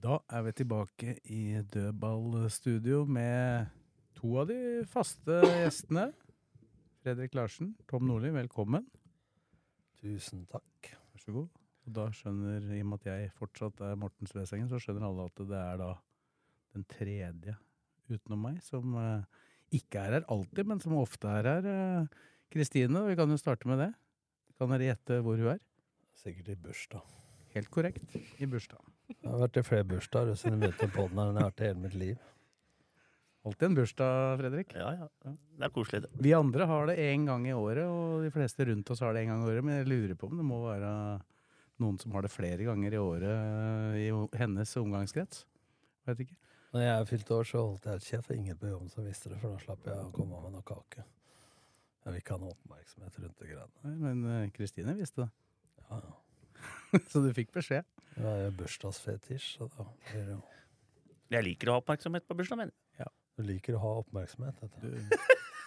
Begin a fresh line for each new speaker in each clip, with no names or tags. Da er vi tilbake i dødballstudio med to av de faste gjestene. Fredrik Larsen, Tom Nordli, velkommen.
Tusen takk.
Vær så god. Og da skjønner, i og med at jeg fortsatt er Morten Svesengen, så skjønner alle at det er da den tredje utenom meg som eh, ikke er her alltid, men som ofte er her. eh, Kristine, og vi kan jo starte med det. Kan dere gjette hvor hun er?
Sikkert i bursdag.
Helt korrekt, i bursdag.
Jeg har vært i flere bursdager siden jeg begynte på den her enn jeg har vært i hele mitt liv.
Alltid en bursdag, Fredrik.
Ja, ja. Det er koselig, det.
Vi andre har det én gang i året, og de fleste rundt oss har det én gang i året. Men jeg lurer på om det må være noen som har det flere ganger i året eh, i o- hennes omgangskrets. Vet ikke.
Når jeg fylte år, så holdt jeg helt kjeft. Det var Ingen på jobben som visste det, for da slapp jeg å komme med noe kake. Jeg vil ikke ha noe oppmerksomhet rundt det greiene.
Nei, Men eh, Kristine visste det,
Ja, ja.
så du fikk beskjed.
Jeg har jo bursdagsfetisj, så da blir det jo
Jeg liker å ha oppmerksomhet på bursdagen min.
Du liker å ha oppmerksomhet, vet du.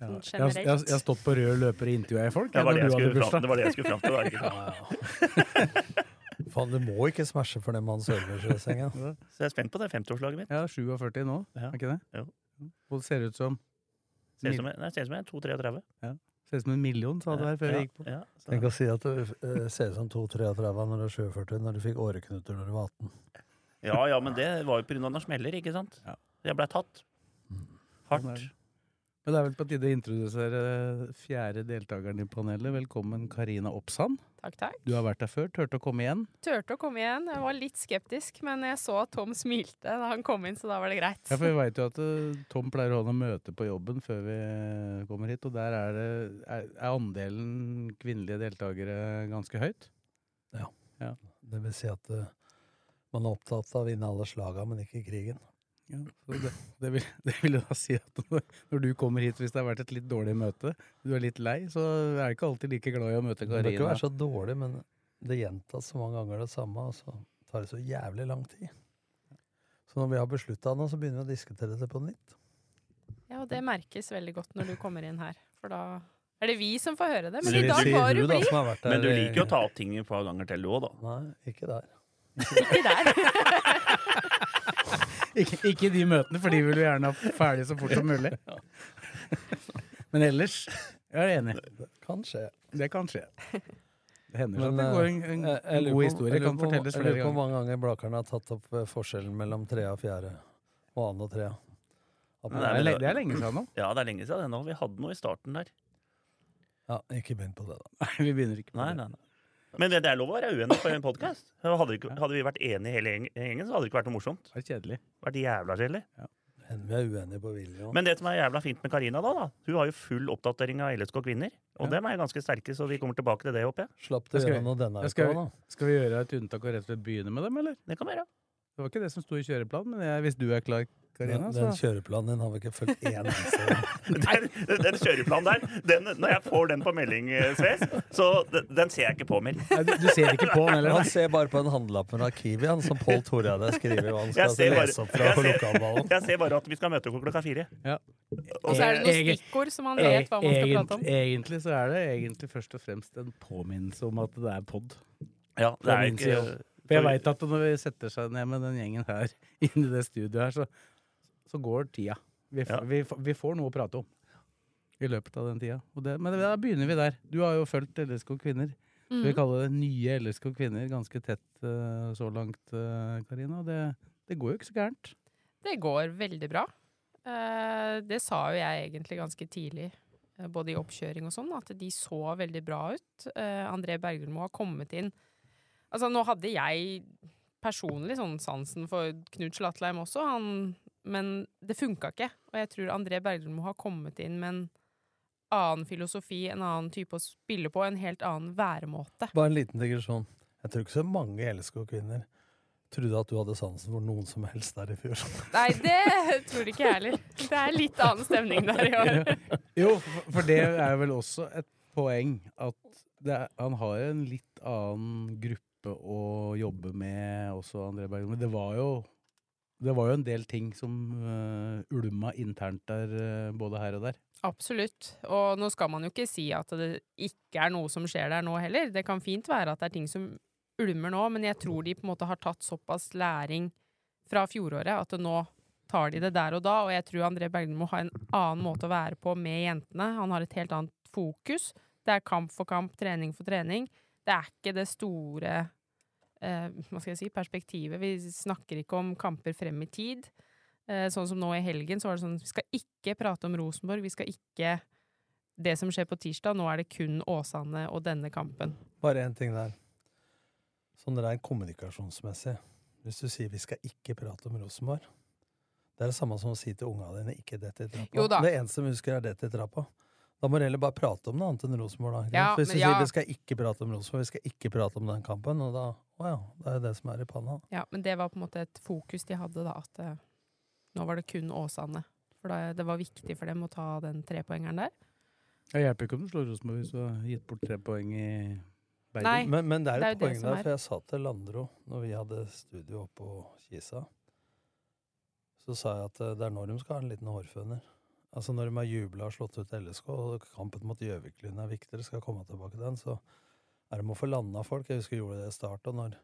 Ja.
Sånn
Jeg, har- jeg, har- jeg har stått på rød løper og intervjua i folk.
Det var det
jeg,
jeg
når du hadde
skulle
bursdag.
fram, det var det jeg skulle fram til. da, ikke sant?
Faen, du må ikke smashe for den mannen sørger i senga.
Så jeg er spent på det 50-årslaget mitt.
Jeg er 47 nå,
Ja.
er ikke det?
Jo.
Og det ser ut som
Ser ut som jeg, nei, ser ut som jeg er 2-33.
Ser ut som en million, sa du her før jeg gikk på.
Ja, så-
Tenk å si at du eh, ser ut som 2-33 når du er 47, når du fikk åreknuter når du var 18.
ja, ja, men det var jo pga. noen smeller, ikke sant?
Ja.
Jeg blei tatt.
Sånn er
Hardt.
det. Men det er vel på tide å introdusere fjerde deltakeren i panelet. Velkommen, Karina Oppsand.
Takk, takk.
Du har vært her før, turte å komme igjen.
Turte å komme igjen. Jeg var litt skeptisk, men jeg så at Tom smilte da han kom inn, så da var det greit.
Ja, for Vi veit jo at eh, Tom pleier å ha noe møte på jobben før vi eh, kommer hit. Og der er, det, er, er andelen kvinnelige deltakere ganske høyt.
Det vil si at eh, man er opptatt av å vinne alle slaga, men ikke krigen.
Så det, det, vil, det vil jo da si at når- når du kommer hit hvis det har vært et litt dårlig møte, du er litt lei, så er du ikke alltid like glad i å møte
Det bør ikke
Karina.
være så dårlig, men det gjentas så mange ganger det samme, og så tar det så jævlig lang tid. Så når vi har beslutta noe, så begynner vi å diskutere det på nytt.
Ja, og det merkes veldig godt når du kommer inn her, for da er det vi som får høre det. Men
Sier-
i dag
sier
var du
da,
blid.
som har vært der
Men du
i-
liker jo å ta opp ting et par ganger til, du òg, da.
Nei, ikke der.
Ikke der.
Ikke, ikke i de møtene, for de vil du gjerne ha ferdig så fort som mulig. Men ellers jeg er enig.
Det kan skje.
Det kan skje. Det hender
Men,
at det går en, en
Jeg- jeg lurer
god
på-
historie
jeg lurer
kan
på-
fortelles
Jeg
flere
lurer på hvor
ganger.
mange ganger Blakerne har tatt opp eh, forskjellen mellom trea og fjerde, og annen og trea. At man-
Det
Nei,
er,
men
le- det er lenge siden nå.
Ja, det er lenge siden det nå. Vi hadde noe i starten der.
Ja, ikke begynn på det, da.
Nei, vi begynner ikke. på
Nei,
det.
nei, nei. Men det, det er lov å være uenig på en podkast. Hadde, ikke- hadde vi vært enige hele gjeng- gjengen, så hadde det ikke vært noe morsomt.
Det er kjedelig.
Vært jævla kjedelig.
Men Vi er uenige på vilje òg.
Men det som er jævla fint med Karina, da, da hun har jo full oppdatering av LSK kvinner. Og
Ja.
dem er ganske sterke, så vi kommer tilbake til det, håper jeg.
Slapp du
Jeg skal-
gjennom noe denne
jeg skal-
uka, da.
Skal vi gjøre et unntak og rett og slett begynne med dem, eller?
Det kan vi gjøre.
Det var ikke det som sto i kjøreplanen, men jeg, hvis du er klar, Karina,
Den, den
så
kjøreplanen din har vi ikke fulgt én eneste gang.
Den, den kjøreplanen der, den, når jeg får den på melding, eh, Sves, så den, den ser jeg ikke på mer.
Nei, du, du ser ikke på den heller.
Han
nei.
ser bare på en handlelapp fra Kiwi han, som Pål Toreide skriver hva han skal
Jeg ser
lese opp fra
bare-
på lokalballen.
Jeg ser bare at vi skal møte klokka fire.
Ja.
Og så er det noen
Egen-
stikkord som man vet hva man skal
Egent-
prate om.
Egentlig så er det egentlig først og fremst en påminnelse om at det er pod.
Ja, det er
min
ikke
side altså. For jeg veit at når vi setter seg ned med den gjengen her, inn i det studioet her, så, så går tida. Vi, f-
Ja.
vi, f- vi får noe å prate om i løpet av den tida. Og det, men da begynner vi der. Du har jo fulgt LSK Kvinner. Skal vi kalle det nye LSK Kvinner ganske tett eh, så langt, eh, Karina? Og det, det går jo ikke så gærent.
Det går veldig bra. Eh, det sa jo jeg egentlig ganske tidlig, eh, både i oppkjøring og sånn, at de så veldig bra ut. Eh, André Bergulmo har kommet inn. Altså, nå hadde jeg personlig sånn sansen for Knut Slatleim også, han, men det funka ikke. Og jeg tror André Bergulmo har kommet inn med en annen filosofi, en annen type å spille på, en helt annen væremåte.
Bare en liten digresjon. Jeg tror ikke så mange LSK-kvinner trodde at du hadde sansen for noen som helst der i fjor.
Nei, det tror ikke jeg heller. Det er litt annen stemning der i år.
Jo, for- for det er vel også et poeng at det er, han har en litt annen gruppe å jobbe med også, André Bergum. Det var jo det var jo en del ting som øh, ulma internt der, øh, både her og der.
Absolutt. Og nå skal man jo ikke si at det ikke er noe som skjer der nå heller. Det kan fint være at det er ting som ulmer nå, men jeg tror de på en måte har tatt såpass læring fra fjoråret at nå tar de det der og da. Og jeg tror André Bergdemo har en annen måte å være på med jentene. Han har et helt annet fokus. Det er kamp for kamp, trening for trening. Det er ikke det store eh, hva skal jeg si, perspektivet. Vi snakker ikke om kamper frem i tid. Eh, sånn som nå i helgen, så var det sånn Vi skal ikke prate om Rosenborg. Vi skal ikke det som skjer på tirsdag. Nå er det kun Åsane og denne kampen.
Bare én ting der. Sånn rent kommunikasjonsmessig. Hvis du sier 'vi skal ikke prate om Rosenborg' Det er det samme som å si til unga dine 'ikke dett i trappa'.
Jo da.
Det eneste de husker, er 'dett i trappa'. Da må du heller bare prate om noe annet enn Rosenborg. Da. ikke
Ja,
sant? Hvis
men
du
ja.
sier 'vi skal ikke prate om Rosenborg', 'vi skal ikke prate om den kampen', og da Å ja, det er jo det som er i panna.
Ja, men det var på en måte et fokus de hadde, da. At eh, nå var det kun Åsane. For da, det var viktig for dem å ta den trepoengeren der.
Det hjelper ikke om du slår Rosenborg hvis du har gitt bort tre poeng i Bergen.
Nei.
Men, men det er
Det er
et
jo det
poeng
som
der,
er.
for jeg sa til Landro når vi hadde studio oppe på Kisa, så sa jeg at eh, det er når de skal ha en liten hårføner. Altså når de har jubla og slått ut LSK, og kampen mot Gjøviklyn er viktig, dere skal komme tilbake til den, så er det med å få landa folk. Jeg husker jeg gjorde det i starten, når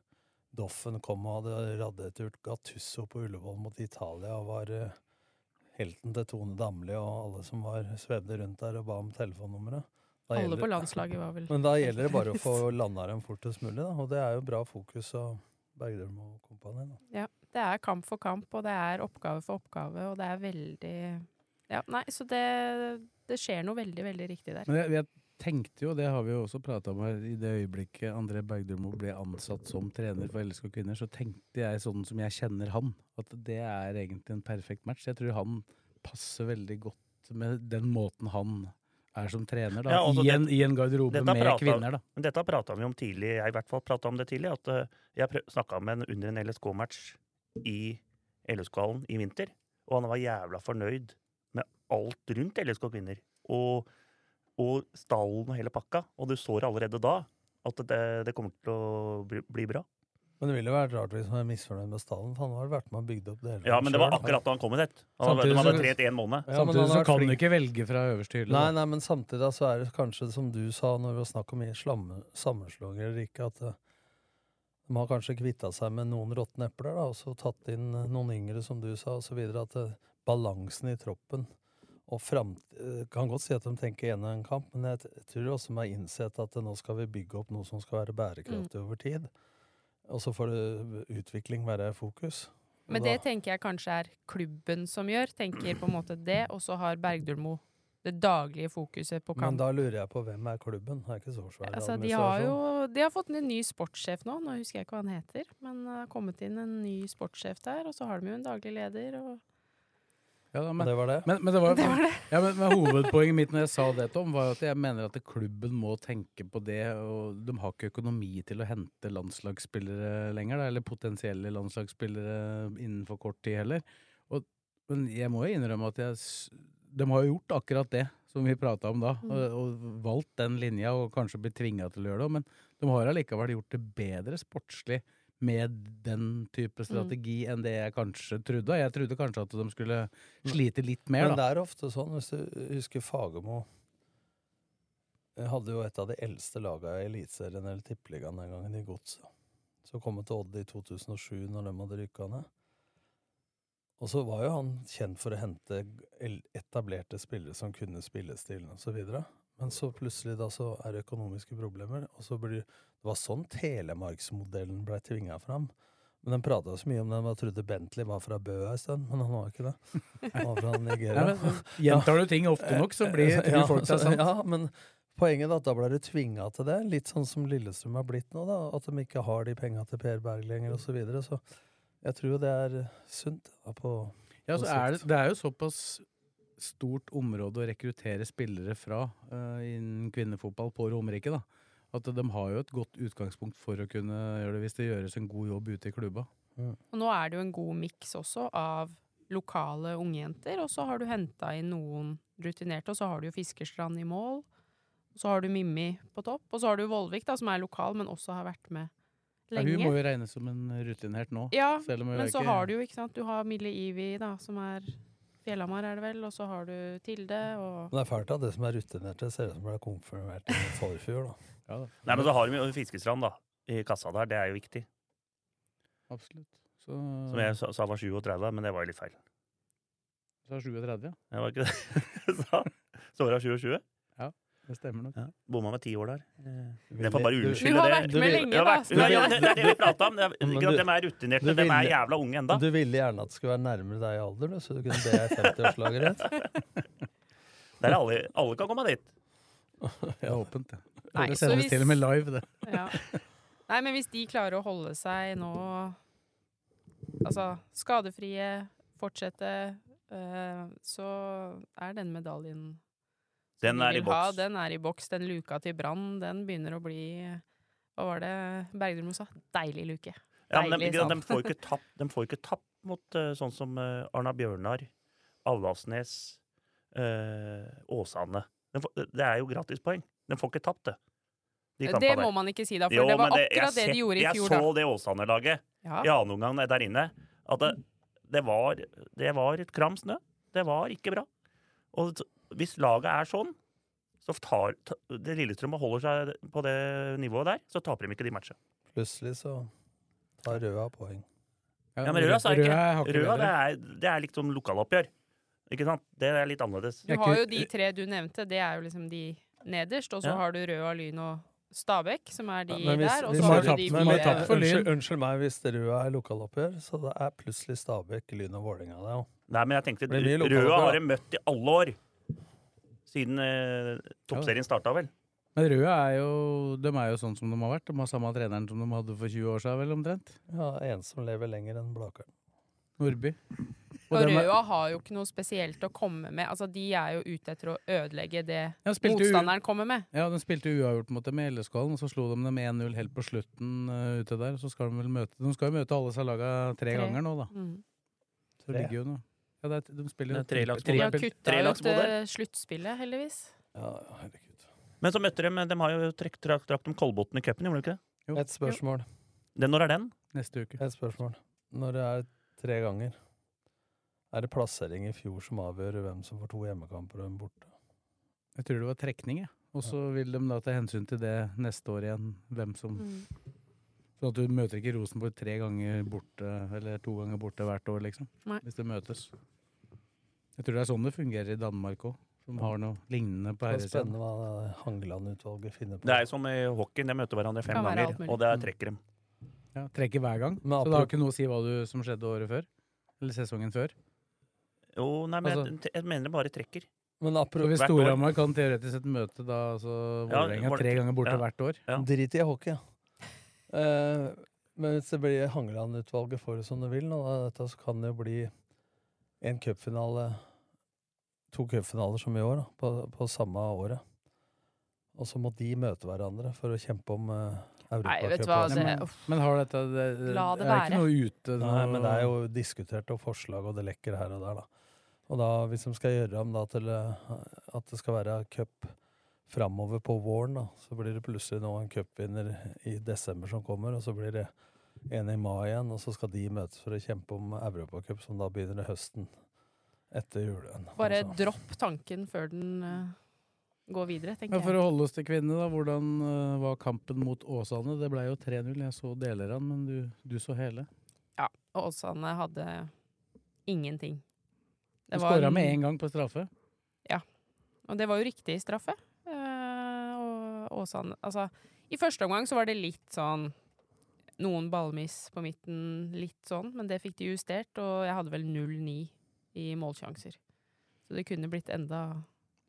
Doffen kom og hadde raddet ut Gattusso på Ullevål mot Italia og var eh, helten til Tone Damli og alle som var svevde rundt der og ba om telefonnummeret. Da
Alle
gjelder-
på landslaget var vel
men da gjelder det bare å få landa dem fortest mulig, da. og det er jo bra fokus av Bergdølm og kompani. Da.
Det er kamp for kamp, og det er oppgave for oppgave, og det er veldig Ja, nei, så det, det skjer noe veldig, veldig riktig der.
Men jeg, jeg tenkte jo, det har vi jo også prata om her, i det øyeblikket André Bergdølmo ble ansatt som trener for LSK kvinner, så tenkte jeg sånn som jeg kjenner han, at det er egentlig en perfekt match. Jeg tror han passer veldig godt med den måten han er som trener, da.
Ja, altså,
I, en, I en garderobe
dette har
med
pratet-
kvinner, da.
Men dette prata vi om tidlig, jeg i hvert fall pratet om det tidlig, at eh, jeg snakka med en under en LSK-match i LSK-hallen i vinter, og han var jævla fornøyd med alt rundt LSK kvinner. Og, og stallen og hele pakka. Og du så allerede da at det, det kommer til å bli, bli bra.
Men det ville vært rart hvis man er misfornøyd med stallen, for han har vært med og bygd opp det hele.
Ja, men det var
selv.
akkurat da han kom hit. Han,
Samtidig
de hadde
så-
trent én
Ja,
måned.
men
Samtidig
han har
så
vært
kan du
flink.
ikke velge fra øverste hylle.
Nei,
da.
nei, men samtidig da, så er det kanskje som du sa når vi var snakk om i slamme, sammenslåinger eller ikke, at eh, de har kanskje kvitta seg med noen råtne epler, da, og så tatt inn eh, noen yngre, som du sa, osv. At eh, balansen i troppen og framt... eh, Kan godt si at de tenker gjennom en kamp, men jeg t- tror også de har innsett at eh, nå skal vi bygge opp noe som skal være bærekraftig
Mm.
over tid. Og så får det utvikling være fokus. Og
Men
da-
det tenker jeg kanskje er klubben som gjør. Tenker på en måte det, og så har Bergdølmo det daglige fokuset på
men
kamp.
da lurer jeg på hvem er klubben? Det er ikke så svær
Altså, de har
administrasjon.
jo de har fått en ny sportssjef nå, nå husker jeg ikke hva han heter. Men det har kommet inn en ny sportssjef der, og så har de jo en daglig leder. Og
Ja, da, men,
Det var det.
men, men det var, Ja, men, men hovedpoenget mitt når jeg sa det, Tom, var jo at jeg mener at klubben må tenke på det. og De har ikke økonomi til å hente landslagsspillere lenger, da, eller potensielle landslagsspillere innenfor kort tid heller. Og, men jeg må jo innrømme at jeg, s- de har jo gjort akkurat det som vi prata om da, og, og valgt den linja og kanskje blitt tvinga til å gjøre det, men de har allikevel gjort det bedre sportslig. Med den type strategi enn det jeg kanskje trodde. Jeg trodde kanskje at de skulle slite litt mer. da.
Men det er ofte sånn, hvis du husker Fagermo eh, hadde jo et av de eldste laga i Eliteserien eller Tippeligaen den gangen, i Godset. Så kom han til Odd i 2007, når de hadde rykka ned. Og så var jo han kjent for å hente el- etablerte spillere som kunne spillestilen osv. Men så plutselig da så er det økonomiske problemer, og så blir Det var sånn Telemarksmodellen blei tvinga fram. Men de prata så mye om den, jeg trodde Bentley var fra Bø en stund, men han var ikke det. Han var fra Nigeria.
Nei, men, gjentar du ting ofte nok, så blir tror
Eh, Ja,
folk det er
så-
sant.
Ja, men poenget er at da ble du tvinga til det. Litt sånn som Lillestrøm har blitt nå, da. At de ikke har de penga til Per Berg lenger, osv. Så, videre. så jeg tror jo det er sunt. Da, på
Ja, så er det, det er jo såpass stort område å rekruttere spillere fra eh, innen kvinnefotball på Romerike, da. At de har jo et godt utgangspunkt for å kunne gjøre det, hvis det gjøres en god jobb ute i klubba.
Og nå er det jo en god miks også av lokale ungjenter, og så har du henta inn noen rutinerte, og så har du jo Fiskerstrand i mål. Og så har du Mimmi på topp, og så har du Vollvik, da, som er lokal, men også har vært med
Ja, Hun må
lenge.
jo regnes som en rutinert nå.
Ja,
selv om hun
men
er
så
ikke-
har du jo, ikke sant, du har Mille Ivi, da, som er Fjellhamar, er det vel, og så har du Tilde, og
Men det er fælt at det som er rutinerte, ser ut som det er konfirmert i forfjor. da.
Ja, da.
Nei, men så har de jo Fiskestrand, da. I kassa der. Det er jo viktig.
Absolutt. Så,
Som
Mm.
jeg sa, sa var 37, men det var jo litt feil.
så er 37, ja.
Det var ikke det jeg sa. Så var hun 27.
Det stemmer nok.
Ja. Bomma med ti år der. Det
Ville-
får bare
du-
unnskylde
Du har
det.
vært med lenge,
Eh, Ja,
da,
vært-
så
Ja,
det-
ja, det, det er det vi prata om. Det er,
Men
ikke
du-
sant, de er rutinerte.
du
De er
ville-
jævla unge enda.
Du ville gjerne at det skulle være nærmere deg i alder, du, så du kunne be ei 50-årslaget rett.
Der er alle, alle kan komme dit.
Det er åpent, det.
Nei,
det
så
sendes
hvis-
til og med live, det.
ja. Nei, men hvis de klarer å holde seg nå Altså, skadefrie, fortsette, eh, så er den medaljen som
Den
de
er
vil
i
ha,
boks.
Den er i boks. Den luka til Brann, den begynner å bli Hva var det Bergdølmo sa? Deilig luke.
Ja, men de,
Deilig,
de,
sa
de,
han.
får ikke tapp, de får ikke tapp mot eh, sånn som eh, Arna Bjørnar, Alvdalsnes, eh, Åsane. De får, det er jo gratispoeng. De får ikke tapt, det. De
Eh, det
kampene
må
der.
man ikke si da, for
Jo,
det var
men jeg
akkurat det
sett-
de gjorde i fjor.
Jeg
da.
så det Åsane-laget
Ja.
i annen omgang der inne, at det, det, var, det var et kram snø. Det var ikke bra. Og t- hvis laget er sånn, så tar ta- det Lillestrøm og holder seg på det nivået der, så taper de ikke de matchene.
Plutselig så tar Røa poeng.
Ja, men Røa, så er ikke,
Røa,
Røa det, er, det er liksom lokaloppgjør. Ikke sant? Det er litt annerledes.
Du
Jeg
har
kunne-
jo de tre du nevnte, det er jo liksom de nederst, og så
Ja.
har du Røa, Lyn og Stabæk, som er de
Ja, men hvis-
der, og
hvis
så har
man
du
tapt-
de
men man
fire-
tapt for Lyn.
unnskyld, unnskyld meg hvis Røa er lokaloppgjør, så det er plutselig Stabæk, Lyn og Vålerenga der òg.
Nei, men jeg tenkte
Det blir lokaloppgjør,
Røa
da.
har de møtt i alle år. Siden eh, toppserien starta, vel.
Men Røa er jo, de er jo sånn som de har vært. De har samme treneren som de hadde for 20 år siden, vel omtrent.
Ja, en som lever lenger enn Blakeren.
Nordby.
Og
dem er-
Røa har jo ikke noe spesielt å komme med. Altså, De er jo ute etter å ødelegge det
Ja, spilte u-
motstanderen kommer med.
Ja, de spilte uavgjort mot dem i LSK-hallen, og så slo de dem 1-0 helt på slutten eh, ute der. Så skal de vel møte De skal jo møte alle seg laga tre,
Tre.
ganger nå, da.
Mm.
Så
Tre.
ligger jo nå. Ja, det er, de spiller jo
Det er tre
trippel-
lags
De har
modell.
trippel-
kutta ut
Trelagsmodell.
eh, sluttspillet, heldigvis.
Ja, ja, herregud.
Men så møtte de De har jo trekt trakt, trakt om Kolbotn i cupen, gjorde de ikke det?
Jo.
Et spørsmål.
Den, når er den?
neste uke.
Et spørsmål. Når det er tre ganger, er det plassering i fjor som avgjør hvem som får to hjemmekamper og en borte?
Jeg tror det var trekning, jeg. Og så vil de da ta hensyn til det neste år igjen, hvem som
Mm.
Sånn at du møter ikke Rosenborg tre ganger borte, eller to ganger borte hvert år, liksom.
Nei.
Hvis det møtes. Jeg tror det er sånn det fungerer i Danmark òg, som har noe lignende på
Det er
herresiden.
spennende hva Hangeland-utvalget finner på.
Det er jo som i hockey, de møter hverandre fem
Kan være
ganger,
alt mulig.
og det er trekker dem.
Ja, trekker hver gang.
Men
Så det har
apropos-
ikke noe å si hva du, som skjedde året før. Eller sesongen før.
Jo, nei, men jeg,
Altså-
jeg mener det bare trekker.
Men
Så
apropos
hvis
hvert år.
Storhamar kan teoretisk sett møte da altså
Ja,
Vålerenga
var det-
tre ganger borte
ja.
hvert år
Ja.
Drit i hockey, ja. Eh, men hvis det blir Hangeland-utvalget får det som det vil, nå, da, dette, så kan det jo bli en cupfinale To cupfinaler som i år, da, på, på samme året. Og så må de møte hverandre for å kjempe om uh,
Nei, vet du
Nei,
europacupen.
hva. Det,
men-
uff.
Men har dette det, det,
La det
er ikke
være.
noe ute
Nei,
noe-
men det er jo diskutert og forslag, og det lekker her og der, da. Og da, hvis de skal gjøre om da til eh, at det skal være cup framover på våren, da, så blir det plutselig nå en cupvinner i desember som kommer, og så blir det en i mai igjen, og så skal de møtes for å kjempe om Europacup, som da begynner i høsten etter julen.
Bare
Altså,
dropp tanken før den eh, går videre,
Men
tenker
for
jeg.
å holde oss til kvinnene, da. Hvordan eh, var kampen mot Åsane? Det ble jo 3-0. Jeg så deler av den, men du, du så hele.
Ja, og Åsane hadde ingenting.
Du skåra med én gang på straffe.
Og det var jo riktig straffe. Eh, og Åsane Altså, i første omgang så var det litt sånn Noen ballmiss på midten, litt sånn, men det fikk de justert, og jeg hadde vel 0-9 i målsjanser. Så det kunne blitt enda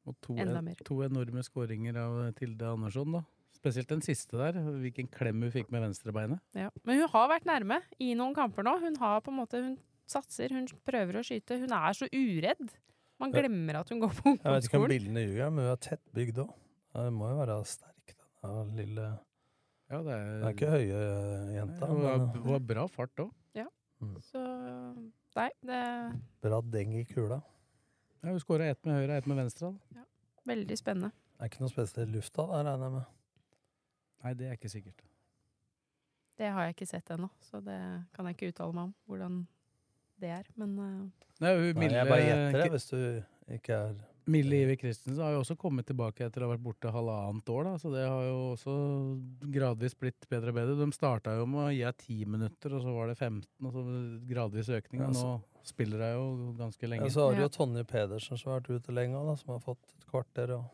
Og to,
Enda mer.
to enorme skåringer av eh, Tilde Andersson, da. Spesielt den siste der. Hvilken klem hun fikk med venstrebeinet.
ja. Men hun har vært nærme i noen kamper nå. Hun har på en måte Hun satser, hun prøver å skyte. Hun er så uredd. Man
Ja.
glemmer at hun går på
Jeg vet ikke om
ungdomsskolen.
bildene ljuger, men hun er tett bygd òg. Hun må jo være sterk. den Ja, lille
Ja, det
Det er ikke høye eh, jenta,
det var,
men
det var bra fart òg.
Så nei, det er
bra deng i kula.
Ja, hun skåra ett med høyre og ett med venstre. Da.
veldig spennende.
Er ikke noe spesielt i lufta, der regner jeg med.
Nei, det er ikke sikkert.
Det har jeg ikke sett ennå, så det kan jeg ikke uttale meg om hvordan det er. Men eh,
Nei, hun
Nei,
Mille,
jeg bare gjetter det, hvis du ikke er
Mille Iver Christensen har jo også kommet tilbake etter å ha vært borte halvannet år, da, så det har jo også gradvis blitt bedre og bedre. De starta jo med å gi henne ti minutter, og så var det 15, og så gradvis økning.
Ja,
Og nå spiller hun jo ganske
Ja,
lenge.
så har du
Ja.
jo Tonje Pedersen som har vært ute lenge, også, da, som har fått et kvarter og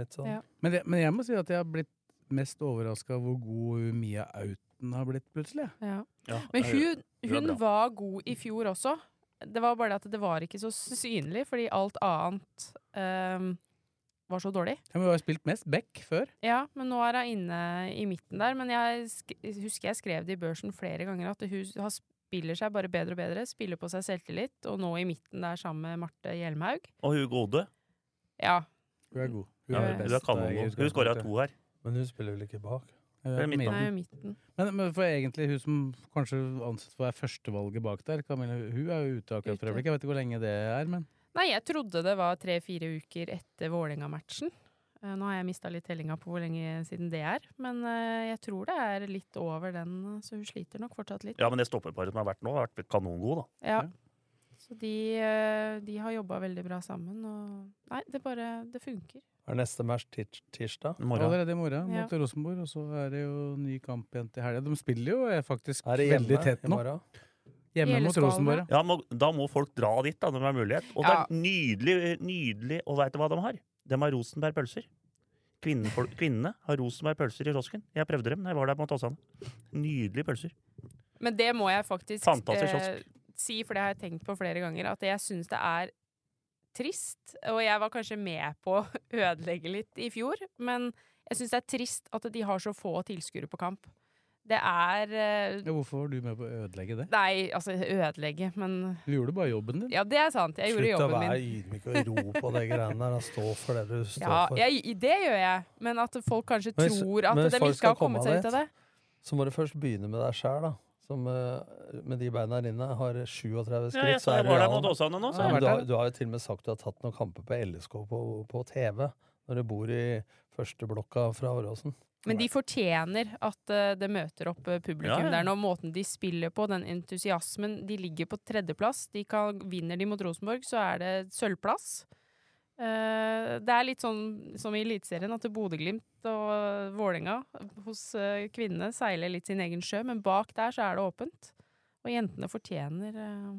litt sånn.
Ja.
Men, det, men jeg må si at jeg har blitt mest overraska hvor god hun Mia Auten har blitt plutselig.
ja.
Ja,
Men
det er-
hun,
hun er
hun
bra.
var god i fjor også. Det var bare det at det var ikke så synlig, fordi alt annet eh, var så dårlig.
Ja, men hun har jo spilt mest back før.
Ja, men nå er hun inne i midten der. Men jeg sk husker jeg skrev det i børsen flere ganger, at hun har spiller seg bare bedre og bedre. Spiller på seg selvtillit, og nå i midten der sammen med Marte Hjelmhaug.
Og hun gode.
Ja,
Hun er god.
Ja,
er
hun
best,
Hun er kanon.
eh, i
nå. Hun
utgangspunktet.
skåra to her.
Men hun spiller vel ikke bak?
Hun er
Hun er midtbane.
hun er
midten.
i midten.
Men, men for egentlig hun som kanskje ansett for å være førstevalget bak der, Camilla, hun er jo ute akkurat for
Ute.
øyeblikket. Jeg vet ikke hvor lenge det er, men
Nei, jeg trodde det var tre-fire uker etter Vålerenga-matchen. Eh, Nå har jeg mista litt tellinga på hvor lenge siden det er, men eh, jeg tror det er litt over den, eh, så hun sliter nok fortsatt litt.
Ja, men det stopperparet som har vært nå, har vært kanongod, da.
Ja.
Ja.
Så de, eh, de har jobba veldig bra sammen, og Nei, det bare Det funker.
Er neste match tirs tirsdag?
I morgen.
allerede i morgen
Ja.
mot Rosenborg, og så er det jo ny kamp igjen til helga. De spiller jo eh, faktisk
Er det
veldig
hjemme
tett
i
nå.
morgen?
Hjemme mot
Gjeleskålen,
Rosenborg, ja.
Ja, må, da må folk dra dit da, når de har mulighet. Og
Ja.
det er nydelig, nydelig Og veit du hva de har? De har Rosenberg pølser. Kvinnen, for- kvinnene har Rosenberg pølser i kiosken. Jeg prøvde dem da jeg var der på Åsane. Nydelige pølser.
Men det må jeg faktisk eh,
Fantastisk kiosk.
si, for det har jeg tenkt på flere ganger, at jeg syns det er trist. Og jeg var kanskje med på å ødelegge litt i fjor, men jeg syns det er trist at de har så få tilskuere på kamp. Det er eh,
ja. Hvorfor var du med på å ødelegge det?
Nei, altså ødelegge, men
Du gjorde bare jobben din.
Ja, det er sant. Jeg gjorde
Slutt å
jobben
være
min.
ydmyk og ro på de greiene der. da. Stå for det du står
Ja,
for.
jeg, det gjør jeg, men at folk kanskje
Men hvis-
tror at
men hvis
de
folk
ikke har
skal komme
kommet seg
av
ut av det.
Så må du først begynne med deg sjæl, da. Som eh, med de beina dine har 37 skritt.
Ja, jeg,
så
sa
er
jeg
det
var der
real.
mot Åsane
Ja,
nå, så
men
vært
du, har,
der.
du har jo til og med sagt du har tatt noen kamper på LSK på, på TV. Når du bor i førsteblokka fra Åråsen.
Men de fortjener at eh, det møter opp eh, publikum
Ja, ja.
der nå. Måten de spiller på, den entusiasmen. De ligger på tredjeplass. De kan, vinner de mot Rosenborg, så er det sølvplass. Eh, det er litt sånn som i Eliteserien, at Bodø-Glimt og eh, Vålerenga hos eh, kvinnene seiler litt sin egen sjø, men bak der så er det åpent. Og jentene fortjener eh,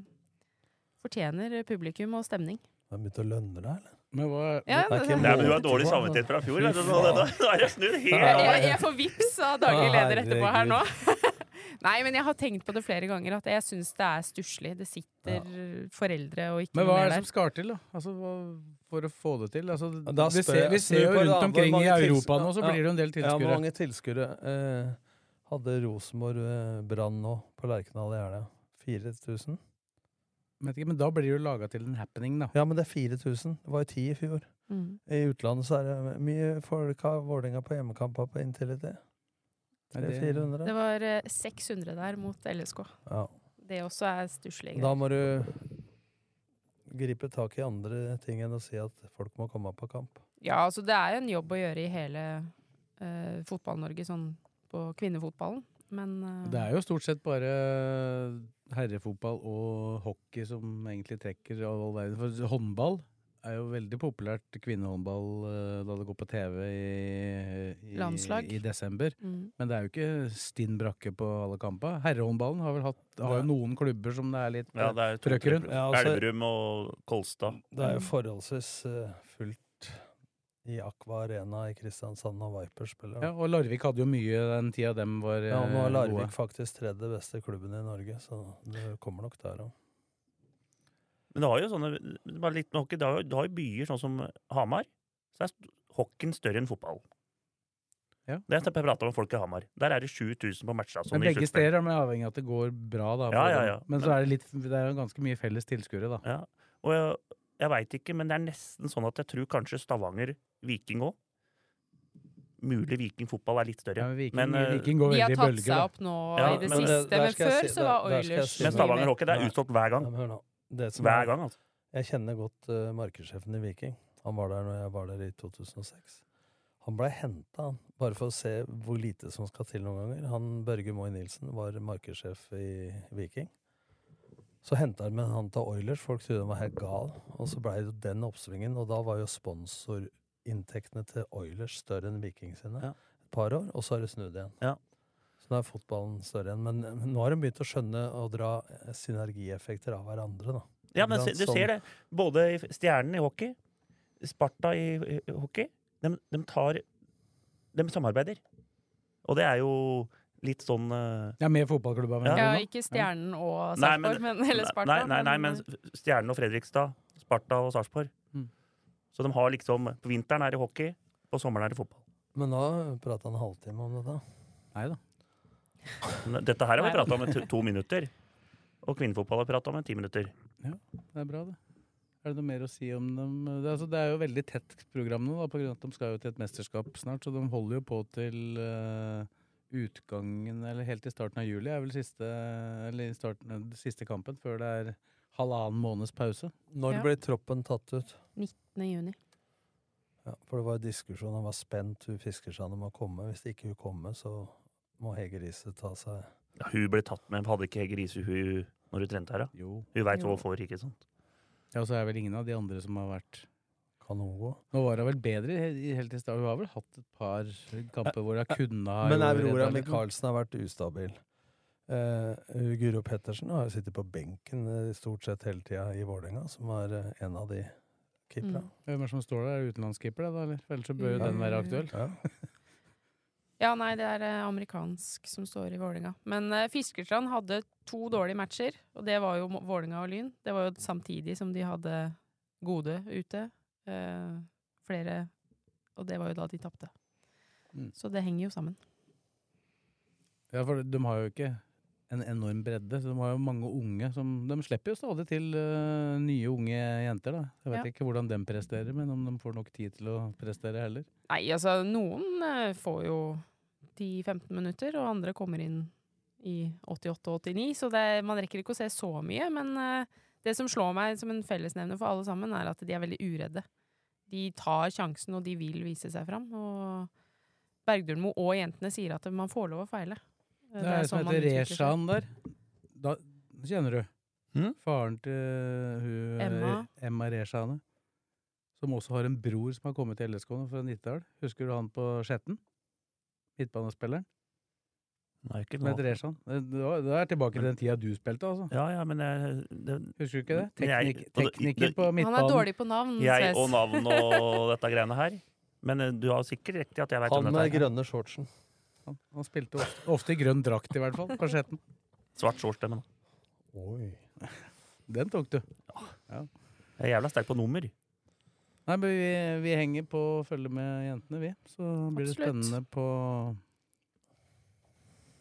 Fortjener publikum og stemning.
Har det begynt å lønne deg, eller?
Men hva,
Ja,
Det er
det-
ikke
Nei, men Du har dårlig samvittighet fra fjor. Vet du, nå, nå, nå er det snudd helt
jeg,
av.
jeg, jeg får vips av daglig
Å,
leder etterpå her nå.
herregud.
Nei, men jeg har tenkt på det flere ganger, at jeg syns det er stusslig. Det sitter foreldre og ikke
men hva
noe
er det
mer
som
der.
skal til da? Altså, hva, for å få det til? Altså,
Da
vi,
spør
ser,
jeg-
vi
snur
ser jo
på det
rundt
andre,
omkring i
mange tils-
Europa nå, så
ja.
blir det jo en del
Ja, hvor
tilskuere.
mange tilskuere eh, hadde Rosenborg eh, Brann nå på Lerkendal i helga? 4000?
Vet ikke, Men da blir det jo laga til en happening, da.
Ja, men det er 4000. Det var jo 10 i fjor.
Mm.
I utlandet så er det mye folk har Vålerenga på hjemmekamper på inntil i det.
Nei, det-
400.
Det var eh, 600 der mot LSK.
Ja.
Det også er stusslig.
Da må du gripe tak i andre ting enn å si at folk må komme på kamp.
Ja, altså det er jo en jobb å gjøre i hele eh, Fotball-Norge, sånn på kvinnefotballen. Men eh,
Det er jo stort sett bare eh, herrefotball og hockey som egentlig trekker av all verden. For håndball er jo veldig populært, kvinnehåndball, eh, da det går på TV i, i,
Landslag.
i desember.
mm.
Men det er jo ikke stinn brakke på alle kamper. Herrehåndballen har vel hatt, har jo noen klubber som det er litt
Ja, det er to,
Trøkker rundt.
tre-
Ja, altså-
Elverum og Kolstad.
Det er jo forholdsvis eh, fullt i Aqua Arena i Kristiansand når Viper spiller.
Ja,
da.
og Larvik hadde jo mye den tida dem var
Ja, og nå er
eh,
Larvik faktisk tredje beste klubben i Norge, så det kommer nok der òg.
Men det har jo sånne bare litt med hockey, det har jo, det har jo byer sånn som Hamar. Så er st- hockeyen større enn fotball.
Ja.
Det har jeg prata med folk i Hamar. Der er det 7000 på matcha. Sånn,
Men
i
begge
sluttspill.
steder er man avhengig av at det går bra, da.
Ja,
for
ja,
dem.
ja.
Men så er det, litt, det er jo ganske mye felles tilskuere, da.
Ja. Og jeg, jeg veit ikke, men det er nesten sånn at jeg tror kanskje Stavanger Viking òg. mulig Viking fotball er litt
Ja,
større.
men Viking,
Men, eh,
Viking går
De har
veldig i
tatt
bølger.
seg
da.
opp nå
Ja,
i det
men eh, det-
siste,
der
men
skal jeg
før
si-
så var
der- der skal jeg
Oilers
si-
Men Stavanger Hockey det er
Nei.
utsolgt hver
Ja,
gang.
men hør nå. Det som
Hver
er,
gang, altså.
jeg kjenner godt eh, markedssjefen i Viking. Han var der når jeg var der i 2006. Han blei henta, han. Bare for å se hvor lite som skal til noen ganger. Han Børge Moy Nilsen var markedssjef i Viking. Så henta han med han til Oilers. Folk trodde han var helt gal. Og så blei det den oppsvingen, og da var jo sponsorinntektene til Oilers større enn Viking sine.
Ja.
Et par år, og så har det snudd igjen.
Ja.
Så nå er fotballen større igjen. Men men nå har de begynt å skjønne og dra eh, synergieffekter av hverandre, da.
Ja, men
Ikke
se-
sant?
du
Sånn-
ser det. Både i f- Stjernen i hockey, Sparta i i hockey, de, tar De samarbeider. Og det er jo litt sånn eh,
Ja, med fotballklubba, mener
Ja,
du nå?
ikke Stjernen og
Nei, men-
Sarpsborg, men, eh, eller Sparta.
Nei, nei, nei, men Stjernen og Fredrikstad, Sparta og Sarpsborg.
Mm.
Så de har liksom På vinteren er det hockey, på sommeren er det fotball.
Men da prata han en halvtime om dette.
Nei da.
Men Dette her har vi
Nei.
prata om i to- to minutter. Og kvinnefotball har vi prata om i ti minutter.
Det er bra, det. Er det noe mer å si om dem? Det er, altså, det er jo veldig tett program nå, da, på grunn av at de skal jo til et mesterskap snart. Så de holder jo på til eh, utgangen, eller helt til starten av juli, er vel siste, eller i starten, siste kampen, før det er halvannen måneds pause.
Når
Ja.
ble troppen tatt ut?
19. juni.
Ja, for det var diskusjon, han var spent, hun Fiskersand må komme. Hvis ikke hun kommer, så må Hege Riise ta seg
Ja, hun ble tatt med, hadde ikke Hege Riise hun når hun trente her, da?
Jo.
Hun veit hva
Jo.
hun får, ikke sant?
Ja, og så er vel ingen av de andre som har vært
Kan hun gå?
Nå var hun vel bedre he- i- helt i stad. Hun har vel hatt et par kamper hvor hun kunne ha
Men
gjort
Aurora
redda litt, men-
Michaelsen har vært ustabil. Eh, hun Guro Pettersen har jo sittet på benken eh, stort sett hele tida i Vålerenga, som er eh, en av de keeperne.
Mm.
Hvem er det som står der? Er det utenlandskeeper, det da? Eller? For Ellers så bør jo den være aktuell.
Ja.
Ja, nei, det er eh, amerikansk som står i Vålinga. Men eh, Fiskerstrand hadde to dårlige matcher, og det var jo Mo- Vålinga og Lyn. Det var jo samtidig som de hadde gode ute. eh, flere Og det var jo da de tapte.
Mm.
Så det henger jo sammen.
Ja, for de har jo ikke en enorm bredde, så de har jo mange unge som De slipper jo stadig til øh, nye unge jenter, da. Jeg vet
Ja.
ikke hvordan de presterer, men om de får nok tid til å prestere heller.
Nei, altså, noen eh, får jo 10-15 minutter, og andre kommer inn i 88-89, så det, er- man rekker ikke å se så mye. Men eh, det som slår meg som en fellesnevner for alle sammen, er at de er veldig uredde. De tar sjansen, og de vil vise seg fram. Og Bergdølmo og jentene sier at man får lov å feile. Eh,
Det er, som
man
heter
utvikler seg.
Reshan der. Da kjenner du.
Hm?
Mm.
Faren til hun
Emma.
eh, Emma Reshane. Som også har en bror som har kommet til LSK nå, fra Nittedal. Husker du han på Skjetten? Midtbanespilleren.
Nei, ikke
Som het
nå.
Reshan. Det, det var- det er tilbake til den tida du spilte, altså.
Ja, ja, men jeg, det,
Husker du ikke det?
Men jeg-
Teknik,
og det-
tekniker
det-
på
Han er
midtbanen.
dårlig på navn.
jeg
Mm, ses.
og navn og dette greiene her. Men eh, du har sikkert riktig at jeg veit om
Han med
dette. her.
grønne shortsen.
Han, han spilte ofte, ofte i grønn drakt, i hvert fall. På Skjetten.
Svart shorts, det, men.
Oi.
Den tok du.
Jeg er jævla sterk på nummer.
Nei, men vi, vi henger på å følge med jentene, vi. Så blir det
Absolutt.
spennende på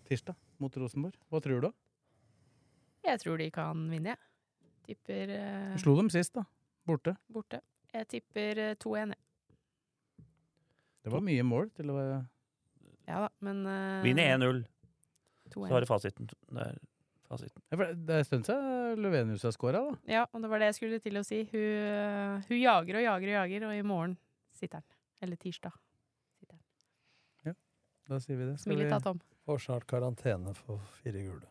tirsdag mot Rosenborg. Hva tror du?
Jeg tror de kan vinne, jeg. Tipper eh,
Slo dem sist, da. Borte.
borte. Jeg tipper eh, 2-1, jeg.
Det var mye mål til å være
Ja da, men eh,
Vinner 1-0,
2-1.
så har du fasiten. Det er fasiten.
Ja, for Det er en stund siden Løvenius har scora, da.
Ja, og det var det jeg skulle til å si. Hun, øh, hun jager og jager og jager, og i morgen sitter den. Eller tirsdag.
Da sier vi det. Skal vi,
Smilet av Tom.
Får snart karantene for fire gule.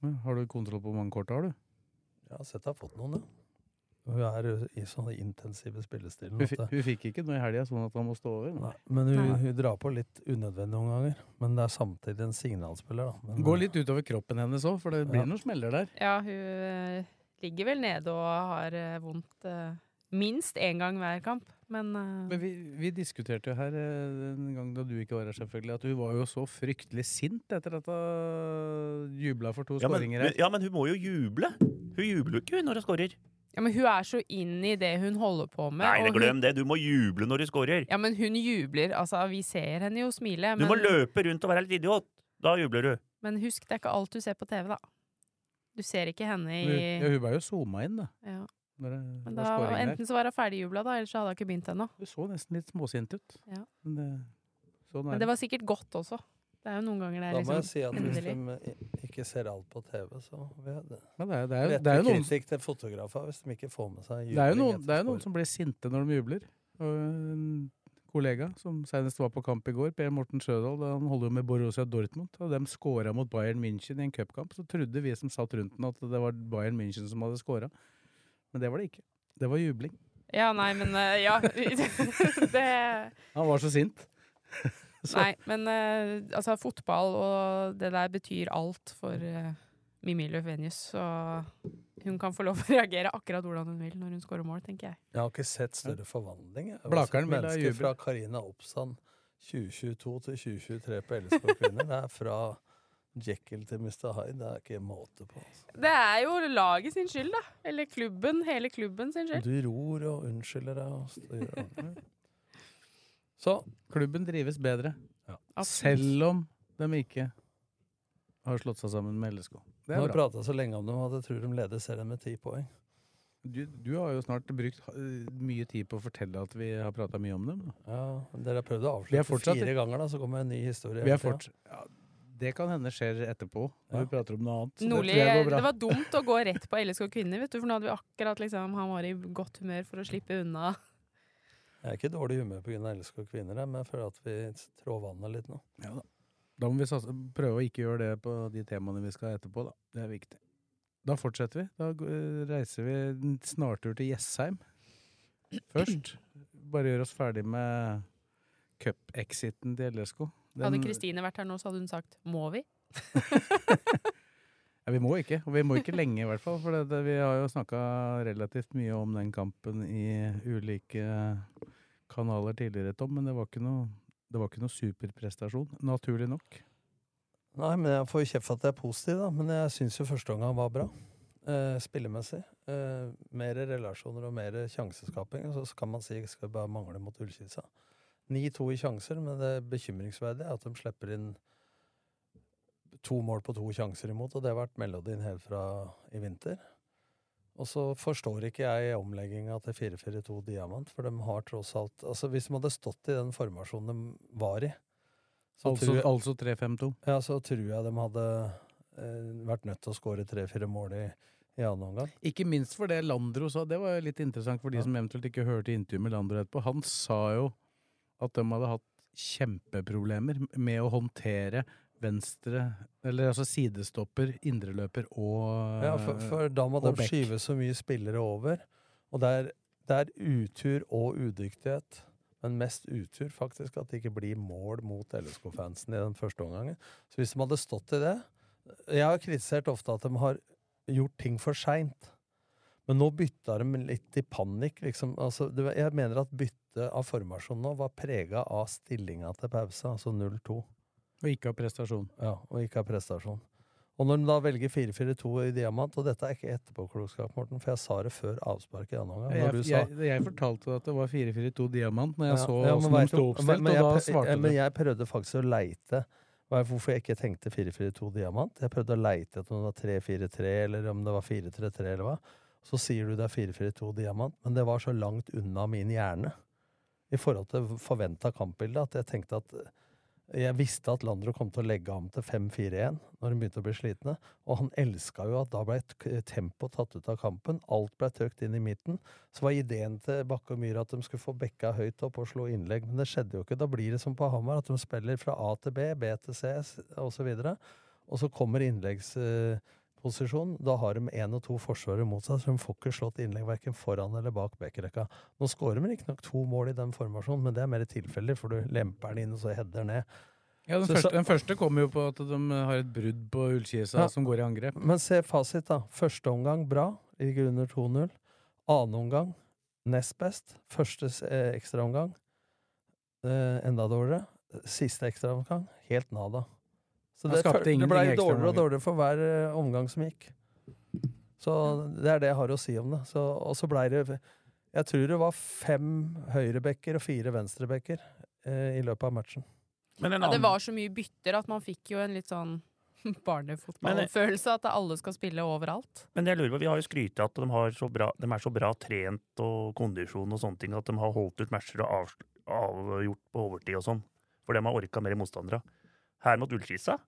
Ja, har du kontroll på hvor mange kort du har, du?
Jeg har sett jeg har fått noen, ja. Hun er eh, i sånne intensive spillestilen.
Hun,
at
fi-
det-
hun fikk ikke noe i helga, sånn at han må stå over.
Nei, men hun,
Nei.
hun drar på litt unødvendig noen ganger. Men det er samtidig en signalspiller, da. Men,
Går litt utover kroppen hennes òg, for det blir
Ja.
noen smeller der.
Ja, hun øh, ligger vel nede og har øh, vondt øh, minst én gang hver kamp, men øh,
Men vi, vi diskuterte jo her eh, en gang da du ikke var her, selvfølgelig, at hun var jo så fryktelig sint etter at hun jubla for to
Ja men,
skåringer her.
ja, men hun må jo juble! Hun jubler jo ikke hun, når hun scorer.
ja, men hun er så inn i det hun holder på med.
Nei,
og hun,
glem det! Du må juble når du scorer!
ja, men hun jubler. Altså, vi ser henne jo smile,
Du må
men,
løpe rundt og være litt idiot! Da jubler du.
men husk, det er ikke alt du ser på TV, da. Du ser ikke henne
Hun,
i
ja, hun ble jo zooma inn, da.
ja.
Når det,
Men
når
da,
scoringen er.
enten så var hun ferdigjubla, da, eller så hadde hun ikke begynt ennå.
Du så nesten litt småsint ut.
Ja.
Men det, sånn
Men
er
det
det.
var sikkert godt også. Det er jo noen ganger det
Da
er
må jeg
liksom
si at hvis
endelig.
de i- ikke ser alt på TV, så vet det.
Men det er, det er, jo- det er
Rettelig
jo noen,
kritikk til fotografer hvis de ikke får med
det er
seg
jo
jubling
noen, det er jo
etter
noen som blir sinte når de jubler. Og en kollega som senest var på kamp i går, Per Morten Sjødal, da han holder jo med Borussia Dortmund, og de scora mot Bayern München i en cupkamp, så trodde vi som satt rundt den at det var Bayern München som hadde scora. Men det var det ikke. Det var jubling.
Ja, nei, men eh, Ja. det
Han var så sint. Så-
Nei, men eh, altså, fotball og det der betyr alt for eh, Mimmi Løvenius. Så hun kan få lov å reagere akkurat hvordan hun vil når hun scorer mål, tenker jeg.
Jeg har ikke sett større forvandling. jeg. Jeg har
Blakeren
sett
vil ha
mennesker
jubel.
fra Karina Oppsand 2022 til 2023 på LSK Kvinner. Det er fra Jekyll til Mr. Hyde. Det er ikke måte på. Altså.
Det er jo laget sin skyld, da. Eller klubben. Hele klubben sin skyld.
Du ror og unnskylder deg. Og styrer. Så
Klubben drives bedre,
Absolutt.
selv om de ikke har slått seg sammen med LSK. Det
nå har
er
jeg
bra.
prata så lenge om dem at jeg tror de leder serien med ti poeng.
Du, du har jo snart brukt eh, mye tid på å fortelle at vi har prata mye om dem. da.
Ja, dere har prøvd å
Vi er
avslutte
fortsatt-
fire ganger, da, så kommer en ny historie.
Vi
hele
er
tiden.
fort, ja, det kan hende skjer etterpå, når
Ja.
vi prater om noe annet. Så det
Nordli,
tror jeg går
eh, det
bra.
var dumt å gå rett på LSK kvinner, vet du, for nå hadde vi akkurat liksom Han var i godt humør for å slippe unna.
Jeg er ikke i dårlig humør pga. LSK Kvinner, jeg, men jeg føler at vi trår vannet litt nå.
Ja, da. da må vi satse, prøve å ikke gjøre det på de temaene vi skal ha etterpå, da. Det er viktig. Da fortsetter vi. Da g- eh, reiser vi en snartur til Jessheim først. Bare gjør oss ferdig med cup-exiten til LSK.
Hadde
Den-
Kristine vært her nå, så hadde hun sagt 'må vi'?
Ja, vi må ikke, og vi må ikke lenge i hvert fall, for det, det, vi har jo snakka relativt mye om den kampen i ulike kanaler tidligere, Tom, men det var ikke noe, det var ikke noe superprestasjon, naturlig nok.
Nei, men jeg får jo kjeft for at jeg er positiv, da. Men jeg syns jo første omgang var bra. Eh, spillemessig. Eh, mer relasjoner og mer sjanseskaping. og Så kan man si skal vi bare mangle mot Ullkisa. 9-2 i sjanser, men det bekymringsverdige er at de slipper inn to mål på to sjanser imot, og det har vært melodien helt fra i vinter. Og så forstår ikke jeg omlegginga til 4-4-2 Diamant, for de har tross alt Altså, hvis de hadde stått i den formasjonen de var i så
Altså,
tror jeg-
altså 3-5-2.
ja, så tror jeg de hadde eh, vært nødt til å skåre tre-fire mål i, i annen omgang.
Ikke minst for det Landro sa, det var jo litt interessant for de
Ja.
som eventuelt ikke hørte intervjuet med Landro etterpå. Han sa jo at de hadde hatt kjempeproblemer med å håndtere venstre, eller altså sidestopper, indreløper og
Ja, for, for da må de
eh, og Beck.
skyve så mye spillere over. Og det er, det er utur og udyktighet, men mest utur faktisk at det ikke blir mål mot LSK-fansen i den første omgangen. Så hvis de hadde stått i det Jeg har kritisert ofte at de har gjort ting for seint. Men nå bytta de litt i panikk, liksom. Altså, det var- jeg mener at byttet av formasjon nå var prega av stillinga til pause, altså 0-2.
og ikke av prestasjon.
Ja, og ikke er prestasjon. Og når de da velger 4-4-2 i diamant, og dette er ikke etterpåklokskap, Morten, for jeg sa det før avspark i annen omgang,
Jeg,
når du sa
jeg, jeg fortalte at det var 4-4-2 diamant når jeg
Ja,
så
ja, men
hvordan de
vet du-
sto oppstilt,
men- men
og da
jeg prø-
svarte
ja, Men
du.
jeg prøvde faktisk å leite hva- hvorfor jeg ikke tenkte 4-4-2 diamant. Jeg prøvde å leite etter om det var 3-4-3, eller om det var 4-3-3, eller hva. Så sier du det er 4-4-2 diamant, men det var så langt unna min hjerne i forhold til forventa kampbilde at jeg tenkte at eh, jeg visste at Landro kom til å legge ham til 5-4-1 når han begynte å bli slitne. Og han elska jo at da ble et tempo tatt ut av kampen. Alt ble tøkt inn i midten. Så var ideen til Bakke og Myhre at de skulle få bekka høyt opp og slå innlegg, men det skjedde jo ikke. Da blir det som på Hamar, at de spiller fra A til B, B til C osv. Og så kommer innleggsposisjonen. Da har de én og to forsvarere mot seg, så de får ikke slått innlegg verken foran eller bak bekkerekka. Nå skårer de riktignok to mål i den formasjonen, men det er mer tilfeldig, for du lemper den inn, og så header den ned.
Ja, den,
så-
første,
så-
den første kom jo på at de har et brudd på ullkisa
Ja.
som går i angrep.
Men se fasit, da. Første omgang bra, ligger under 2-0. Annen omgang nest best. Første s- eh, ekstraomgang eh, enda dårligere. Siste ekstraomgang helt nada. Så
Han
det,
skapte
fø- det
ingenting
ble
i
jo dårligere og
ekstraomgangen.
dårligere for hver eh, omgang som gikk. Så det er det jeg har å si om det. Så, og så blei det Jeg tror det var fem høyrebacker og fire venstrebacker eh, i løpet av matchen.
Men en
Ja, det
annen,
var så mye bytter at man fikk jo en litt sånn barnefotballfølelse at alle skal spille overalt.
Men jeg lurer på, vi har jo skrytet at de, har så bra, de er så bra trent og kondisjon og sånne ting, at de har holdt ut matcher og avsl- avgjort på overtid og sånn. For de har orka mer motstandere. Her mot Ullskisa,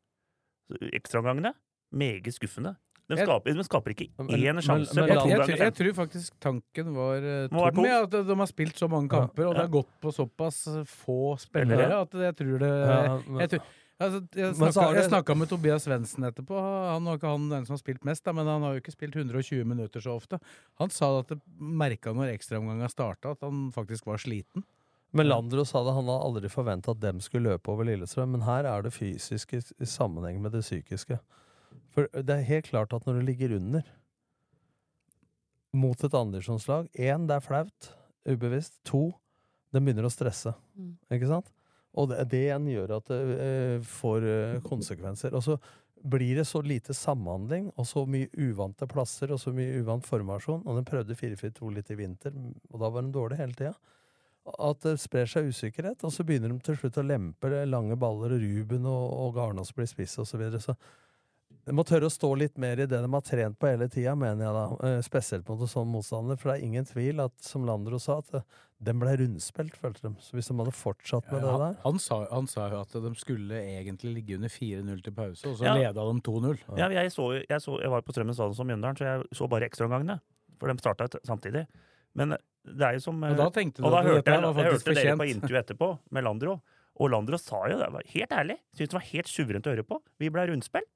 så ekstraomgangene, meget skuffende. De
Jeg-
skaper, de skaper ikke
Men-
én
men-
sjanse.
men
på
Jeg,
to
jeg,
ganger
tror- jeg tror faktisk tanken var eh,
Må være
tom,
to.
ja, at de har spilt så mange
Ja,
kamper, og det
ja.
har gått på såpass få spillere
Spillere.
at jeg tror det
Ja, men-
jeg tror- Altså, jeg
Men så
snakka,
har
jeg
det-
snakka med Tobias Svendsen etterpå. Han var ikke han den som har spilt mest, da, men han har jo ikke spilt 120 minutter så ofte. Han sa at det merka når ekstraomganga starta, at han faktisk var sliten.
Men Landro sa det, han hadde aldri forventa at dem skulle løpe over Lillestrøm, men her er det fysiske i- i sammenheng med det psykiske. For det er helt klart at når du ligger under mot et andredivisjonslag Én, det er flaut, ubevisst. To, den begynner å stresse.
Mm.
Ikke sant? Og det, det igjen gjør at det eh, får eh, konsekvenser. Og så blir det så lite samhandling, og så mye uvante plasser, og så mye uvant formasjon. Og den prøvde 4-4-2 litt i vinter, og da var den dårlig hele tida at det sprer seg usikkerhet, og så begynner de til slutt å lempe det, lange baller, og Ruben og, og Garnås blir spiss osv. Så, videre. så de må tørre å stå litt mer i det de har trent på hele tida, mener jeg da. eh, Spesielt mot en sånn motstander, for det er ingen tvil at, som Landro sa, at eh, den ble rundspilt, følte de. Så hvis de hadde fortsatt med det
Han,
der
han, sa, han sa jo at de skulle egentlig ligge under 4-0 til pause, og så
Ja.
leda de 2-0.
Ja, men jeg, så, jeg, så, jeg var på Strømmen stadion som Mjøndalen, så jeg så bare ekstraomgangene. For de starta samtidig. Men det er jo som eh,
Og da tenkte du
Og da
at
hørte
dette
jeg,
her var
jeg hørte
faktisk
dere på
fortjent.
intervju etterpå med Landro, og Landro sa jo det, var helt ærlig, syntes det var helt suverent å høre på. Vi ble rundspilt.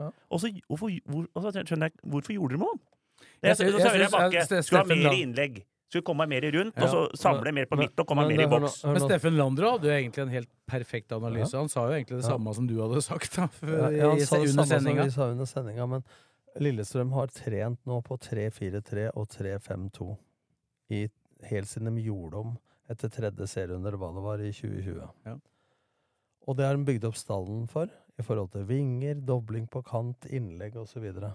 Ja.
Og så hvorfor, hvor, og så skjønner jeg, hvorfor gjorde dere noe?
Jeg
Jeg,
synes-
jeg,
jeg
jeg,
synes- jeg-
Bakke
Ste-
skulle ha
Steffen
mer
Land-
innlegg. Skulle komme mer rundt,
Ja,
og så samle mer på
men-
midt og komme
men
mer i
det- hør nå-
boks.
hør
Men
nå-
Steffen Landro hadde jo egentlig en helt perfekt analyse. Han sa jo egentlig det
Ja.
samme som du hadde sagt da,
Ja, ja, han
i-
sa det
under
samme som
sendinga.
vi sa under sendinga, men Lillestrøm har trent nå på 3-4-3 og 3-5-2 i- helt siden de gjorde om etter tredje serierunde, eller hva det var, i 2020.
Ja.
Og det har de bygd opp stallen for, i forhold til vinger, dobling på kant, innlegg osv. Så, videre.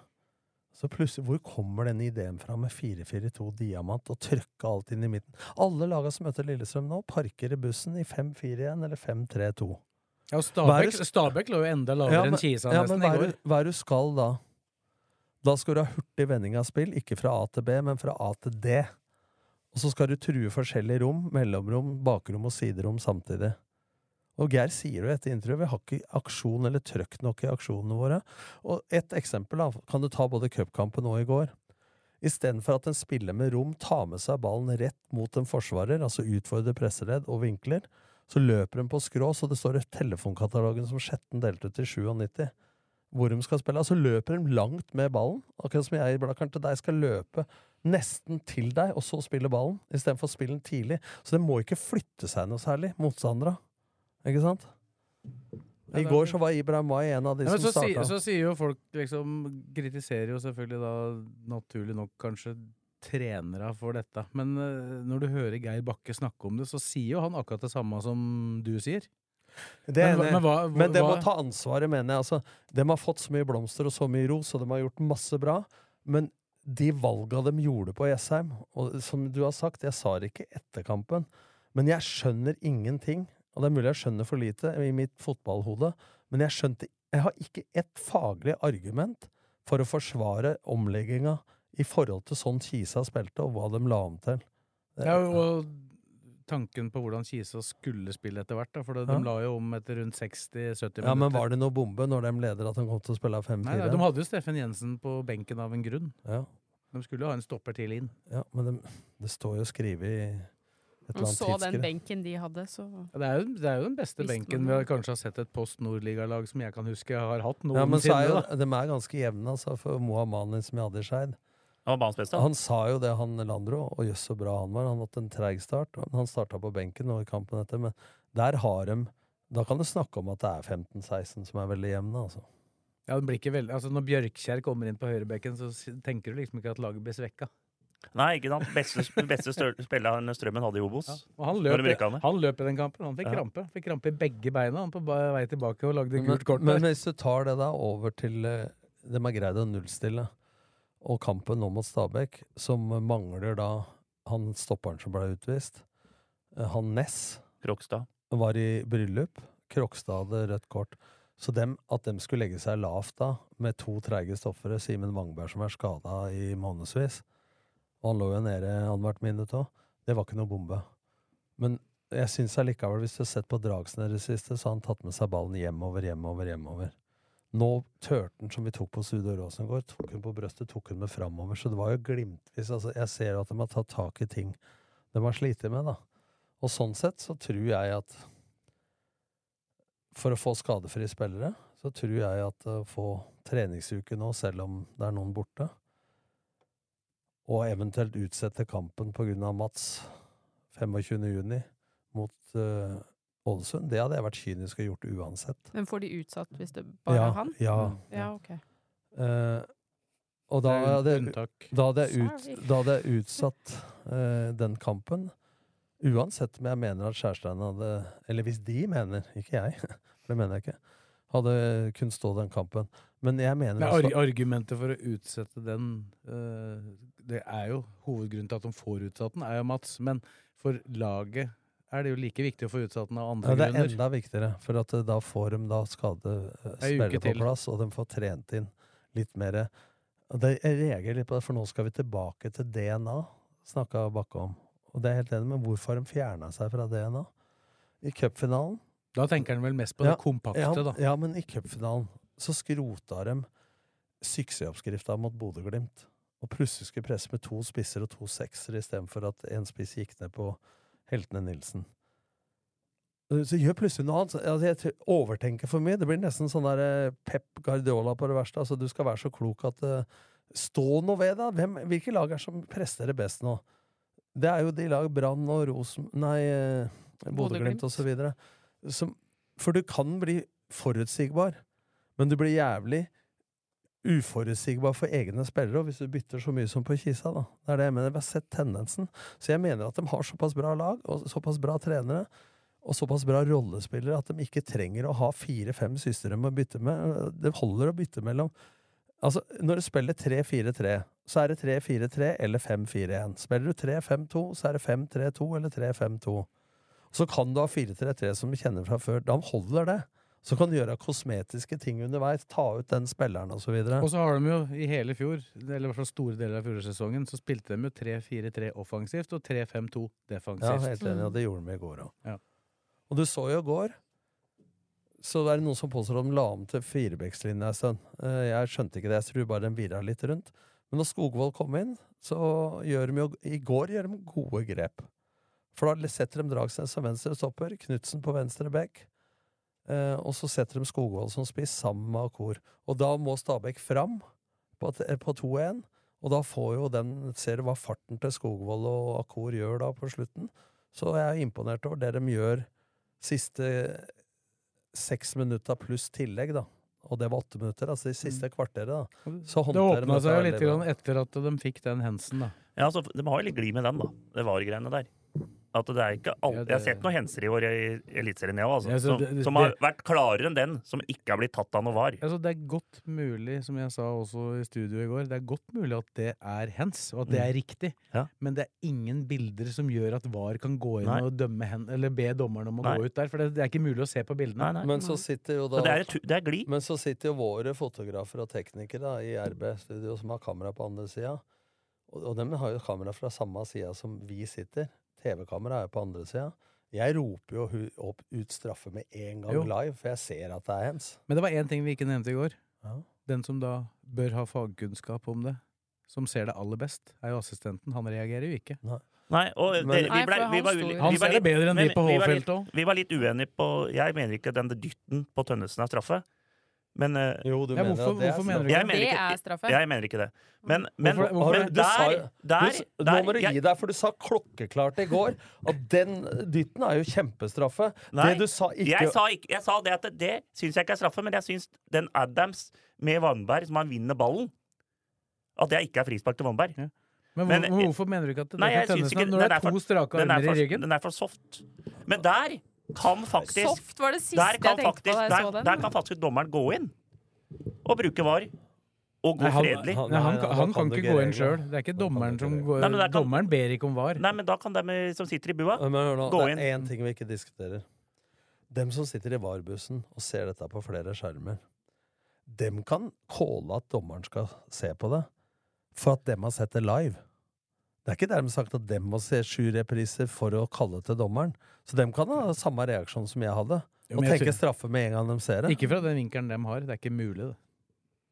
så plutselig, hvor kommer denne ideen fra med 4-4-2 diamant og trykke alt inn i midten? Alle laga som møter Lillestrøm nå, parker i bussen i 5-4-1 eller 5-3-2.
Ja, og
Hva er
Stabæk,
det-
Stabæk lå jo enda lavere
Ja, men-
enn Kisa
Ja, men
nesten
hva
i
er,
går.
du, hva er du skal da? Da skal du ha hurtig vending av spill, ikke fra A til B, men fra A til D. Og så skal du true forskjellige rom, mellomrom, bakrom og siderom samtidig. Og Geir sier jo etter intervjuet vi har ikke aksjon eller trøkk nok i aksjonene våre. Og et eksempel da, kan du ta både cupkampen og i går. Istedenfor at en spiller med rom tar med seg ballen rett mot en forsvarer, altså utfordrer presseledd og vinkler, så løper de på skrå, så det står i telefonkatalogen som Skjetten delte ut i 97 hvor de skal spille. Altså løper de langt med ballen, akkurat som jeg blakkeren til deg skal løpe nesten til deg, og så spille ballen, istedenfor å spille den tidlig. Så det må ikke flytte seg noe særlig, motstandere. Ikke sant? I går så var Ibrahim Mai en av de
Ja, men
som
så, si,
starta.
så sier jo folk liksom Kritiserer jo selvfølgelig da naturlig nok kanskje trenere for dette. Men eh, når du hører Geir Bakke snakke om det, så sier jo han akkurat det samme som du sier.
Det er
hva-
enig.
hva,
Men de må
hva-
ta ansvaret, mener jeg. Altså, de har fått så mye blomster og så mye ros, og de har gjort masse bra. Men de valga de gjorde på Jessheim, og som du har sagt, jeg sa det ikke etter kampen, men jeg skjønner ingenting. Og det er mulig jeg skjønner for lite i mitt fotballhode, men jeg skjønte Jeg har ikke ett faglig argument for å forsvare omlegginga i forhold til sånn Kisa spilte, og hva de la om til.
ja, og tanken på hvordan Kisa skulle spille etter hvert, da. For de,
Ja.
de la jo om etter rundt 60-70 minutter.
Ja, men var det noe bombe når de leder at de kom til å spille
Nei, nei, de
5-4?
hadde jo Steffen Jensen på benken av en grunn.
Ja.
De skulle jo ha en stopper til inn.
Ja, men det, det står jo skrevet i et eller
Og
annet
så den
tidsskrift.
benken de hadde, så
Ja, Det er jo, det er jo den beste
Visste
benken vi
man
har
det?
kanskje har sett et Post Nordligalag som jeg kan huske jeg har hatt
Ja, men så
noensinne.
er jo,
da.
de er ganske jevne, altså, for Mohamani som jeg hadde i Skeid.
Han var banens beste.
Han sa jo det, han Landro, og jøss så bra han var. Han hadde en treig start. og Han starta på benken nå i kampen etter, men der har de Da kan du snakke om at det er 15-16 som er veldig jevne, altså.
Ja, den blir ikke veldig, altså Når Bjørkskjær kommer inn på høyrebekken, så s- tenker du liksom ikke at laget blir svekka.
Nei, ikke sant. Beste, beste stør- spilleren Strømmen hadde i Obos.
Ja. Og han
Når
løp,
de bruker han det.
han løp i den kampen. Han fikk
Ja.
krampe. Fikk krampe i begge beina han på ba- vei tilbake og lagde
Men,
gult kort.
men
der.
hvis du tar det da over til eh, De har greid å nullstille, og kampen nå mot Stabæk, som mangler da han stopperen som ble utvist, eh, han Ness
Krokstad.
var i bryllup. Krokstad hadde rødt kort. Så dem, at dem skulle legge seg lavt da, med to treige stoffere, Simen Wangberg som er skada i månedsvis, og han lå jo nede annethvert minutt òg, det var ikke noe bombe. Men jeg syns allikevel, hvis du har sett på Dragsen i det siste, så har han tatt med seg ballen hjemover, hjemover, hjemover. Nå tørte han som vi tok på Studio Rosengård, tok hun på brøstet, tok hun med framover, så det var jo glimtvis. Altså, jeg ser jo at de har tatt tak i ting de har slitt med, da. Og sånn sett så tror jeg at for å få skadefrie spillere, så tror jeg at å få treningsuke nå, selv om det er noen borte, og eventuelt utsette kampen på grunn av Mats 25. juni mot eh, Ålesund, det hadde jeg vært kynisk og gjort uansett.
Men får de utsatt hvis det bare
ja,
er han?
Ja.
Ja, ok.
Eh, og da
Mm. Det er
hadde,
un- unntak.
da hadde jeg, ut,
Sorry.
da hadde jeg utsatt eh, den kampen. Uansett om jeg mener at Skjærstein hadde Eller hvis de mener, ikke jeg, for det mener jeg ikke, hadde kunnet stå den kampen. Men jeg mener
Men
også-
arg argumentet for å utsette den eh, Det er jo hovedgrunnen til at de får utsatt den, er jo Mats. Men for laget er det jo like viktig å få utsatt den av
Ja,
andre
det er
grunner.
enda viktigere, for at eh, da får de da skade
Ei
eh,
uke
spillere på
til.
plass, og de får trent inn litt mer. Og det, jeg reagerer litt på det, for nå skal vi tilbake til DNA, snakka Bakke om. Og det er jeg helt enig med hvorfor de fjerna seg fra DNA. I cupfinalen
Da tenker han vel mest på
Ja,
det kompakte,
ja,
da.
Ja, men i cupfinalen så skrota de suksessoppskrifta mot Bodø-Glimt. Og plutselig skulle presse med to spisser og to seksere istedenfor at én spiss gikk ned på heltene Nilsen. Uh, Så gjør plutselig noe annet. Så- Altså, jeg tror- overtenker for mye. Det blir nesten sånn der eh, Pep Guardiola på det verste. Altså, du skal være så klok at eh, Stå nå ved, da! Hvem, hvilke lag er det som presterer best nå? Det er jo de lag Brann og Rosen... Nei, eh, Bodø-Glimt
Bodø-Glimt.
og så videre. Som, for du kan bli forutsigbar, men du blir jævlig uforutsigbar for egne spillere, og hvis du bytter så mye som på Kisa, da. Det er det jeg mener. Vi har sett tendensen. Så jeg mener at de har såpass bra lag, og såpass bra trenere, og såpass bra rollespillere at de ikke trenger å ha fire-fem søstre de må bytte med. Det holder å bytte mellom Altså, når du spiller 3-4-3, så er det 3-4-3 eller 5-4-1. Spiller du 3-5-2, så er det 5-3-2 eller 3-5-2. Så kan du ha 4-3-3 som du kjenner fra før. Da holder det. Så kan du gjøre kosmetiske ting underveis. Ta ut den spilleren og så videre.
Og så har de jo i hele fjor, eller i hvert fall store deler av fjorårssesongen, så spilte de jo 3-4-3 offensivt og 3-5-2
Ja,
defensivt.
helt enig, og det gjorde de i går òg.
Ja.
Og du så jo i går, så er det noen som påstår at de la om til firebekslinja en stund. Eh, Jeg skjønte ikke det, jeg tror bare den virra litt rundt. Men når Skogvold kom inn, så gjør de jo I går gjør de gode grep. For da setter de Dragsnes som venstre stopper, Knutsen på venstre back, eh, og så setter de Skogvold som spiss sammen med Akor. Og da må Stabæk fram på, t- eh, på 2-1, og da får jo den Ser du hva farten til Skogvold og Akor gjør da på slutten? Så jeg er imponert over det de gjør siste seks minutter pluss tillegg, da. Og det var åtte minutter, altså de siste kvarteret, da. Så
Det
håndterer de
åpna
dette
seg jo
veldig
litt
bra.
grann etter at de fikk den Hensen, da.
Ja, altså, De har jo litt glid med den, da. Det var greiene der. At det er ikke all...
Ja, det-
Jeg har sett noen henser i år i Eliteserien, jeg òg, altså.
Ja, så
som,
det- det-
som har vært klarere enn den som ikke har blitt tatt av noe var.
Altså, det er godt mulig, som jeg sa også i studio i går, det er godt mulig at det er hens, og at
Mm.
det er riktig.
Ja.
Men det er ingen bilder som gjør at VAR kan gå inn
Nei.
og dømme hen, eller be dommeren om å
Nei.
gå ut der, for det, det er ikke mulig å se på
Nei,
bildene.
nei.
Men så sitter jo da
Så det er, et- det er glid.
Men så sitter jo våre fotografer og teknikere da, i RB-studio som har kamera på andre sida. Og, og dem har jo kamera fra samme sida som vi sitter. TV-kamera er jo på andre sida. Jeg roper jo hu- opp, ut straffe med en gang
Jo.
live, for jeg ser at det er hens.
Men det var én ting vi ikke nevnte i går.
Ja.
Den som da bør ha fagkunnskap om det, som ser det aller best, er jo assistenten. Han reagerer jo ikke.
Nei, og det,
Men-
vi
Nei,
ble,
for
vi
han
var
sto
uli-
jo-
vi
Han
var
ser det
litt-
bedre enn
men
de på
vi var litt-
H-feltet òg.
Vi var litt uenige på Jeg mener ikke den dytten på Tønnesen er straffe. Men eh,
Jo, du
Ja, hvorfor-
mener at det
hvorfor
er
mener du
straffe.
jeg mener
Det er
ikke,
straffe.
jeg mener ikke det. Men, men,
Hvorfor- hvorfor-
men
Du sa
der,
jo-
der,
Du s-
der
Nå må du
jeg-
gi deg, for du sa klokkeklart i går at den dytten er jo kjempestraffe.
Nei,
det du sa ikke
Jeg sa, ikke, jeg sa det at det syns jeg ikke er straffe, men jeg syns den Adams med Vannberg, som han vinner ballen At det ikke er frispark til Vannberg.
Ja, Men, hvor,
Men-
men hvorfor mener du ikke at det
Nei,
er
jeg
for
syns ikke
Tønnesen når det
den
er to strake
den, er
armer i
for,
ryggen?
den er for soft. Men der kan faktisk
Soft var det siste
der
jeg
kan,
tenkte
faktisk,
på da jeg
der,
så den.
der kan faktisk dommeren gå inn og bruke var og
Nei,
gå
han,
fredelig.
han-
nei, han,
nei, da
kan- han
kan
kan
du
ikke
ikke
gå inn
reglene.
sjøl. Det er ikke
Da kan
dommeren
du
som
ikke
går
Nei, men der kan-
Dommeren ber ikke om var.
Nei, men da kan de som sitter i bua
Men hør nå,
Gå
det
inn.
er én ting vi ikke diskuterer. Dem som sitter i VAR-bussen og ser dette på flere skjermer, dem kan calle at dommeren skal se på det, for at dem har sett det live. Det er ikke dermed sagt at dem må se sju repriser for å kalle til dommeren. Så dem kan ha samme reaksjon som jeg hadde,
Jo,
og
men jeg
tenke
tror-
straffe med en gang de ser det.
Ikke fra den vinkelen dem har. Det er ikke mulig, det.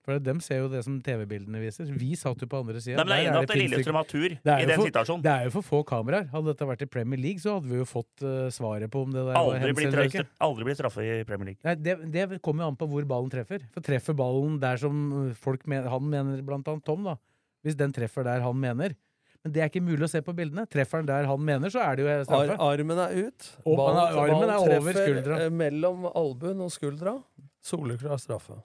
For dem ser jo det som TV-bildene viser. Vi satt jo på andre sida.
Nei, men jeg er enig i at Lillestrøm har tur i
Det er jo
den
for-
situasjonen.
Det er jo for få kameraer. Hadde dette vært i Premier League, så hadde vi jo fått eh, svaret på om det der var
Aldri
hens
blitt
eller
trøst-
ikke.
aldri blitt straffe i Premier League.
Nei, det, det kommer jo an på hvor ballen treffer. For treffer ballen der som eh, folk men, han mener, blant annet Tom, da. Hvis den treffer der han mener. Men det er ikke mulig å se på bildene. Treffer den der han mener, så er det jo
Ar
straffe.
armen er ut.
Og
Ballen-
han- armen
ballen
er over
treffer,
skuldra.
eh, Mellom albuen og skuldra. Soleklar straffe.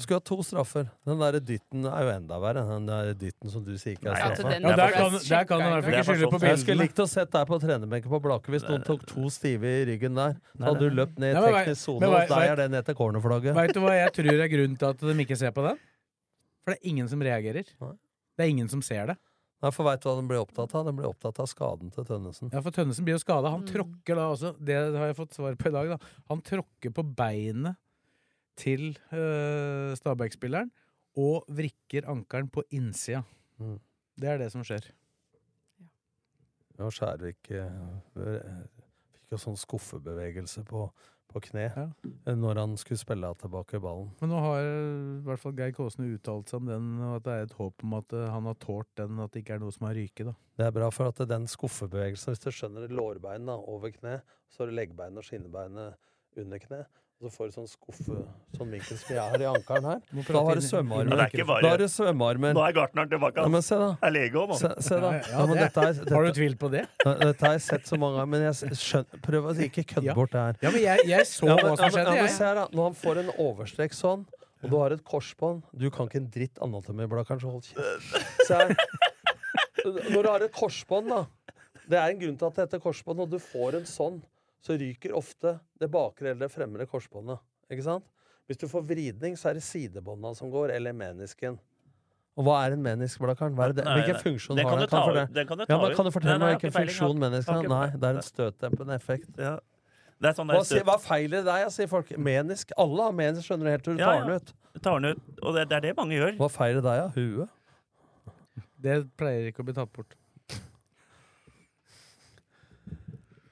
Skulle ha to straffer. Den derre dytten er jo enda verre. Den der dytten som du sier ikke er
Nei,
Ja,
altså,
straffe.
den
Ja,
Det er
der kan, der kan han i hvert fall
Det er
ikke skylde
for
på
sånn.
Jeg skulle
bildene.
likt å sett deg på trenerbenken på Blaker hvis noen tok to stive i ryggen der. Så
Nei,
hadde du løpt ned
Nei,
i
men vei-
teknisk sone,
men vei-
og der
vei-
er det ned til cornerflagget.
Veit du hva jeg tror er grunnen til at de ikke ser på den? For det er ingen som reagerer.
Nei.
Det er ingen som ser det.
Nei, for veit du hva den ble opptatt av? Den ble opptatt av skaden til Tønnesen.
Ja, For Tønnesen blir jo skada. Han
Mm.
tråkker da også Det har jeg fått svar på i dag. da Han tråkker på beinet til øh, Stabæk-spilleren og vrikker ankelen på innsida.
Mm.
Det er det som skjer.
Og Skjærvik eh, fikk jo sånn skuffebevegelse på, på kne
Ja.
eh, når han skulle spille tilbake ballen.
Men nå har øh, i hvert fall Geir Kåsene uttalt seg om den, og at det er et håp om at øh, han har tålt den, at det ikke er noe som har ryket. da
Det er bra for at den skuffebevegelsen, hvis du skjønner lårbeinet da, over kne, så har du leggbeinet og skinnebeinet under kne, og så får du sånn skuffe, sånn vinkel som jeg har i ankeren her.
Må
Da
prate inn
har du
i-
Ja,
svømmearmen.
det er ikke bare-
Da har du svømmearmen.
Nå er gartneren tilbake.
Ja,
ass.
men se da.
Er lege òg,
Se,
mann.
se da.
Ja, ja,
Ja, men
det-
dette, er,
Har du
dette,
tvil på det?
dette har jeg sett så mange ganger, men jeg skjønner, prøv å ikke
Ja.
kødde bort det her.
Ja, men jeg, jeg så
Ja, men,
hva
ja,
som
men,
skjedde,
ja, men
jeg.
se her da. Når han får en overstrekk sånn, og du har et korsbånd Du kan ikke en dritt anatomi, Blakkaren, så hold kjeft. Se her. Når du har et korsbånd, da Det er en grunn til at det heter korsbånd. Når du får en sånn, så ryker ofte det bakre eller det fremre korsbåndet. Ikke sant? Hvis du får vridning, så er det sidebånda som går, eller menisken. Og hva er en menisk, Blakkaren? Hva er det-
Nei,
Hvilken
nei.
funksjon
Den
har
kan
den?
du ta
Kan, for
ut.
det?
Den kan du ta
Ja, men
ut.
kan du
Nei,
fortelle
nei,
meg
jeg
hvilken
har ikke peiling, jeg har-
funksjon menisken
har
har?
ikke-
Nei, det er en støtdempende effekt.
Ja. Det er sånn der
Hva, sier,
støt-
hva feiler deg, ja, sier folk. Menisk. Alle har menisk, skjønner du, helt til du
Ja,
tar
ja.
den ut.
tar den ut. Og det, det er det mange gjør.
Hva feiler deg, ja? Huet?
Det pleier ikke å bli tatt bort.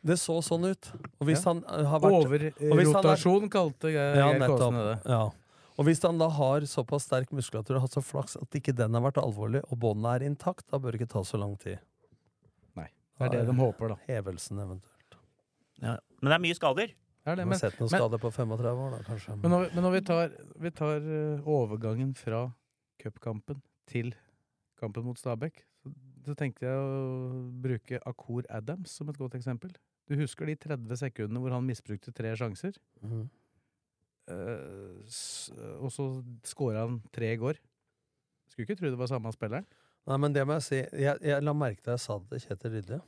Det så sånn ut. Og hvis
Ja.
han eh, har vært Og hvis han er-
Overrotasjon øh, kalte Geir
Ja,
Geir
nettopp.
Kåsene det.
Ja. Og hvis han da har såpass sterk muskulatur og hatt så flaks at ikke den har vært alvorlig, og båndet er intakt, da bør det ikke ta så lang tid.
Nei, Det er det de håper, da.
Hevelsen eventuelt.
Men det er mye skader.
Det er
Du
det,
har
men,
sett noen skader på 35 år, da, kanskje.
men, når, vi- men når vi tar, vi tar eh, overgangen fra cupkampen til kampen mot Stabæk, så, så tenkte jeg å bruke Akur Adams som et godt eksempel. Du husker de 30 sekundene hvor han misbrukte tre sjanser?
Mhm.
Eh, s- og så skåra han tre i går. Skulle ikke tro det var samme spilleren.
Nei, men det må jeg si. Jeg, jeg la merke til jeg sa det til Kjetil Rydde.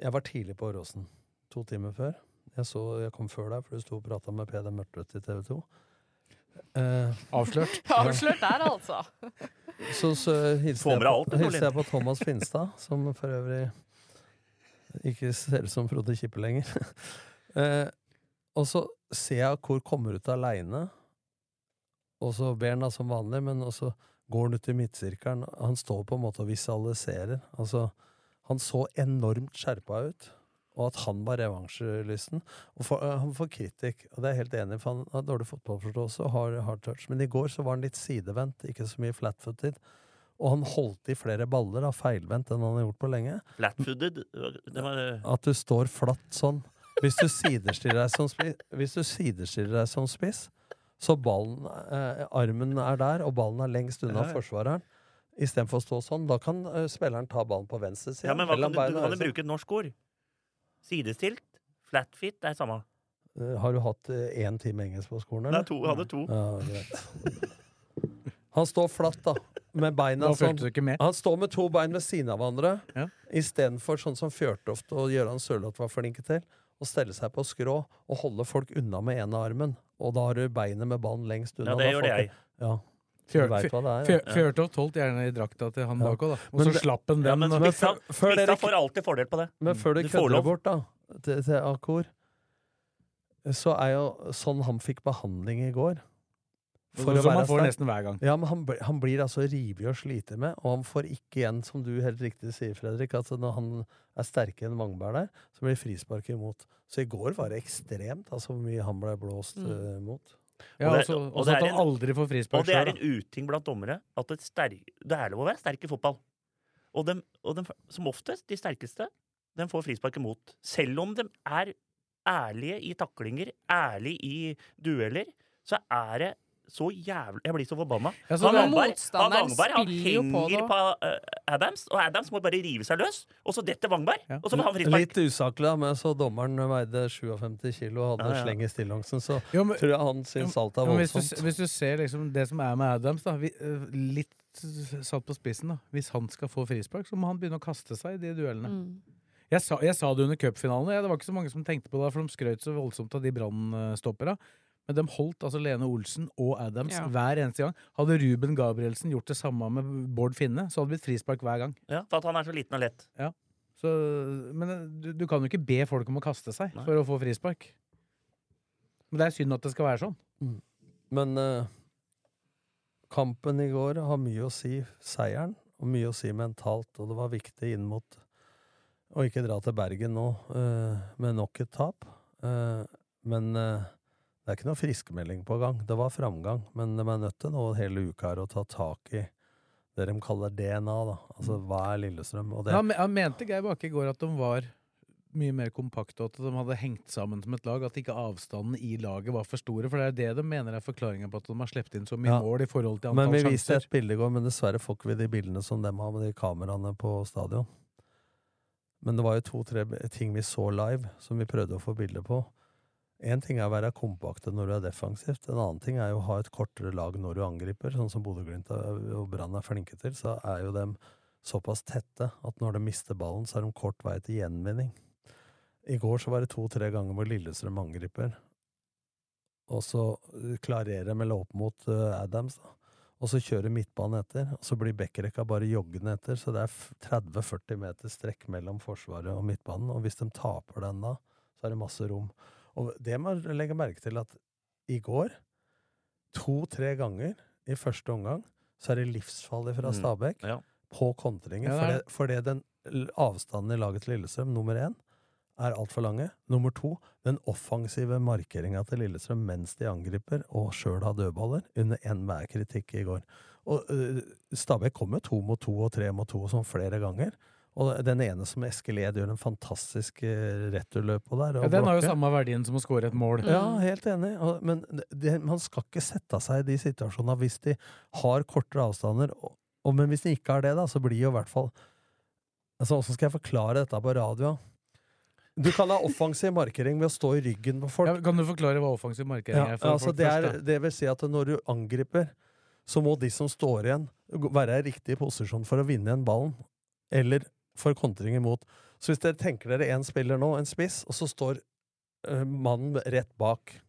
Jeg var tidlig på Åråsen. To timer før. Jeg, så, jeg kom før deg, for du sto og prata med Peder Mørtvedt i TV 2. Eh,
Avslørt.
Avslørt der, altså.
så så hilste,
Får
jeg
med deg alt,
på,
du,
hilste jeg på Thomas Finstad, som for øvrig ikke ser ut som Frode Kippe lenger. eh, og så ser jeg hvor kommer ut aleine, og så ber han da som vanlig, men også går han ut i midtsirkelen. Han står på en måte og visualiserer. Altså, han så enormt skjerpa ut, og at han var revansjelysten. Og for, eh, han får kritikk, og det er jeg helt enig i, for han har dårlig fotballforståelse og har hard touch. Men i går så var han litt sidevendt, ikke så mye flatfooted. Og han holdt i flere baller, da, feilvendt enn han har gjort på lenge.
Flatfooded. Det var, eh,
At du står flatt sånn. Hvis du sidestiller deg som spiss, hvis du sidestiller deg som spiss så ballen, eh, armen er der, og ballen er lengst unna
Ja, ja.
forsvareren. Istedenfor å stå sånn. Da kan eh, spilleren ta ballen på venstre side.
ja, men hva
eller
kan du, du
beina
kan jo
høyre side.
bruke et norsk ord. Sidestilt. Flatfit, det er samme.
Eh, Har du hatt eh, én time engelsk på skolen,
Det
eller?
er to, hadde to.
Ja, greit. Han står flatt, da. Med beina
Nå
altså-
sånn.
fulgte du ikke med.
Han står med to bein ved siden av hverandre,
Ja.
istedenfor sånn som Fjørtoft og Gøran Sørloth var flinke til, å stelle seg på skrå og holde folk unna med ene armen. Og da har du beinet med ballen lengst unna.
Ja, det
Da
gjorde
folk-
jeg.
Ja.
Fjør-
du vet hva det er. ja.
Fjør- Fjørtoft holdt gjerne i drakta til han
Ja.
bak òg, da. Og
Men
så
det-
slapp han den.
Ja, men
og-
spissa,
før dere-
spissa får alltid fordel på det.
Men før du
Du får
kødder det
lov.
bort, da. til, til Akor, så er jo sånn han fikk behandling i går
For Sånn som man får
sterk.
nesten hver gang.
Ja, men han, bl- han blir altså rivig og sliter med, og han får ikke igjen, som du helt riktig sier, Fredrik, at når han er sterkere enn Vangbær der, så blir frisparket imot. Så i går var det ekstremt, altså hvor mye han ble blåst
Mm.
eh, mot.
Ja,
Og det-
også,
og
også
det
at
er
han
en-
aldri får
Og
frispark
det er
sjøl.
en uting blant dommere at et sterk, det er lov å være sterk i fotball. Og, dem, og dem, som oftest, de sterkeste, de får frispark imot. Selv om de er ærlige i taklinger, ærlige i dueller, så er det så jævlig Jeg blir så forbanna.
Ja, så
Han
det er-
Langberg- han
motstanderen
Langberg, han
spiller jo på
henger
det.
på eh, Adams, og Adams må bare rive seg løs. Og så detter Wangberg,
Ja.
og så får han frispark.
Litt usaklig, da, men så dommeren veide 57 kilo og hadde
Ja, ja.
sleng i stillongsen, så
Jo, men-
tror jeg han syns alt er
Ja, men hvis, du,
voldsomt.
s- hvis du ser liksom det som er med Adams, da, vi, eh, litt s- satt på spissen da. Hvis han skal få frispark, så må han begynne å kaste seg i de duellene.
Mm.
Jeg sa, jeg sa det under cupfinalen. Ja, det var ikke så mange som tenkte på det, for de skrøt så voldsomt av de brannstoppera. Men de holdt altså Lene Olsen og Adams
Ja.
hver eneste gang. Hadde Ruben Gabrielsen gjort det samme med Bård Finne, så hadde det blitt frispark hver gang.
Ja, for at han er så liten og lett.
Så, men eh, du, du kan jo ikke be folk om å kaste seg
Nei.
for å få frispark. Men det er synd at det skal være sånn.
Men eh, kampen i går har mye å si, seieren, og mye å si mentalt, og det var viktig inn mot å ikke dra til Bergen nå eh, med nok et tap. Eh, men eh, det er ikke noe friskmelding på gang. Det var framgang, men de er nødt til nå hele uka her å ta tak i det de kaller DNA, da. Altså hva er Lillestrøm? Og det,
Men Han, me- han mente Geir Bakke i går at de var mye mer kompakte, og at de hadde hengt sammen som et lag. At ikke avstanden i laget var for store. For det er det de mener er forklaringa på at de har sluppet inn så mye
Ja.
mål i forhold til
Men
antall
vi viste
sjanser.
et bilde i går, men dessverre får ikke vi de bildene som dem har med de kameraene på stadion. Men det var jo to-tre b- ting vi så live, som vi prøvde å få bilde på. Én ting er å være kompakte når du er defensivt, en annen ting er jo å ha et kortere lag når du angriper, sånn som Bodø-Glimt er- og Brann er flinke til. Så er jo dem såpass tette at når de mister ballen, så er de kort vei til gjenvinning. I går så var det to-tre ganger hvor Lillestrøm angriper, og så eh, klarerer de eller opp mot eh, Adams, da og så kjører midtbanen etter, og så blir backrekka bare joggende etter, så det er f- 30-40 meter strekk mellom Forsvaret og midtbanen, og hvis de taper den da, så er det masse rom. Og det må jeg legge merke til at i går, to-tre ganger i første omgang, så er det livsfarlig fra
Mm,
Stabæk
ja.
på kontringer,
Ja, det er
fordi, fordi den l- avstanden i laget til Lillestrøm, nummer én, er altfor lange. Nummer to, den offensive markeringa til Lillestrøm mens de angriper og sjøl har dødballer, under enhver kritikk i går. Og øh, Stabæk kom jo to mot to og tre mot to sånn flere ganger. Og den ene som Eskeled gjør en fantastisk øh, returløp på der. og
Ja, den har jo
blokker.
samme verdien som å score et mål.
Ja, helt enig. Og- Men det, man skal ikke sette seg i de situasjonene hvis de har kortere avstander. Og, og, men hvis de ikke har det, da, så blir jo i hvert fall altså, Hvordan skal jeg forklare dette på radio? Du kan ha offensiv markering ved å stå i ryggen på folk.
Ja, kan du forklare hva offensiv markering
Ja,
er? for
altså
folk
det,
først,
er, det vil si at når du angriper, så må de som står igjen, gå- være i riktig posisjon for å vinne igjen ballen, eller for kontring imot. Så hvis dere tenker dere en spiller nå, en spiss, og så står eh, mannen rett bak,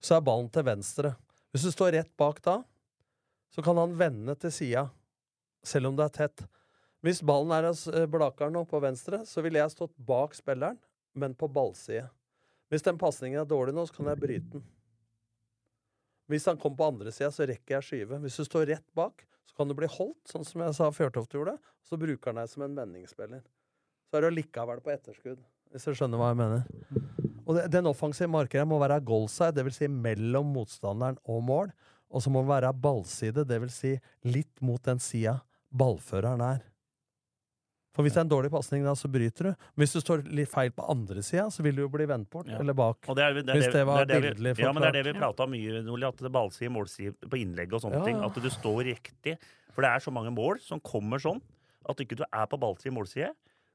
så er ballen til venstre. Hvis du står rett bak da, så kan han vende til sida, selv om det er tett. Hvis ballen er hos eh, Blakar nå, på venstre, så ville jeg stått bak spilleren, men på ballside. Hvis den pasningen er dårlig nå, så kan jeg bryte den. Hvis han kommer på andre sida, så rekker jeg skyve. Hvis du står rett bak, så kan du bli holdt, sånn som jeg sa Fjørtoft gjorde, og så bruker han deg som en vendingsspiller. Så er du likevel på etterskudd, hvis du skjønner hva jeg mener. Og det, den offensive markeren må være goalside, dvs. Si mellom motstanderen og mål, og så må den være ballside, dvs. Si litt mot den sida ballføreren er. For hvis det er en dårlig pasning, da, så bryter du. Hvis du står litt feil på andre sida, så vil du jo bli vendt bort,
Ja.
eller bak.
Og det er, det er,
Hvis det var
det er
bildelig
vi, Ja, men det er det vi
forklart.
prata om mye, Nordli, at det ballside, målside på innlegg og sånne
Ja,
ting.
ja.
At du står riktig. For det er så mange mål som kommer sånn at ikke du er på ballside, målside.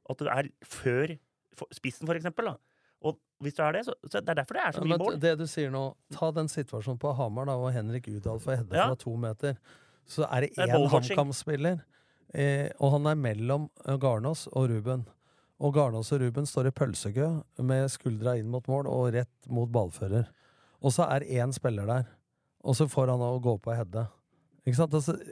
At du er før for- spissen, for eksempel. Da. Og hvis du er det, så, så det er derfor det er så
Ja,
mye
men
mål.
Det du sier nå, ta den situasjonen på Hamar da, og Henrik Udal får hedde
Ja.
fra to meter. Så er det
Det er
én
ballwatching.
HamKam-spiller, eh, og han er mellom eh, Garnås og Ruben. Og Garnås og Ruben står i pølsekø med skuldra inn mot mål og rett mot ballfører. Og så er én spiller der, og så får han å gå på og hedde. Ikke sant? Altså,
da.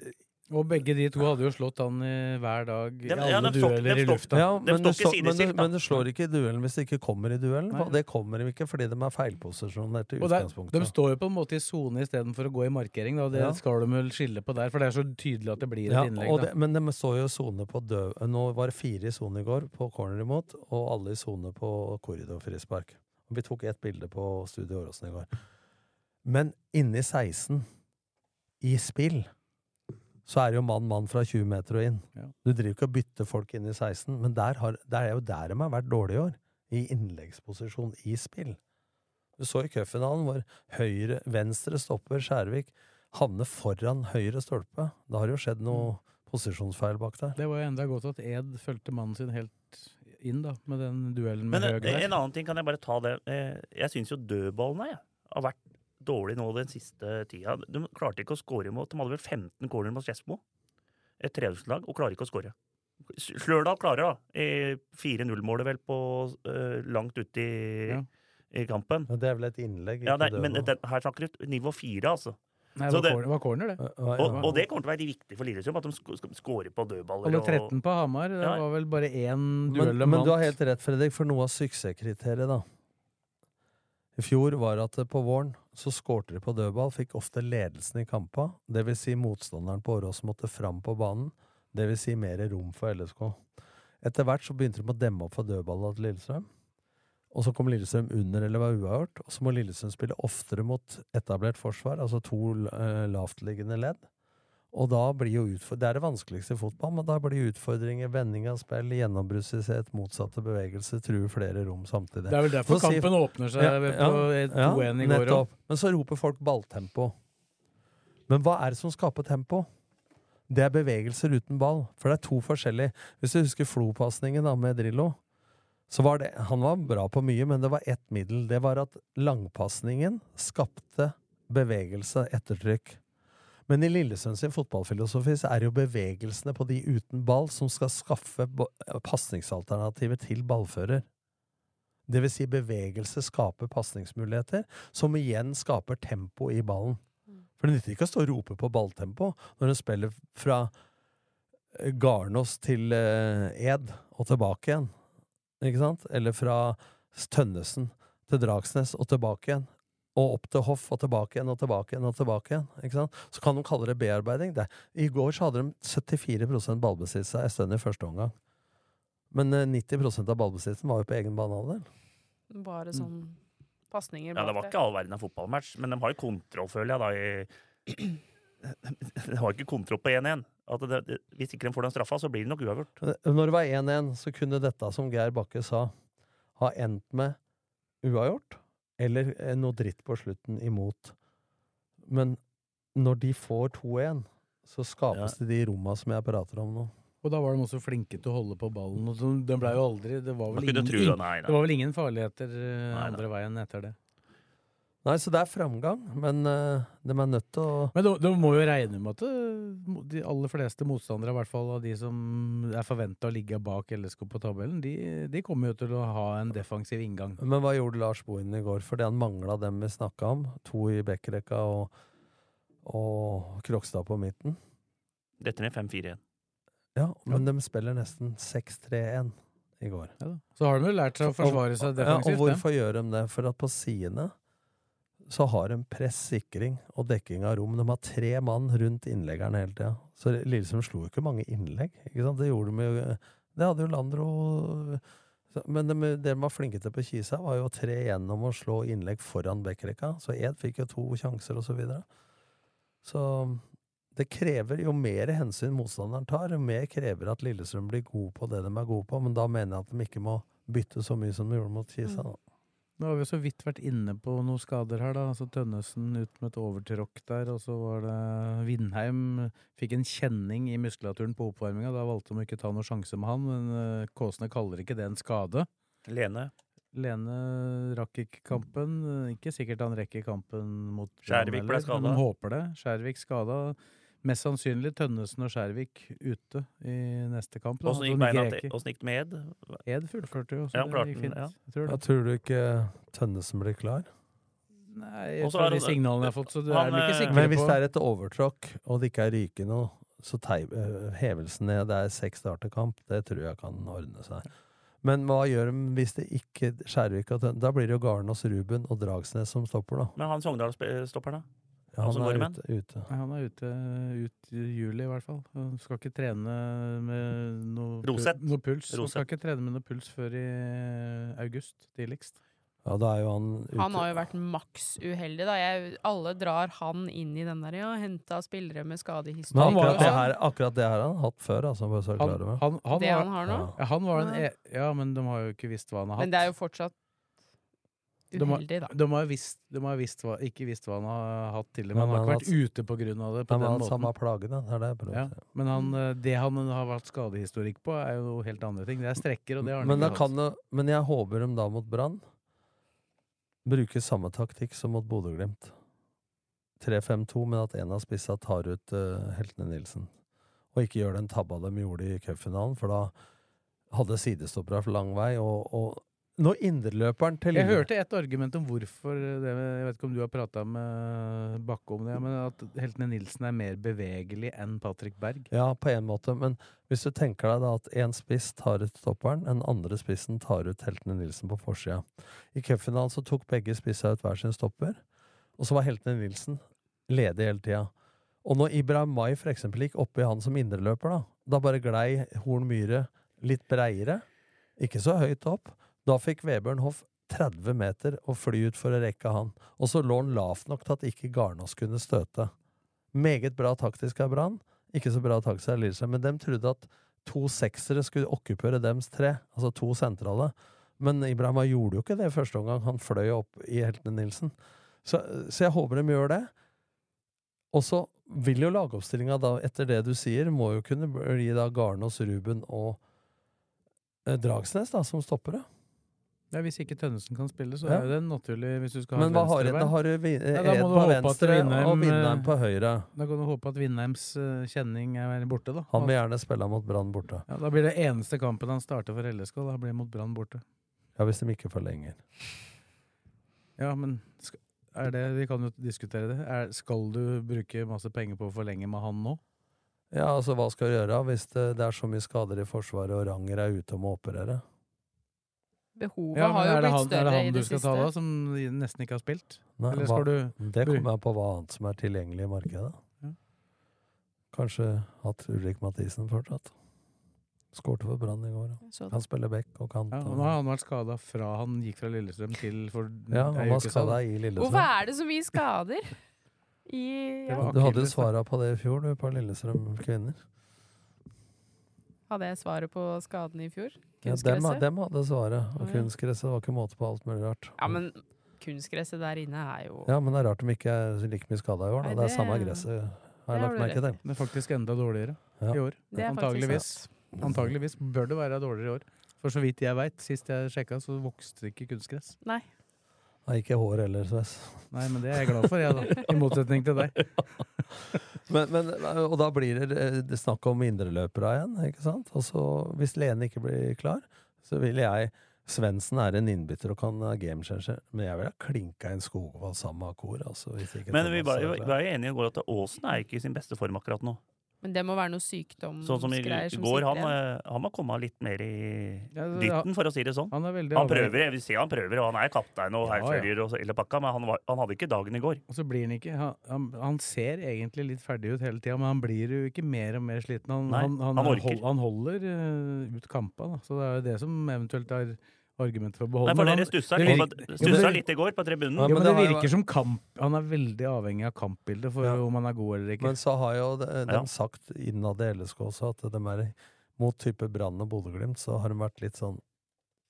Og begge de to hadde jo slått han i hver dag i
Dem- ja,
alle
dem slår-
dueller i
dem slår-
lufta.
De står
det
ikke
slår- men,
sidestilt,
det,
da.
men det slår ikke i duellen hvis det ikke kommer i duellen.
Nei.
Og det kommer de ikke fordi de er feilposisjonerte i
Og der, de
utgangspunktet.
står jo på en måte i sone istedenfor å gå i markering, da. og Det
Ja.
skal de vel skille på der, for det er så tydelig at det blir et
Ja,
innlegg.
og
Da.
det, men de så jo sone på døv... Nå var det fire i sone i går på corner imot, og alle i sone på korridorfrispark. Og Vi tok ett bilde på Studio Åråsen i går. Men inni 16, i spill, så er det jo mann-mann fra 20 meter og inn.
Ja.
Du driver ikke og bytter folk inn i 16, men der, har, der er jo der de har vært dårlige i år. I innleggsposisjon i spill. Du så i cupfinalen hvor høyre, venstre stopper Skjærvik havner foran høyre stolpe. Da har det jo skjedd noe
Mm.
posisjonsfeil bak der.
Det var jo enda godt at Ed fulgte mannen sin helt inn, da, med den duellen med
Men eh,
Høg der.
en annen ting kan jeg bare ta det. Eh, Jeg syns jo dødballene jeg, har vært dårlige nå den siste tida. De klarte ikke å score imot. De hadde vel 15 corner mot Skedsmo. Et tredjedelslag, og klarer ikke å score. Slørdal klarer, da. Eh, 4-0-målet vel på eh, langt ute i,
Ja.
i kampen.
Men det er vel et innlegg?
Ja,
ikke
nei,
det,
men
da.
den, her snakker du nivå fire, altså.
Nei, det
så
var,
det-
corner, det var corner, det.
Ja, ja.
Og, og det kommer til å være viktig for Lillestrøm, at de sk- skal skåre på dødballer.
Alle 13 på Hamar, det
Ja.
var vel bare én duell
men,
om
men du har
alt.
helt rett, Fredrik, for noe av suksesskriteriet, da. I fjor var at eh, på våren så skårte de på dødball, fikk ofte ledelsen i kampa. Det vil si motstanderen på Åråsen måtte fram på banen. Det vil si mer rom for LSK. Etter hvert så begynte de å demme opp for dødballene til Lillestrøm. Og så kom Lillestrøm under eller var uavgjort. Og så må Lillestrøm spille oftere mot etablert forsvar, altså to eh, lavtliggende ledd. Og da blir jo utfor- Det er det vanskeligste i fotball, men da blir utfordringer, vending av spill, gjennombruddsløshet, motsatte bevegelser, truer flere rom samtidig.
Det er vel derfor
Så sier-
kampen åpner seg ved på et 2-1 i går òg.
nettopp. Men så roper folk balltempo. Men hva er det som skaper tempo? Det er bevegelser uten ball. For det er to forskjellige. Hvis du husker Flo-pasningen da med Drillo, så var det Han var bra på mye, men det var ett middel. Det var at langpasningen skapte bevegelse, ettertrykk. Men i Lillesund sin fotballfilosofi så er det jo bevegelsene på de uten ball som skal skaffe bo- pasningsalternativer til ballfører. Det vil si bevegelse skaper pasningsmuligheter, som igjen skaper tempo i ballen. For det nytter ikke å stå og rope på balltempo når en spiller fra eh, Garnås til eh, Ed og tilbake igjen. Ikke sant? Eller fra Tønnesen til Dragsnes og tilbake igjen. Og opp til Hoff og tilbake igjen og tilbake igjen. og tilbake igjen, ikke sant? Så kan de kalle det bearbeiding. Det. I går så hadde de 74 ballbesittelse en stund i første omgang. Men eh, 90 av ballbesittelsen var jo på egen banehalvdel.
Bare sånn pasninger
Ja, det var
bak
ikke all verden av fotballmatch, men de har jo kontroll, føler jeg, da. I... De har ikke kontroll på 1-1. At det, det, hvis ikke de får den straffa, så blir det nok uavgjort.
eh, Når det var 1-1, så kunne dette, som Geir Bakke sa, ha endt med uavgjort, eller eh, noe dritt på slutten imot. Men når de får 2-1, så skapes det de romma som jeg prater om nå.
Og da var de også flinke til å holde på ballen. Og så, den ble jo aldri Det var
Man
vel
kunne
ingen,
tro det, nei,
det
nei.
var vel ingen farligheter eh,
Nei, nei.
andre veien etter det.
Nei, så det er framgang, men eh, de er nødt til å
Men da da må jo regne med at eh, de aller fleste motstandere, i hvert fall av de som er forventa å ligge bak LSK på tabellen, de, de kommer jo til å ha en defensiv inngang.
Men hva gjorde Lars Bohin i går? Fordi han mangla dem vi snakka om. To i backrekka og, og Krokstad på midten.
Dette ned 5-4-1.
Ja, men de spiller nesten 6-3-1 i går.
Ja, da. så har de jo lært seg å forsvare seg defensivt.
Ja, og hvorfor gjør de det? For at på sidene så har de press, sikring og dekking av rom. De har tre mann rundt innleggeren hele tida. Så Lillestrøm slo jo ikke mange innlegg. Ikke sant? Det gjorde de jo eh, Det hadde jo Landro så- Men de, det de var flinke til på Kisa, var jo å tre gjennom og slå innlegg foran backrekka. Så Ed fikk jo to sjanser, og så videre. Så det krever jo mer hensyn motstanderen tar, jo mer krever at Lillestrøm blir god på det de er gode på, men da mener jeg at de ikke må bytte så mye som de gjorde mot Kisa. Da.
Nå har vi jo så vidt vært inne på noen skader her, da. Altså Tønnesen ut med et overtråkk der, og så var det Vindheim fikk en kjenning i muskulaturen på oppvarminga. Da valgte de å ikke ta noen sjanse med han, men eh, Kåsene kaller ikke det en skade.
Lene.
Lene rakk ikke kampen. eh, Ikke sikkert han rekker kampen mot Brann
Skjærvik ble
heller,
skadet.
Men de håper det. Skjærvik skada. Mest sannsynlig Tønnesen og Skjærvik ute i neste kamp. da.
Åssen gikk
At de
beina
ikke
til?
rekker.
Åssen gikk det med Ed?
Ed fullførte jo, så
Ja, klarte
det gikk
den,
fint.
ja.
Jeg tror det.
Ja, tror du ikke Tønnesen blir klar?
Nei,
Og så
fra
er
de
han-
signalene jeg har fått, så du
han,
er vel ikke
eh,
sikker
Men hvis
på
det er et overtråkk, og det ikke er rykende, Så tei, eh, hevelsen ned, det er seks starterkamp, det tror jeg kan ordne seg. Men hva gjør de hvis det ikke Skjærvik og Tønne? Da blir det jo Garnås, Ruben og Dragsnes som stopper, da.
Men han Sogndal-stopperen, da?
Ja,
Han som går i
er
menn?
ute, ute.
Nei, han er ute ut i juli, i hvert fall. Han skal ikke trene med noe, pu-
Roseth.
noe puls. Han skal
Roseth.
ikke trene med noe puls før i eh, august, tidligst.
Ja, da er jo han ute.
Han har jo vært maks uheldig, da. Jeg, alle drar han inn i den der, ja. Henta spillere
Men
med
han
skadehistorikk.
var,
og
det
sånn.
her, akkurat det her har han hatt før, altså, bare så du er
Han,
klar over.
han, han,
det han
var,
har nå.
Ja.
ja, han var den
Ja.
e Ja, men de har jo ikke visst hva han har hatt.
Men det er jo fortsatt
De har-
uheldig, da.
De har jo visst, de har visst hva, ikke visst hva han har hatt tidligere,
Men
men han har
han
ikke vært ute på grunn av det. på
Han har
den
hatt samme
måten.
plage, da. Det er det jeg prøver å
Ja,
si.
men han, eh, det han har vært skadehistorikk på, er jo noe helt andre ting. Det er strekker, og det har han
Men, da
ikke
kan jo, men jeg håper de da mot Brann bruker samme taktikk som mot Bodø-Glimt. 3-5-2, men at en av spissa tar ut eh, Heltene Nilsen. Og ikke gjør den tabba de gjorde i cupfinalen, for da hadde sidestoppera for lang vei, og, og når indreløperen til
Jeg
Lille-
hørte et argument om hvorfor det, Jeg vet ikke om du har prata med Bakke om det, men at Heltene Nilsen er mer bevegelig enn Patrick Berg.
Ja, på en måte, men hvis du tenker deg da at én spiss tar ut stopperen, den andre spissen tar ut Heltene Nilsen på forsida. I cupfinalen så tok begge spissa ut hver sin stopper, og så var Heltene Nilsen ledig hele tida. Og når Ibrahim Mai for eksempel gikk oppi han som indreløper, da, da bare glei Horn Myhre litt breiere, ikke så høyt opp. Da fikk Vebjørn Hoff 30 meter å fly ut for å rekke han, og så lå han lavt nok til at ikke Garnås kunne støte. Meget bra taktisk av Brann, ikke så bra taktisk av Lillestrøm, men de trodde at to seksere skulle okkupere dems tre, altså to sentrale. Men Ibrahima gjorde jo ikke det i første omgang, han fløy opp i Heltene Nilsen. Så, så jeg håper de gjør det. Og så vil jo lagoppstillinga da, etter det du sier, må jo kunne bli da Garnås, Ruben og eh, Dragsnes da, som stoppere.
Ja, hvis ikke Tønnesen kan spille, så
Ja.
er jo det naturlig hvis du skal ha
Men
et
hva har du? Da
venstrebein.
har du vi- eh,
Ja, da må
Ed
du
på
håpe at
venstre og
Vindheim, eh,
Vindheim på høyre.
Da kan du håpe at Vindheims eh, kjenning er borte, da.
Han vil gjerne spille mot Brann borte.
ja, da blir det eneste kampen han starter for LSK, da blir mot Brann borte.
Ja, hvis de ikke forlenger.
Ja, men sk- er det, vi kan jo diskutere det. Er, skal du bruke masse penger på å forlenge med han nå?
Ja, altså hva skal du gjøre hvis det, det er så mye skader i Forsvaret og Ranger er ute om å operere?
Behovet
Ja, men
har jo
er, det
blitt
han, er det
større i
han du
det
skal
siste.
ta da, som nesten ikke har spilt?
Nei,
Eller
hva,
skal du
det kommer an på hva annet som er tilgjengelig i markedet.
Ja.
Kanskje hatt Ulrik Mathisen fortsatt. Skårte for Brann i går. ja.
Så
Kan spille back og kant.
Ja, og
og-
nå har han vært skada fra han gikk fra Lillestrøm til for
ja,
ei
han
uke
var
siden.
skada i
Hvorfor
Lillestrøm.
er det så mye skader? I,
Det
ja.
var
Du hadde
akilles, da.
svara på det i fjor, du, på Lillestrøm kvinner.
Hadde jeg svaret på skadene i fjor?
Ja, dem,
Kunstgresset?
dem hadde svaret. Og
Å, ja.
kunstgresset var ikke måte på alt mulig rart.
Ja, men kunstgresset der inne er jo
Ja, men det er rart de ikke er like mye skada i år. Da.
Nei,
Det er
det-
samme gresset, har jeg
det har
lagt
du
merke
rett
til.
Det er faktisk enda dårligere
Ja.
i år.
Det er faktisk
Antageligvis.
sant.
Antageligvis bør det være dårligere i år. For så vidt jeg veit, sist jeg sjekka, så vokste det ikke kunstgress.
Nei.
Nei, ikke hår heller, Sves.
Nei, men det er jeg glad for, jeg, da. I motsetning til deg.
Men, men, og da blir det, eh, det snakk om indreløpere igjen, ikke sant? Og så, hvis Lene ikke blir klar, så vil jeg Svendsen er en innbytter og kan ha gamechanger, men jeg vil ha klinka inn Skogvold sammen med Akor. Altså, hvis ikke
Men vi
Thomas
var
er
jo
klar.
vi var jo enige i går at Aasen er ikke i sin beste form akkurat nå.
Men det må være noe sykdom
Sånn som i i
greier Mm, som
går, han,
sitter igjen.
eh, han må komme litt mer i
Ja, det-
dytten, for å si det sånn.
Han er veldig
Han
avhengig.
prøver, jeg vil si han prøver, og han er kaptein og
Ja, ja.
hærfører og så- hele pakka, men han, var, han hadde ikke dagen i går.
Og så blir han ikke Han, han, han ser egentlig litt ferdig ut hele tida, men han blir jo ikke mer og mer sliten. Han,
Nei,
han, han,
han
han,
orker.
hold, han holder eh, ut kampa, da. Så det er jo det som eventuelt er argumentet for å beholde
Nei, for
men han-
dere stussa
det
litt,
virker-
på-
jo,
stussa
det-
litt i går på tribunen.
Ja,
Ja, men
det
det
har jo
virker som kamp Han er veldig avhengig av kampbildet for
Ja.
om han er god eller ikke.
Men så har jo de, de
Ja.
sagt innad i LSK også at de er mot type Brann og Bodø-Glimt, så har de vært litt sånn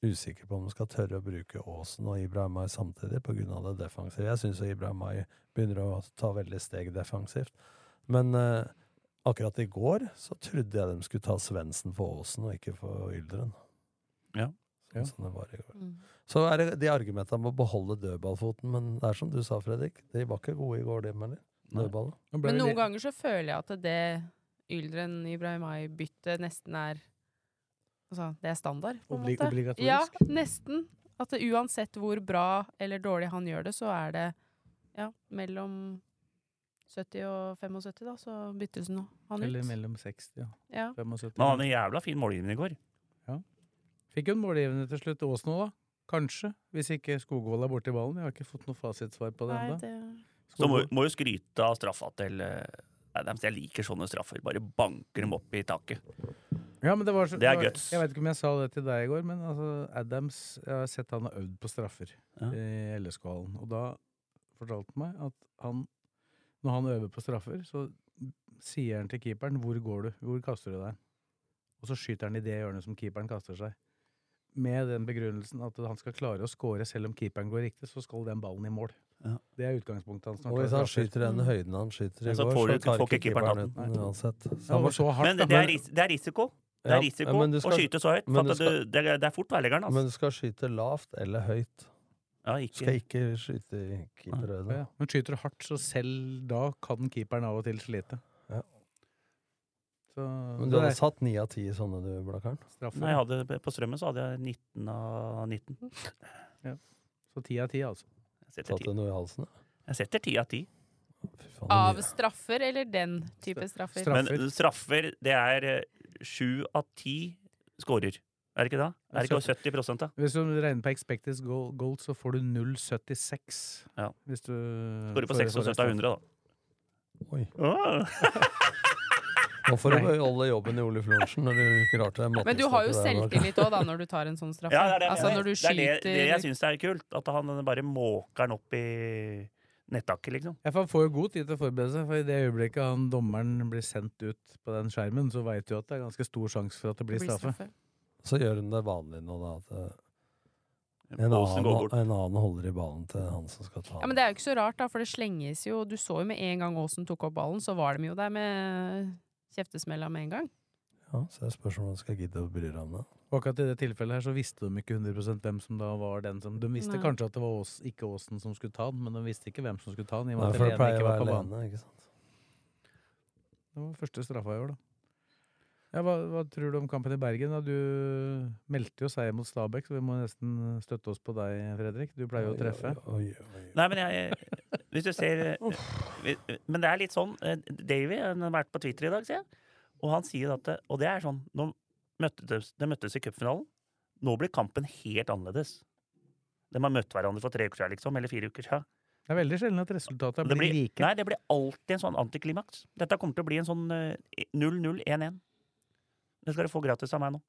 usikre på om de skal tørre å bruke Aasen og Ibrahimai samtidig på grunn av det defensive. Jeg syns Ibrahimai begynner å ta veldig steg defensivt. Men eh, akkurat i går så trodde jeg de skulle ta Svendsen for Aasen og ikke for Yldren.
Ja.
Ja.
Sånn som det var i går.
Mm.
Så er det de argumentene om å beholde dødballfoten, men det er som du sa, Fredrik, de var ikke gode i går, de heller.
Nei.
Dødballet.
Nå ble
Men
vi
noen
litt-
ganger så føler jeg at det Yldren Ibrahimai-byttet nesten er Altså, det er standard, på en
Obli-
måte.
obligatorisk.
Ja, nesten. At det, uansett hvor bra eller dårlig han gjør det, så er det ja, mellom 70 og 75, da, så byttes nå han
Eller
ut.
mellom 60 og
Ja.
75.
Men han hadde en jævla fin målgivning i går.
Fikk hun målgivende til slutt, Ås nå, da? Kanskje, hvis ikke Skogvold er borti ballen. Jeg har ikke fått noe fasitsvar på det
Nei,
ennå.
det,
Så må, må jo skryte av straffa til eh, Adams. Jeg liker sånne straffer. Bare banker dem opp i taket.
Ja, men det, var så,
Det er
var-
guts.
Jeg vet ikke om jeg sa det til deg i går, men altså, Adams Jeg har sett han har øvd på straffer
Ja.
i LSK-hallen. Og da fortalte han meg at han, når han øver på straffer, så sier han til keeperen 'Hvor går du? Hvor kaster du deg?' Og så skyter han i det hjørnet som keeperen kaster seg. Med den begrunnelsen at han skal klare å score selv om keeperen går riktig, så skal den ballen i mål.
Ja.
Det er utgangspunktet hans. når han
Og hvis
tar
han
straffer. Mm.
skyter i
Mm.
den høyden han skyter i
Ja, så
går,
får du
så
ikke-
tar
får ikke
ikke keeperen
keeperen
ut den uansett.
Ja,
Så han
det var
må
så hardt,
Men
da.
det det er, ris det er risiko. Det
Ja,
er risiko
men du skal-
å skyte så høyt.
men
For
du
at du, det, er- det er fort værleggeren,
Men
altså.
du skal skyte lavt eller høyt.
Ja,
Du skal
ikke.
ikke skyte i keeperhøyde.
Ja, men skyter du hardt, så selv da kan keeperen av og til slite.
Ja.
Så
Men du
det
hadde
er
satt ni av ti sånne, du, Blakkaren.
straffe.
Når jeg hadde, på strømmen så hadde jeg 19 av 19.
Så ti av ti, altså.
Jeg setter
Satt
10,
du noe i halsen? da?
jeg setter 10 av 10.
Fy faen,
av
det
straffer eller den type straffer?
Straff. Straffer.
Men straffer, det er eh, sju av ti scorer. Er det ikke da? Er det ikke 70 da?
Hvis du regner på expected goal, goal så får du 0,76.
Ja.
Hvis du
Scorer på 76 av 100, da.
er- Oi.
Åh!
Nå får du beholde jobben i Ole Florensen når du klarte mattestykket
Men du har jo
der, Blakkaren.
selvtillit òg, da, når du tar en sånn straffe.
Ja, det er det, jeg
altså
mener.
når du
det, er det, det jeg
skyter
syns er kult. At han bare måker den opp i nettaket, liksom.
Ja, for Han får jo god tid til å forberede seg, for i det øyeblikket han dommeren blir sendt ut på den skjermen, så veit du at det er ganske stor sjanse for at det blir
blir
straffe.
straffe.
Så gjør hun det vanlig nå, da. At eh, en
Åsen
annen,
går bort.
en annen holder i ballen til han som skal ta
Ja, Men det er jo ikke så rart, da, for det slenges jo Du så jo med en gang Aasen tok opp ballen, så var de jo der med kjeftesmella med en gang.
Ja, så det spørs om han skal gidde å bry seg om det.
Og akkurat i det tilfellet her så visste de ikke 100 hvem som da var den som De visste
Nei.
kanskje at det var Ås, ikke Åsen som skulle ta den, men de visste ikke hvem som skulle ta den. I og
Nei,
med at
for det
Lene
pleier
ikke
å
var
være
på banen.
alene, ikke sant.
Det var første straffa i år, da. Ja, hva, hva tror du om kampen i Bergen? Da? Du meldte jo seier mot Stabæk, så vi må nesten støtte oss på deg, Fredrik. Du pleier jo å treffe.
Oi, oi, oi, oi.
Nei, men jeg Hvis du ser eh, vi- Men det er litt sånn eh, Davy han har vært på Twitter i dag, ser jeg. Og han sier at det- Og det er sånn Nå møttes, de møttes i cupfinalen. Nå blir kampen helt annerledes. De har møtt hverandre for tre uker siden, liksom. Eller fire uker siden.
Det er veldig sjelden at resultatet
Det
blir,
blir,
like.
nei, det blir alltid en sånn antiklimaks. Dette kommer til å bli en sånn eh, 0-0-1-1. Det skal du få gratis av meg nå.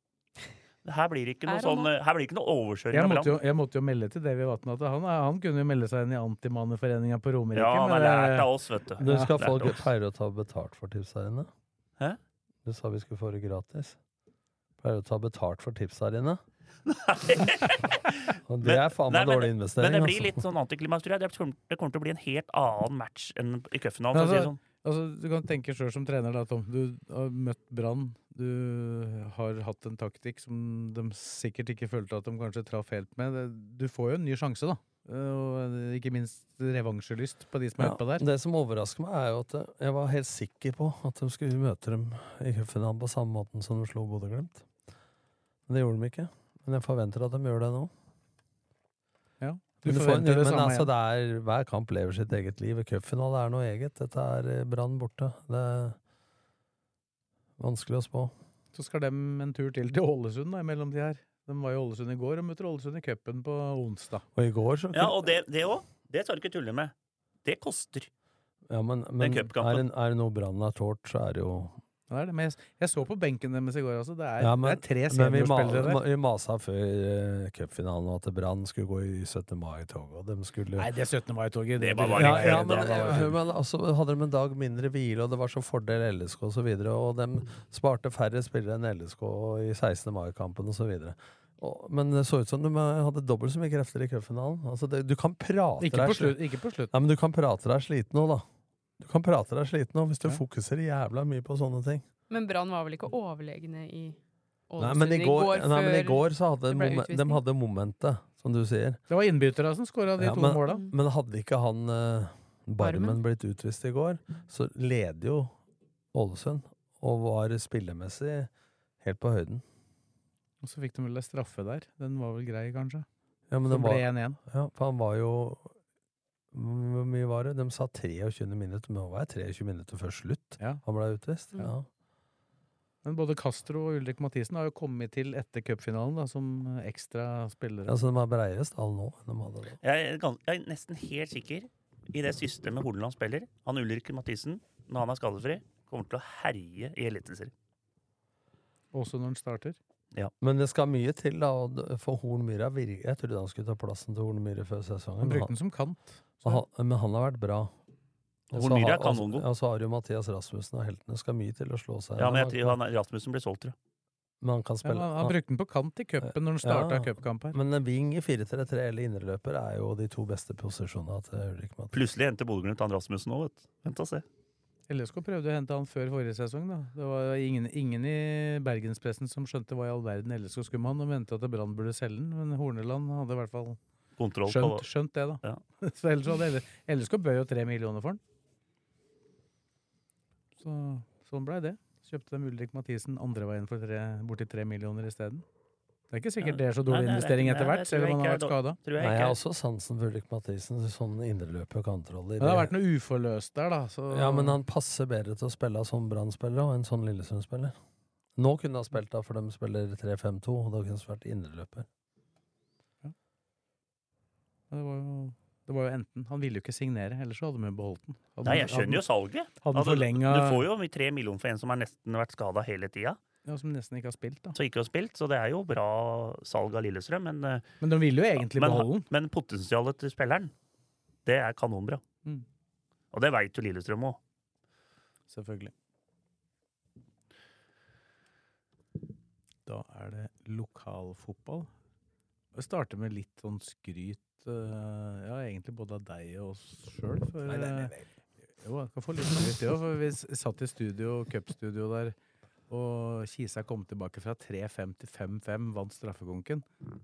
Her blir det ikke noe,
Er han
sånn, eh, her blir det ikke noe overkjøring.
Jeg
av
måtte,
hverandre.
jo, jeg måtte jo melde til Davy Vatn at han, er- han kunne jo melde seg inn i Antimanneforeninga på Romerike.
ja, han er
det-
lært av oss, vet du.
Du skal
Lært
folk
av oss.
pleier å ta betalt for tipsa dine.
Hæ?
Du sa vi skulle få det gratis. Pleier å ta betalt for tipsa dine. Og det
Men-
er faen
nei,
meg
men-
dårlig
Men
investering.
det blir
altså.
litt sånn antiklimaks, tror jeg. Det kommer, det kommer til å bli en helt annen match enn i cupfinalen.
Men
for å si det
altså-
sånn.
Altså, du kan tenke sjøl som trener, da, Tom. Du har møtt Brann. Du har hatt en taktikk som de sikkert ikke følte at de kanskje traff helt med. Det- Du får jo en ny sjanse, da. Eh, Og ikke minst revansjelyst på de som er
Ja,
utpå der.
Det som overrasker meg, er jo at eh, jeg var helt sikker på at de skulle møte dem i cupfinalen på samme måten som de slo Bodø-Glimt. Men det gjorde de ikke. Men jeg forventer at de gjør det nå.
Ja, du
Men, du får,
forventer det
men
samme igjen.
altså, det er, hver kamp lever sitt eget liv. Cupfinale er noe eget. Dette er eh, Brann borte. Det er vanskelig å spå.
Så skal dem en tur til til Ålesund da, imellom de her. De var i Ålesund i går og møter Ålesund i cupen på onsdag.
Og i går så
Ja, og det òg. Det, også, det skal du ikke tulle med. Det koster.
Ja, men, men
Den
er,
cupkampen.
det- er det noe Brann har tålt, så er det jo
Ja, Det er det. Men jeg, jeg så på benken deres i går, altså. Det er,
Ja, men-
det er tre
Men vi, ma
seniorspillere der.
ma- vi masa før uh, cupfinalen om at Brann skulle gå i 17. mai-toget, og de skulle
Nei, det 17. mai-toget
Det var bare
ja, ja,
det
men,
var bare
eh, men altså, hadde de en dag mindre hvile, og det var så fordel LSK osv., og, så videre, og de sparte færre spillere enn LSK i 16. mai-kampen osv. Men det så ut som de eh, hadde dobbelt så mye krefter i cupfinalen. Altså, det- du kan prate
Ikke på
deg sli-
slutt. Ikke på slutt.
Nei, men du kan prate deg sliten nå, da. Du kan prate deg sliten nå hvis du
Ja.
fokuserer jævla mye på sånne ting.
Men Brann var vel ikke overlegne
Nei,
i Ålesund
men i går, nei, men i
før-
går så hadde
det ble
momen- de
utvisning.
hadde momentet, som du sier.
Det var innbytterne som skåra de
Ja,
to
men-
måla.
Men hadde ikke han eh, Barmen
Barmen?
blitt utvist i går, så leder jo Ålesund, og var spillemessig helt på høyden.
Og så fikk de vel en straffe der. Den var vel grei, kanskje.
Ja, men
Som ble
det var,
1-1.
ja, for han var jo Hvor mye var det? De sa 23 minutter, men nå var jeg 23 minutter før slutt.
Ja.
Han ble utvist.
Mm.
Ja.
Men både Castro og Ulrik Mathisen har jo kommet til etter cupfinalen da, som eh, ekstra spillere.
Altså, de har breiere stall nå enn de hadde da.
Jeg er, gans- jeg er nesten helt sikker i det systemet Horneland spiller. Han Ulrik Mathisen, når han er skadefri, kommer til å herje i eliteserien.
Også når han starter.
Men det skal mye til, da, og d- for Hornmyra virker Jeg trodde han skulle ta plassen til Hornmyra før sesongen,
Han
men
brukte
han,
den som kant.
men han, men han har vært bra. Og så
Hornmyra
har-
er kanongod.
Og så- ja, så har jo Mathias Rasmussen og heltene skal mye til å slå seg
Ja, men jeg
igjennom.
tror han Rasmussen blir solgt, tror jeg.
Men han kan
Ja,
spille.
han, han brukte den på kant i cupen når han starta
Ja.
cupkamp her.
Men en wing i 4-3-3 eller indreløper er jo de to beste posisjonene til Ulrik Mathisen.
Plutselig henter Bodø-Glimt han Rasmussen òg, vet du. Vent og se.
LSK prøvde å hente han før forrige sesong. da. Det var ingen, ingen i bergenspressen som skjønte hva i all verden LSK skulle med han, og mente at Brann burde selge den. Men Horneland hadde i hvert fall
Kontroll på
skjønt, skjønt det, da.
Ja.
Så ellers hadde L- LSK bød jo tre millioner for den. Så sånn blei det. Kjøpte dem Ulrik Mathisen andre veien for tre, borti tre millioner isteden. Det er ikke sikkert det er så dårlig
Nei, nei, det er
investering
ikke-
etter
nei,
hvert,
det
selv
tror
om han har
jeg
vært
ikke
skada.
Tror jeg
Nei, jeg
ikke.
har
altså,
også sansen for Ulrik Mathisen. Sånn indreløper og kantrolle.
Men det har vært noe uforløst der, da. Så
Ja, men han passer bedre til å spille som Brann-spiller og en sånn Lillesund-spiller. Nå kunne han spilt da, for de spiller 3-5-2, og da kunne han vært indreløper.
Men det, var jo, det var jo enten Han ville jo ikke signere, ellers så hadde de jo beholdt den. Hadde,
Nei, jeg skjønner jo salget.
Hadde
Altså,
han forlenga
Du får jo mye tre millioner for en som har nesten vært skada hele tida.
ja, Som nesten ikke har spilt, da.
Så ikke har spilt, så det er jo bra salg av Lillestrøm. Men, eh,
Men de ville jo egentlig
men,
beholde den.
men potensialet til spilleren, det er kanonbra.
Mm.
Og det veit jo Lillestrøm òg.
Selvfølgelig. Da er det lokalfotball. Vi starter med litt sånn skryt eh, Ja, egentlig både av deg og oss sjøl. Jo, jeg kan få litt skryt, det òg. For vi s- satt i studio, cupstudio der, og Kisa kom tilbake fra 3-5 til 5-5, vant straffekonken.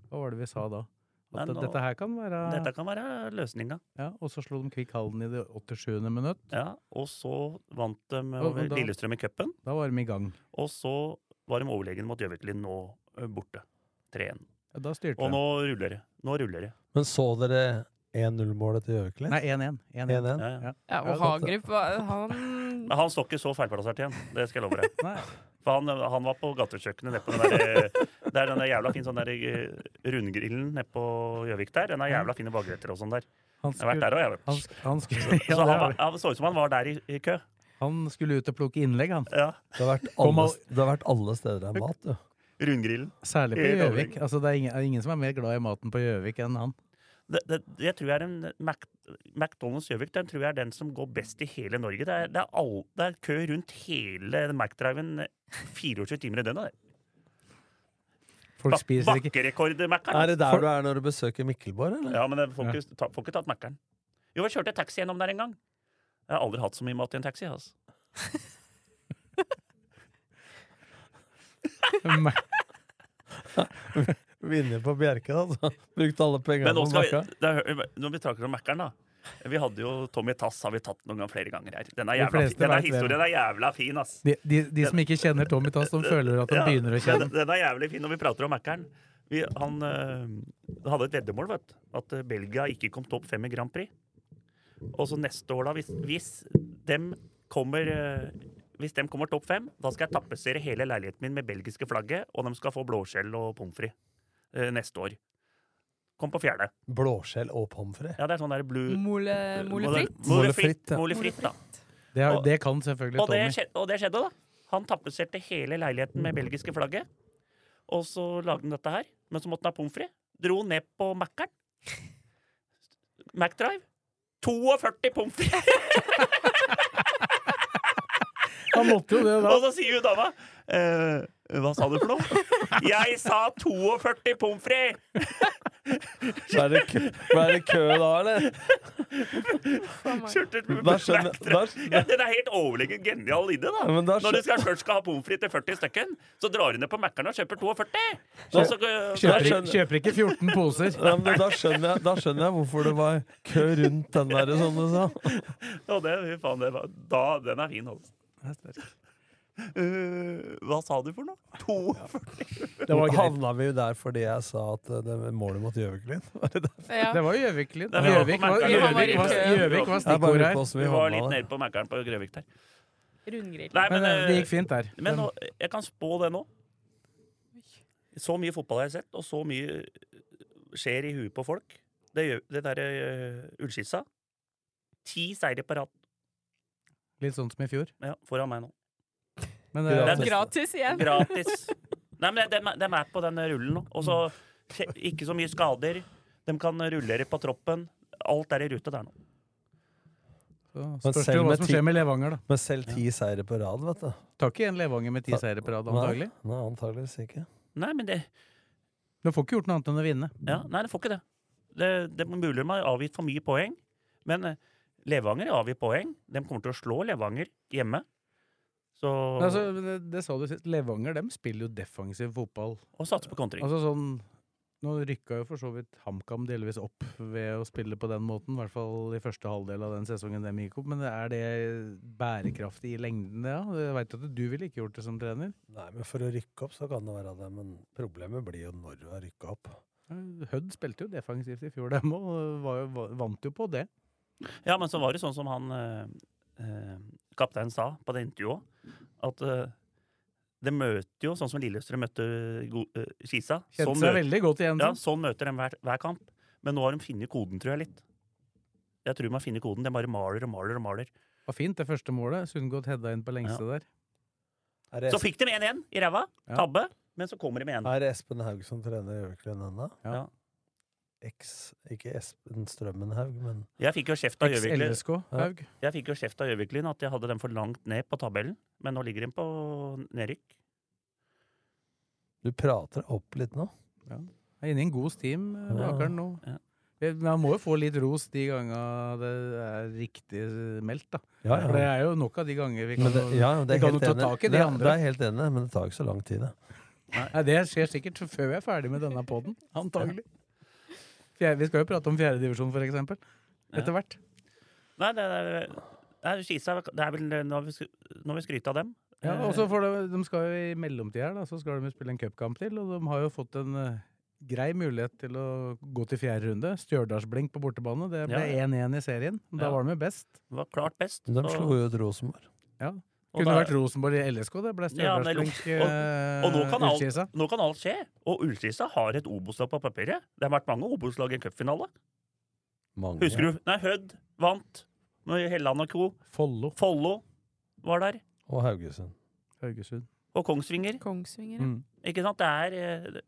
Hva var det vi sa da? At
Men
det-
nå-
dette her kan være
Dette kan være løsninga.
ja, Og så slo de Kvikk Halden i det 87. minutt.
Ja, og så vant de
Og-
over
og da-
Lillestrøm i cupen.
Da var de i gang.
Og så var de overlegne mot Gjøviklin nå eh, borte. 3-1.
Ja, da styrte
Og
de.
nå ruller det. Nå ruller det.
Men så dere 1-0-målet til Gjøviklin?
Nei, 1-1. 1-1.
1-1.
Ja, ja.
Ja, og Hagerup, var- han
Men han står ikke så feilplassert igjen, det skal jeg love deg.
Nei.
For han, han var på gatekjøkkenet nede på den der, eh, der den der jævla fin sånn der eh, rundgrillen nede på Gjøvik der. Den har jævla fine bagretter og sånn der.
Han
Jeg har
skulle,
vært der òg, jeg. vet.
han, sk- han, skulle, ja,
Så
det
han,
er
var,
det.
han så ut som han var der i, i kø.
han skulle ut og plukke innlegg, han.
Ja.
Det, har vært
Kom
alle,
al-
det har vært alle steder det er mat, du.
Rundgrillen.
Særlig på
Helt
Gjøvik. Altså, det er ingen, er ingen som er mer glad i maten på Gjøvik enn han.
Det, det, jeg tror jeg er en Mac, McDonald's Gjøvik den tror jeg er den som går best i hele Norge. Det er, det er, all, det er kø rundt hele Mac-driven 24 timer i døgnet. det.
Folk
Bak-
spiser ikke
Bakkerekord-Mac-en.
Er det der du er når du besøker Mikkelborg, eller?
Ja, men jeg får ikke, ta, får ikke tatt Mækkern. Jo, jeg kjørte taxi gjennom der en gang. Jeg har aldri hatt så mye mat i en taxi. Altså.
Mac.
Vinner på Bjerke, altså. Brukte alle pengene
Men nå
på
skal vi,
bakka.
det er, når vi snakker om Mækkern, da. Vi hadde jo Tommy Tass har vi tatt noen ganger flere ganger her. Denne,
De
jævla,
fleste
fin- denne
vet hvem.
historien er jævla fin, ass.
De, de, de som ikke kjenner Tommy Tass, de føler at de
Ja,
begynner å
den-
kjenne
Den er jævlig fin når vi prater om Mækkern. Vi, han øh, hadde et veddemål, vet du. At øh, Belgia ikke kom topp fem i Grand Prix. Og så neste år, da, hvis, hvis dem kommer øh, hvis dem kommer topp fem, da skal jeg tapetsere hele leiligheten min med belgiske flagget, og de skal få blåskjell og pommes frites øh, neste år. Kom på fjerde.
Blåskjell og pommes frites.
Ja, det er sånn der blue
Mole, Mm, eh, mole fritt.
Mole
Mole fritt,
fritt,
ja.
mole fritt da.
Det, har- det kan selvfølgelig
Og det,
Tommy.
skjedde, og det skjedde, da. Han tapetserte hele leiligheten med belgiske flagget. Og så lagde han dette her. Men så måtte han ha pommes frites. Dro ned på Mækkern. McDrive. 42 pommes frites!
Han måtte jo det da.
Og så sier jo dama eh, Hva sa du for noe? Jeg sa 42 pommes frites!
Ble det, kø, ble det kø da, eller?
Kjørte ut med
Da skjønner-
McDrive.
da skjønner-
Ja, Den er helt overlegent genial idé, da.
Ja, men da skjø-
Når du skal, først skal ha pommes frites til 40 stykken, så drar du ned på Mækkern og kjøper 42! Og så,
Kjøper,
Jeg skjønner.
ikke- kjøper ikke 14 poser.
Ja, men da, skjønner jeg, da skjønner jeg hvorfor det var kø rundt den der, sånn som du sa.
og det, fy faen, det var, da, den er fin, altså.
Det er sterkt.
Eh, hva sa du for noe? 42?
Det var greit.
Havna vi jo der fordi jeg sa at eh, det var målet mot Gjøviklyn var det der?
Ja.
Det var Gjøvik-lyd.
Det var-
Gjøvik var,
Han
var i
Gjøvik var,
kø.
Gjøvik var
Jeg bare
stikkord
lurer
her.
på hvordan
Vi
vi
var
havna
litt
der.
nede på Mækkern på Grøvik der.
Rundgrill.
Nei, men,
Men eh, det
eh,
gikk fint der.
men nå, jeg kan spå det nå. Så mye fotball har jeg sett, og så mye eh, skjer i huet på folk. Det, gjør- det derre uh, ullskissa. Ti seire på rad
Litt sånn som i fjor.
ja, foran meg nå.
Men
Det
eh,
er-
Gratis igjen.
Gratis. Nei, men de, de er på den rullen nå. Og så skje- ikke så mye skader. De kan rullere på troppen. Alt er i rute der nå.
så
Men
spørs det
selv
jo hva
med
som
ti-
skjer med Levanger, da.
Men selv ti seire på rad, vet du.
Tar ikke igjen Levanger med ti
Ta-
seire på rad,
Nei,
antagelig.
Nei, antageligvis ikke.
Nei, men det
Du får ikke gjort noe annet enn å vinne.
Ja, nei, det får ikke det. Det, det er mulig de har avgitt for mye poeng, men eh, Levanger har avgitt poeng. De kommer til å slå Levanger hjemme. Så,
Men Altså, det, det sa du sist. Levanger dem spiller jo defensiv fotball.
og satse på kontring.
Altså sånn Nå rykka jo for så vidt HamKam delvis opp ved å spille på den måten, i hvert fall i første halvdel av den sesongen dem gikk opp, men er det bærekraftig i lengden, det? Ja? Jeg veit at du ville ikke gjort det som trener.
Nei, men for å rykke opp så kan det være det, men problemet blir jo når du har rykka opp.
Hødd spilte jo defensivt i fjor, dem òg, og var jo- va- vant jo på det. altså-
Ja, men så var det sånn som han eh, eh, kapteinen sa på det intervjuet, at eh, det møter jo, sånn som Lillestrøm møtte Go eh, Kisa.
Kjente
Sånn,
seg
møter,
veldig godt igjen.
ja,
sånn.
sånn møter de hver, hver kamp. Men nå har de funnet koden, tror jeg, litt. Jeg tror de har funnet koden. De bare maler og maler og maler.
Var fint, det første målet. Sundgodt hedda inn på lengste der.
Er det
Så fikk de 1-1 i ræva.
Ja.
Tabbe. Men så kommer de med
Mm.
1.
Er det Espen Haug som trener Gjøviklund ennå?
Ja.
Eks, ikke Espen Strømmenhaug, men
Jeg fikk jo kjeft av Gjøviklyn
Eks-LSK, Haug.
Jeg fikk jo kjeft av Gjøviklyn at jeg hadde dem for langt ned på tabellen. Men nå ligger de på nedrykk.
du prater deg opp litt nå.
Er inne i en god steam, eh,
Ja.
Blakeren nå.
Ja.
Vi- Men han må jo få litt ros de gangene det er riktig eh, meldt, da.
Ja,
For det er jo nok av de ganger vi kan
Men det, ja, det
vi
er
kan
helt
jo ta
enig.
tak i de
det,
andre.
Det er helt enig, men det tar ikke så lang tid, det.
Nei, Det skjer sikkert før vi er ferdig med denne poden, antagelig. Fjerde, vi skal jo prate om fjerdedivisjon, for eksempel. Etter hvert.
Nei, det er, det er, Skisa, det er vel når vi, sk- når vi skryter av dem.
Ja, og så får de, de skal jo i mellomtida her, da, så skal de jo spille en cupkamp til, og de har jo fått en eh, grei mulighet til å gå til fjerde runde. Stjørdalsblink på bortebane. Det ble
Ja.
1-1 i serien. Da
Ja.
var de jo best.
Eh, var klart best.
De
og-
slo jo ut Rosenborg.
og
Kunne
da-
vært Rosenborg i LSK, det ble
Ja, men-
Stjørdalsblink
og- og nå kan
eh,
alt-
Ullkisa.
Nå kan alt skje. Og Ullskisa har et Obos-lag på papiret. Det har vært mange Obos-lag i en cupfinale.
Mange.
Husker du? Nei, Hødd vant. Når Helland og co.
Follo,
Follo var der.
Og Haugesund.
Haugesund.
Og Kongsvinger.
Kongsvinger.
Mm.
Ikke sant? Det er eh, det-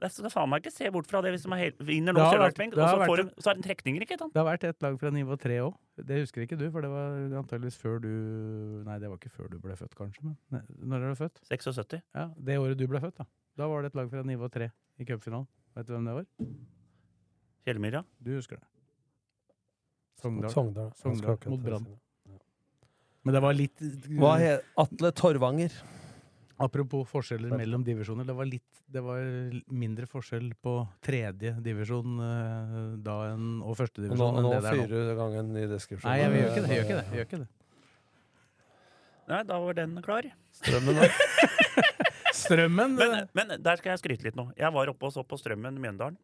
det skal faen meg ikke se bort fra det hvis de er hel, vinner nå
Det har vært-
Stjørdalsblink,
det har
og så, får
vært-
de, så er det trekninger, ikke sant?
Det har vært et lag fra nivå tre òg. Det husker ikke du, for det var antageligvis før du Nei, det var ikke før du ble født, kanskje. Men Nei, når er du født?
76.
Ja, Det året du ble født, da. Da var det et lag fra nivå tre i cupfinalen. Vet du hvem det var?
Kjellmyra.
Du husker det. Sogndal.
Sogndal.
Sogndal
Jeg skal ikke
mot
ta
Brann.
siden.
Men det var litt eh,
Hva het Atle Torvanger?
Apropos forskjeller mellom divisjoner. Det var litt Det var mindre forskjell på tredje divisjon eh, da enn og første
Nå,
sånn,
divisjon enn
nå
det det er nå.
fyrer du i gang en ny deskripsjon.
Nei, jeg gjør ikke det. Jeg gjør ikke det. Jeg gjør ikke det.
Nei, da var den klar.
Strømmen, da.
Strømmen eh,
Men, men der skal jeg skryte litt nå. Jeg var oppe og så på Strømmen Mjøndalen.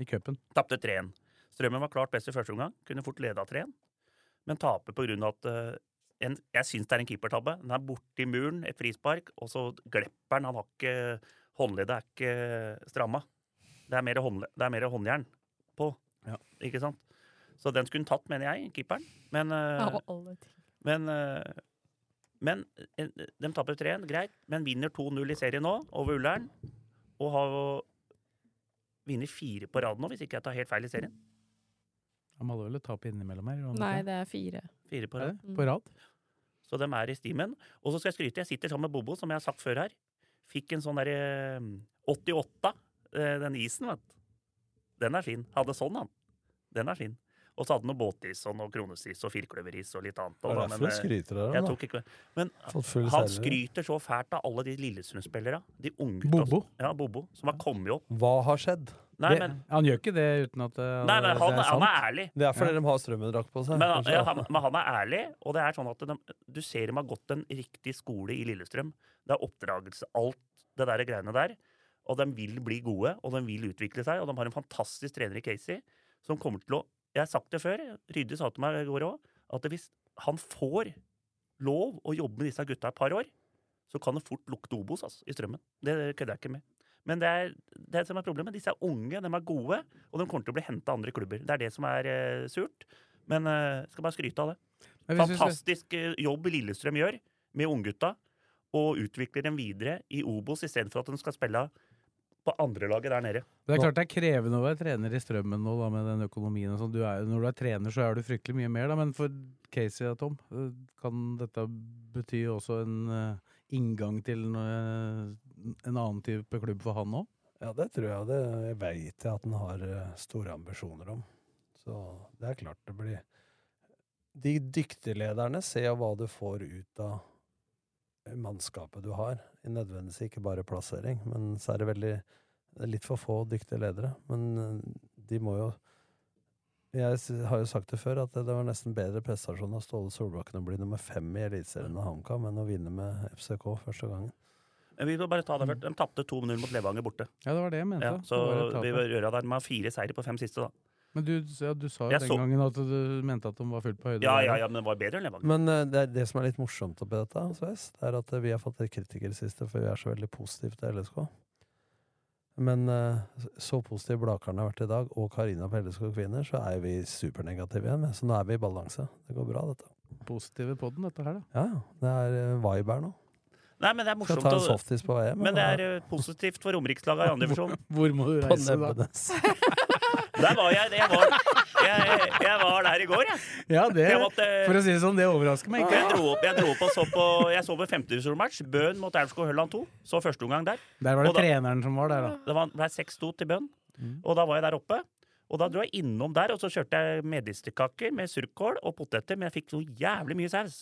i cupen.
Tapte 3-1. Strømmen var klart best i første omgang. Kunne fort leda 3-1, men taper på grunn av at eh, en, Jeg syns det er en keepertabbe. Den er borti muren, et frispark, og så glepper den. Han har ikke Håndleddet er ikke stramma. Det er mer, håndle, det er mer håndjern på,
Ja.
ikke sant? Så den skulle han tatt, mener jeg, keeperen. Men, eh,
Av alle ting.
men, eh, men eh, de taper 3-1, greit, men vinner 2-0 i serien nå, over Ullern. Og har vinner fire på rad nå, hvis ikke jeg tar helt feil i serien.
Han hadde vel et tap innimellom her? gjorde han
Nei,
ikke?
det er fire.
Fire på
Er
rad.
det? På rad?
Så de er i stimen. Og så skal jeg skryte, jeg sitter sammen med Bobo, som jeg har sagt før her. Fikk en sånn derre 88, eh, den isen, vet du. Den er fin. Hadde sånn, han. Den er fin. Og så hadde han noe båtis og noe kronesis og firkløveris og litt annet.
Det
Og
er
da,
derfor
men,
du
eh,
skryter av
jeg
dem, da.
tok ikke Men
Fått full
Han
serve.
skryter så fælt av alle de Lillestrøm-spillere. De unge gutta
Bobo.
som- Ja, Bobo, som har kommet opp.
Hva har skjedd?
Nei,
Det-
men,
Han gjør ikke det uten at eh,
nei, men han,
det er sant.
han er ærlig.
Det er fordi de har strømmedrakt på seg.
Men han,
kanskje.
ja, han, men han er ærlig, og det er sånn at de, du ser dem har gått en riktig skole i Lillestrøm. Det er oppdragelse, alt det der greiene der. Og de vil bli gode, og de vil utvikle seg. Og de har en fantastisk trener i Casey som kommer til å Jeg har sagt det før, Rydde sa til meg i går òg, at hvis han får lov å jobbe med disse gutta et par år, så kan det fort lukte Obos altså, i strømmen. Det kødder jeg ikke med. Men det er det som er problemet. Disse er unge, de er gode, og de kommer til å bli henta av andre klubber. Det er det som er eh, surt. Men eh, skal bare skryte av det.
Men hvis vi skal-
Fantastisk eh, jobb Lillestrøm gjør med unggutta, og utvikler dem videre i Obos istedenfor at de skal spille på andrelaget der nede.
Det er klart det er krevende å være trener i strømmen nå, da, med den økonomien og sånn. Du er jo- Når du er trener, så er du fryktelig mye mer, da. Men for Casey og Tom, eh, kan dette bety også en eh, inngang til en, eh, en annen type klubb for han òg?
Ja, det tror jeg. Det veit jeg at han har eh, store ambisjoner om. Så det er klart det blir De dyktige lederne ser hva du får ut av mannskapet du har. Nødvendigvis ikke bare plassering, men så er det veldig det er litt for få dyktige ledere. Men eh, de må jo Jeg s- har jo sagt det før, at det det var nesten bedre prestasjon av Ståle Solbakken å bli nummer fem i Eliteserien av HamKam enn å vinne med FCK første gangen.
Men Vi må bare ta det først. De tapte 2-0 mot Levanger borte.
Ja, det var det jeg mente.
Ja,
Det
så
var et tap,
vi
ja.
bør gjøre det. De har fire seire på fem siste, da.
Men du, ja, du sa jo
Jeg
den
så-
gangen at du mente at de var fullt på høyde.
Ja,
der,
ja, ja, men det var bedre enn Levanger.
Men eh, det, er det som er litt morsomt oppi dette, Sveis, det er at eh, vi har fått litt kritikk i det siste, for vi er så veldig positive til LSK. Men eh, så positive Blakaren har vært i dag, og Karina på LSK Kvinner, så er vi supernegative igjen. Så nå er vi i balanse. Det går bra, dette.
Positive på den, dette her, da.
Ja, ja. Det er eh, vibe her nå.
Nei, men det er
Skal
morsomt.
ta en
å-
softis på VM.
Men det er eh, positivt for romerikslaget i andre divisjon.
Hvor må du
på
reise, da?
Nebbenes.
Der var jeg, jeg var, jeg, jeg var der i går, jeg.
Ja, det,
Jeg måtte-
for å si det sånn, det overrasker meg
Jeg
ikke.
dro opp, jeg dro opp og så på Jeg så på femtedivisjonsmatch. Bøhn mot Aurskog Hølland 2. Så første omgang der.
Der var det
Og da-
treneren som var der, da.
Det var- ble 6-2 til Bøhn.
Mm.
Og da var jeg der oppe. Og da dro jeg innom der, og så kjørte jeg medisterkaker med surkål og poteter, men jeg fikk noe jævlig mye saus.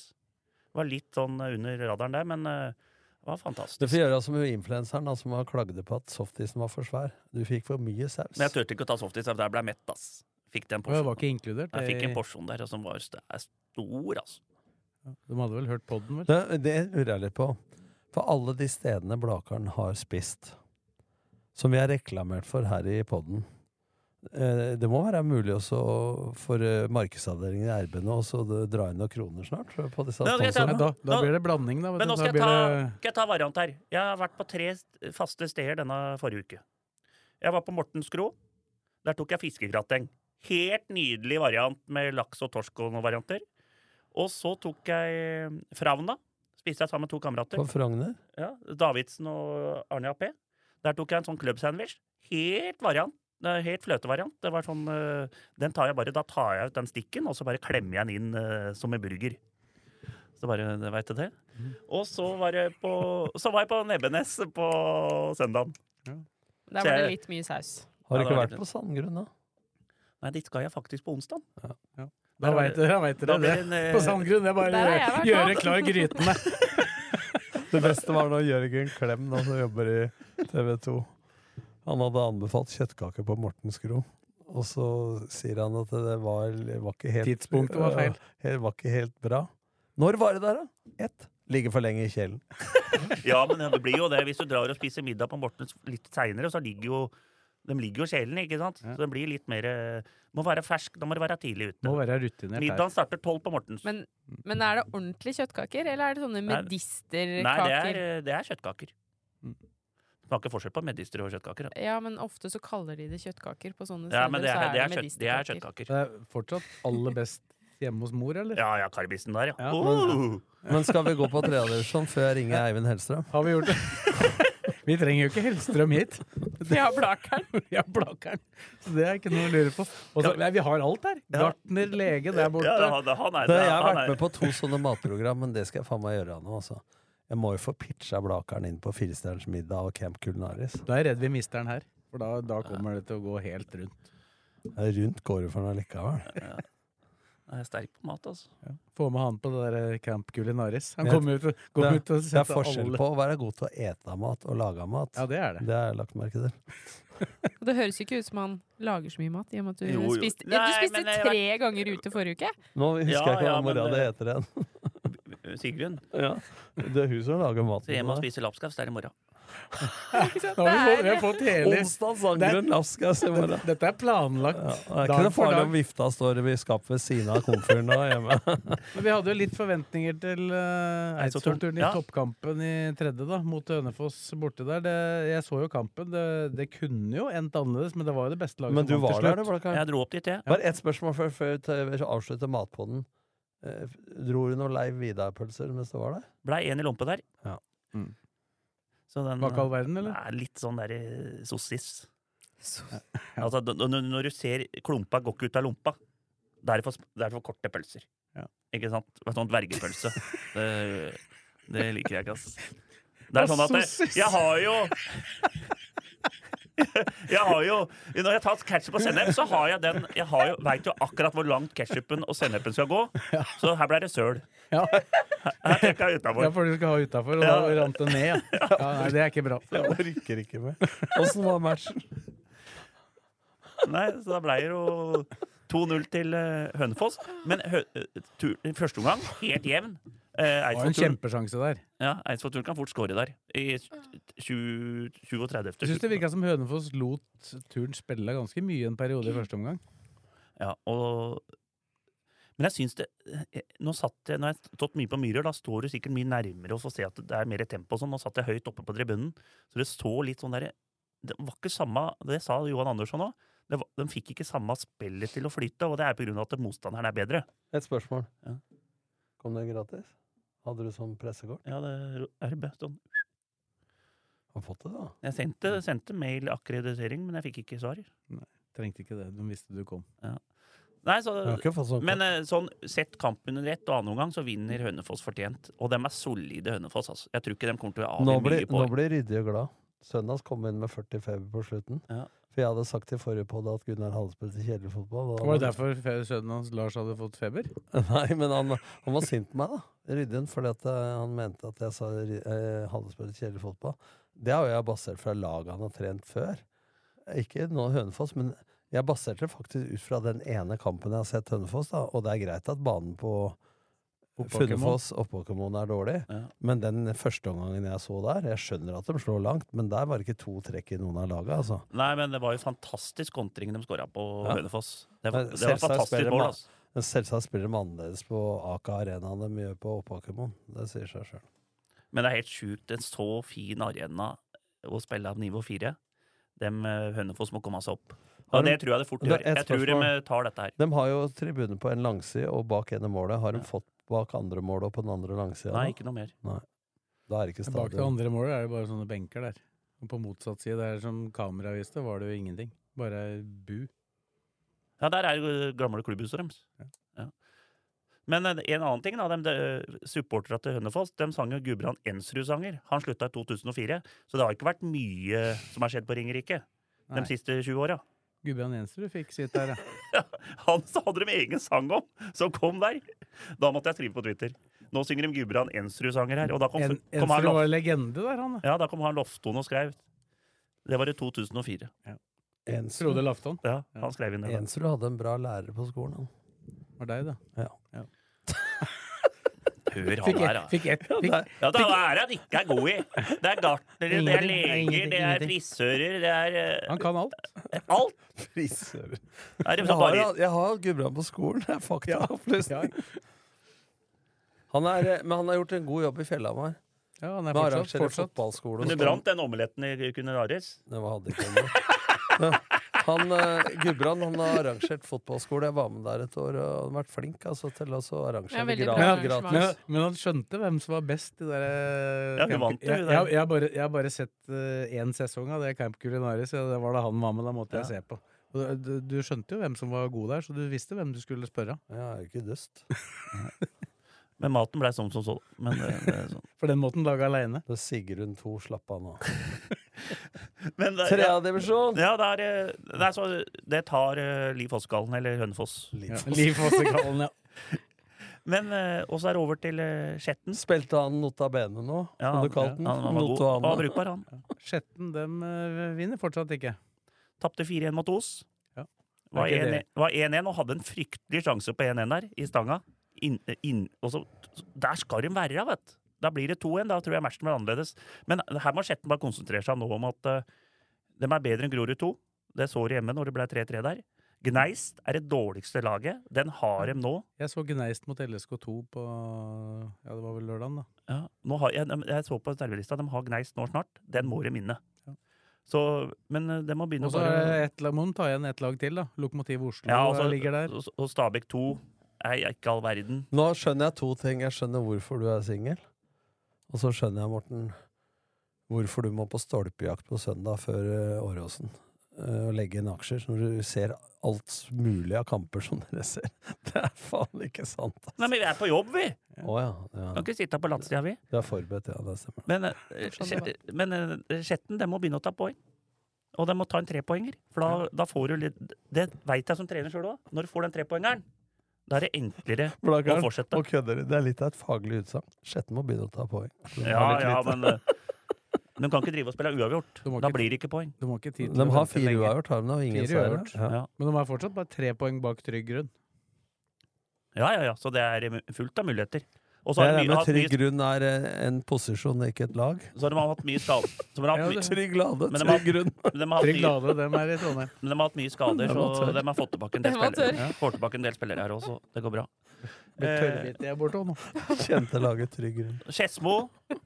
Det var litt sånn under radaren der, men eh, det var
Du
fantastisk.
får gjøre som influenseren da, som har klagde på at softisen var for svær. Du fikk for mye saus.
Men jeg turte ikke å ta softis, for der ble jeg mett, ass. Fikk den
Og jeg var
porsjonen.
ikke inkludert.
Jeg fikk en
Jeg-
porsjon der og som var st- er stor, altså.
De hadde vel hørt podden, vel?
Det, det lurer jeg litt på. For alle de stedene Blakaren har spist, som vi har reklamert for her i podden eh, Det må være mulig også for eh, markedsavdelingen i RB nå også å dra inn noen kroner snart? på disse
Nå skal jeg ta-
Ja,
sponsorene.
da, da
Nå-
blir det blanding, da. vet
Men
du.
nå
da
skal jeg ta,
blir det-
skal jeg ta variant her. Jeg har vært på tre st- faste steder denne forrige uke. Jeg var på Mortens Kro. Der tok jeg fiskegrateng. Helt nydelig variant med laks og torsk og noen varianter. Og så tok jeg eh, Fravna. Spiste jeg sammen med to kamerater.
På Frogner?
Ja, Davidsen og Arne AP. Der tok jeg en sånn klubbsandwich. Helt variant. eh, Helt fløtevariant. Det var sånn, eh, den tar jeg bare, da tar jeg ut den stikken, og så bare klemmer jeg den inn eh, som en burger. Så bare, det vet du det.
Mm.
Og så var, jeg på, så var jeg på Nebbenes på søndagen.
Der var det litt mye saus.
Har du
Ja, det
ikke
var
vært på Sandgrunn, da?
Nei, dit skal jeg faktisk på onsdag.
Da veit dere, da vet dere
Da blir
det.
det en, eh,
På samme grunn. Det er bare
Der har jeg
å
vært,
gjøre
da.
klar grytene.
Det beste var når Jørgen Klem, da, som jobber i TV 2 Han hadde anbefalt kjøttkake på Mortens Gro. Og så sier han at det var, var ikke helt
Tidspunktet var feil.
Ja, Det var ikke helt bra. Når var det der, da? Ett. Ligger for lenge i kjelen.
eh, Ja, men det blir jo det. Hvis du drar og spiser middag på Mortens litt seinere, så ligger jo de ligger jo i sjelen, ikke sant? Så det blir litt mer eh, Må være fersk. Da må du være tidlig ute.
Må være rutinert der.
Middagen starter tolv på Mortens.
Men, men er det ordentlige kjøttkaker, eller er det sånne
Nei, Nei, det
medisterkaker?
er, det er kjøttkaker. Smaker forskjell på medister og kjøttkaker. da.
Ja, men ofte så kaller de det kjøttkaker på sånne
Ja, men det er, det er,
så
kjøtt, det er
medisterkaker.
kjøttkaker.
Det er fortsatt aller best hjemme hos mor, eller?
Ja, ja, karbisen der, ja.
Ja,
oh!
Men skal vi gå på tredjedivisjon før jeg ringer Eivind Hellstrøm?
Har vi gjort det? Vi trenger jo ikke Hellstrøm hit.
Vi har Blakeren.
Vi har Blakeren. Så det er ikke noe å lure på. Og så- nei, vi har alt her. Gartner, lege der borte.
ja det- han, han er,
Det, jeg har
han
vært
er,
med på to sånne matprogram, men det skal jeg faen meg gjøre nå, altså. Jeg må jo få pitcha Blakeren inn på Firestjerners middag og Camp Culinaris.
Da er jeg redd vi mister den her. For da, da kommer det til å gå helt rundt.
Rundt går det for noe likevel.
Jeg er sterk på mat, altså.
Ja. Få med han på det der eh, Camp Culinaris. Han
Men jeg-
kommer ut, og-
Det
kommer
er,
ut og
det er
setter
forskjell
alle
på å være god til å ete mat og lage mat.
Ja, det er det.
Det har jeg lagt merke til.
Og det høres jo ikke ut som han lager så mye mat, i og med at du
Jo, jo.
spiste, ja,
Nei,
du spiste
men eh, jeg har
tre ganger ute forrige uke.
Nå husker
Ja,
jeg ikke hva
ja, men
mora det
det-
heter igjen.
Sigrun,
Det er hun som lager
så hjemme og
maten.
spiser lapskaus, det er i morgen.
Nå har vi, fått, vi har fått hele
Onsdag
Det er-
sangeren Lapskaus i morgen.
Dette er planlagt.
Ja, det er ikke
dag
noe
for
farlig
dag.
om vifta står i skapet ved siden av komfyren nå hjemme.
Men vi hadde jo litt forventninger til uh,
Eidsvoll-turen.
Eidsvoll-turen i
Ja.
toppkampen i tredje, da, mot Hønefoss borte der. Det, jeg så jo kampen. Det, det kunne jo endt annerledes, men det var jo det beste laget
Men du
som
var
vant til
der, du,
slutt.
var det ikke?
Jeg dro opp dit, jeg.
Bare ett spørsmål før, før jeg avslutter matpodden. Eh, Dro du noen Leiv Vidar-pølser mens du var der?
Blei én i lompe der.
Ja.
Mm.
Så den
Var ikke all verden, eller?
er litt sånn der eh, sossis. Altså, d- når, når du ser klumpa går ikke ut av lompa. Det er for, sm- det er for korte pølser.
Ja.
Ikke sant? Det er Sånn dvergepølse. det, det liker jeg ikke, ass. Det er sånn at jeg,
Sossis.
jeg har jo Jeg har jo Når jeg tar ketsjup og sennep, så har jeg den Jeg har jo, veit jo akkurat hvor langt ketsjupen og sennepen skal gå. Så her ble det søl.
Ja.
Her trekker jeg
Ja,
utafor.
for du skal ha utafor, og
Ja.
da rant det ned. Ja. Ja, nei, det er ikke bra.
Jeg orker ikke mer. Åssen var matchen?
Nei, så da ble det jo 2-0 til eh, Hønefoss. Men hø eh, tur, i første omgang helt jevn. Eh,
Det var en
Eidsvoll-turen
kjempesjanse der.
ja, Eidsvoll-turen kan fort skåre der. I tju- 20 og 30.
Jeg syns det virka som Hønefoss lot turen spille ganske mye en periode i første omgang.
Ja, og... Men jeg syns det eh, Nå satt jeg, når jeg har stått mye på Myhrer, da står du sikkert mye nærmere og så ser jeg at det er mer tempo og sånn. Nå satt jeg høyt oppe på tribunen, så det så litt sånn derre Det var ikke samme Det sa Johan Andersson òg. De fikk ikke samme spillet til å flyte, og det er på grunn av at motstanderen er bedre.
Et spørsmål.
Ja.
Kom det gratis? Hadde du sånn pressekort?
Ja, det er RB. Sånn.
Har fått det, da.
Jeg sendte, sendte mail akkreditering, men jeg fikk ikke svar.
Trengte ikke det. De visste du kom.
Nei, så,
Jeg har ikke fått sånn
men eh, sånn, sett kampen under ett, og annen omgang så vinner Hønefoss fortjent. Og dem er solide, Hønefoss. Altså. Jeg tror ikke de kommer til å
nå,
avgi
blir,
mye
nå
poeng.
blir Ryddig og glad. Søndags kom inn med 40 feber på slutten.
Ja.
For jeg hadde sagt i forrige podd at Gunnar hadde spilt i kjedelig fotball. og
Var det
han-
derfor fe- sønnen hans Lars hadde fått feber?
Nei, men han, han var sint på meg, da. Rydden, fordi at eh, han mente at jeg sa ri- eh, hadde spilt kjedelig fotball. Det har jo jeg basert fra laget han har trent før. Ikke nå Hønefoss, men jeg baserte det faktisk ut fra den ene kampen jeg har sett Hønefoss, da. Og det er greit at banen på
Oppåkermoen.
Funnefoss Oppåkermoen er dårlig,
Ja.
men den første omgangen jeg så der Jeg skjønner at de slår langt, men der var det ikke to trekk i noen av laga, altså.
Nei, men det var jo fantastisk kontring de skåra på
Ja.
Hønefoss. Det var,
Men
det var
selvsagt spiller
fantastisk mål,
man-
altså.
Men selvsagt spiller de annerledes på Aker Arena enn de gjør på Oppåkermoen. Det sier seg sjøl.
Men det er helt sjukt. En så fin arena å spille av nivå fire. Dem eh, Hønefoss må komme seg opp.
Har
Ja,
de-
det tror jeg det fort
Det er
gjør.
et
Jeg tror de
spørsmål.
eh, tar dette her.
De har jo tribune på en langside og bak ene målet. Har de
Ja.
fått bak andre målet og på den andre langsida? da?
Nei, ikke noe mer.
Da er det ikke
Bak det
stadion.
andre målet er det bare sånne benker der. Og på motsatt side, der som kameraet viste, var det jo ingenting. Bare bu.
Ja, der er jo eh, gamle klubbhuset deres.
Ja.
Ja. Men eh, en annen ting, da. dem, De, Supporterne til Hønefoss de sang jo Gudbrand Ensrud-sanger. Han slutta i 2004, så det har ikke vært mye som har skjedd på Ringerike
Nei.
de siste 20 åra.
Gudbrand Jensrud fikk sitt der, ja.
Han så hadde de egen sang om, som kom der! Da måtte jeg skrive på Twitter. Nå synger de Gudbrand Ensrud-sanger her. Og da kom,
En,
kom han
Jensrud var
loft,
legende der, han. ja.
ja, da kom han Lofton og skrev. Det var i 2004.
Frode
Ensrud
Lafton
Ja, han skrev inn det. da.
Ensrud hadde en bra lærer på skolen. Han.
var deg, da.
Hør
Fikk
han
ett.
der, da.
Fikk ett. Fikk,
Ja, det er det han ikke er god i. Det er gartnere, det er
Ingenting. Det er
leger,
ingenting,
det er
ingenting.
frisører, det er eh,
han kan alt.
alt.
Frisører.
Er det
Jeg
så
har,
bare,
hatt- jeg har hatt Gudbrand på skolen, det er
Ja,
faktaopplysning. Han er, eh, men han har gjort en god jobb i Fjellhamar.
ja han er
Med å
fortsatt,
arrangere
fortsatt
fotballskole. og
men du
sånn.
brant den omeletten i Cuneraris?
Det var hadde ikke om det. Han, eh, Gudbrand han har arrangert fotballskole. Jeg var med der et år, og han har vært flink altså, til å så
Ja,
arrangere
veldig bra
gra-
arrangement.
gratis.
Men, men han skjønte hvem som var best i det der eh,
Ja, du vant jo
jeg,
det.
jeg, jeg, har bare, jeg har bare sett én sesong av det Camp Culinaris, og det var da han var med. Da måtte jeg se på. Og du, du skjønte jo hvem som var god der, så du visste hvem du skulle spørre.
Jeg er jo ikke dust.
Men maten blei sånn som så. Men, eh, det er sånn.
For den måten lage aleine.
Det er Sigrun 2, slapp av nå.
men det, ja,
Tredjedivisjon!
ja, det, er, eh, det, er så, det tar eh, Liv Fosskallen eller Hønefoss.
Ja, Liv Fossekallen, ja.
Men eh, Og så er det over til eh, Skjetten.
Spilte han Nota Bene nå,
Ja,
som du kalte den?
ja, han var god.
Notoane.
Og brukbar, han.
Skjetten dem eh, vinner fortsatt ikke.
Tapte 4-1 mot Os.
Ja.
Var
Er ikke
1-1
det-
var 1-1 og hadde en fryktelig sjanse på 1-1 der, i stanga. Inn, inn, og så, der skal de være, vet du. Da blir det 2-1. Da tror jeg matchen blir annerledes. Men her må Skjetten bare konsentrere seg nå om at eh, de er bedre enn Grorud 2. Det så de hjemme når det ble 3-3 der. Gneist er det dårligste laget. Den har de nå.
Jeg så Gneist mot LSK2 på Ja, det var vel lørdagen, da.
Ja. Nå har, jeg, jeg så på servelista, de har Gneist nå snart. Den må de vinne. Så, men eh, de må begynne
Og så er det ett lag, må de ta igjen ett lag til, da. Lokomotiv Oslo eh,
Ja, altså,
ligger der.
Og, og Stabæk 2 er ikke all verden.
Nå skjønner jeg to ting. Jeg skjønner hvorfor du er singel. Og så skjønner jeg, Morten, hvorfor du må på stolpejakt på søndag før eh, Åråsen. eh, Og legge inn aksjer når du ser alt mulig av kamper som dere ser. Det er faen ikke sant,
Nei,
altså.
men vi er på jobb, vi!
Å ja,
Kan
ja.
ikke sitte på latsida, vi.
Du er forberedt, ja. Det stemmer.
Men, eh,
Skjønner
Skjet- men eh, Skjetten, de må begynne å ta poeng. Og de må ta en trepoenger. For da, da får du litt Det veit jeg som trener sjøl òg. Når du får den trepoengeren, da er det enklere å
Blakkaren,
fortsette.
nå kødder du. Det er litt av et faglig utsagn. Sjette må begynne å ta poeng. Den
Ja,
har litt
ja,
lite.
men eh, De kan ikke drive og spille uavgjort.
De har
Da
ikke-
blir det ikke poeng.
De har ikke tid til å
De har
vente
fire
lenge.
uavgjort, har de det? Og ingen
Fire
seier.
uavgjort.
Ja.
Ja.
Men de er fortsatt bare tre poeng bak trygg grunn.
Ja, ja, ja. Så det er eh, fullt av muligheter. Og så
Jeg
har de
regner
mye-
med
hatt
trygg
mye-
grunn er eh, en posisjon, ikke et lag.
så har de hatt mye skader. Så de har hatt
Ja,
mye-
det-
Trygg lade,
Men de
trygg grunn.
de har hatt
Trygg
mye-
Lade, dem er i Trondheim.
Men de har hatt mye skader,
Den var
så
tørr.
de har fått tilbake en del
Den var
spillere.
tørr.
Ja. Får tilbake en del spillere her også. Det går bra.
Blir
Eh,
tørrbit jeg borte også nå.
Kjente laget trygg grunn.
Skedsmo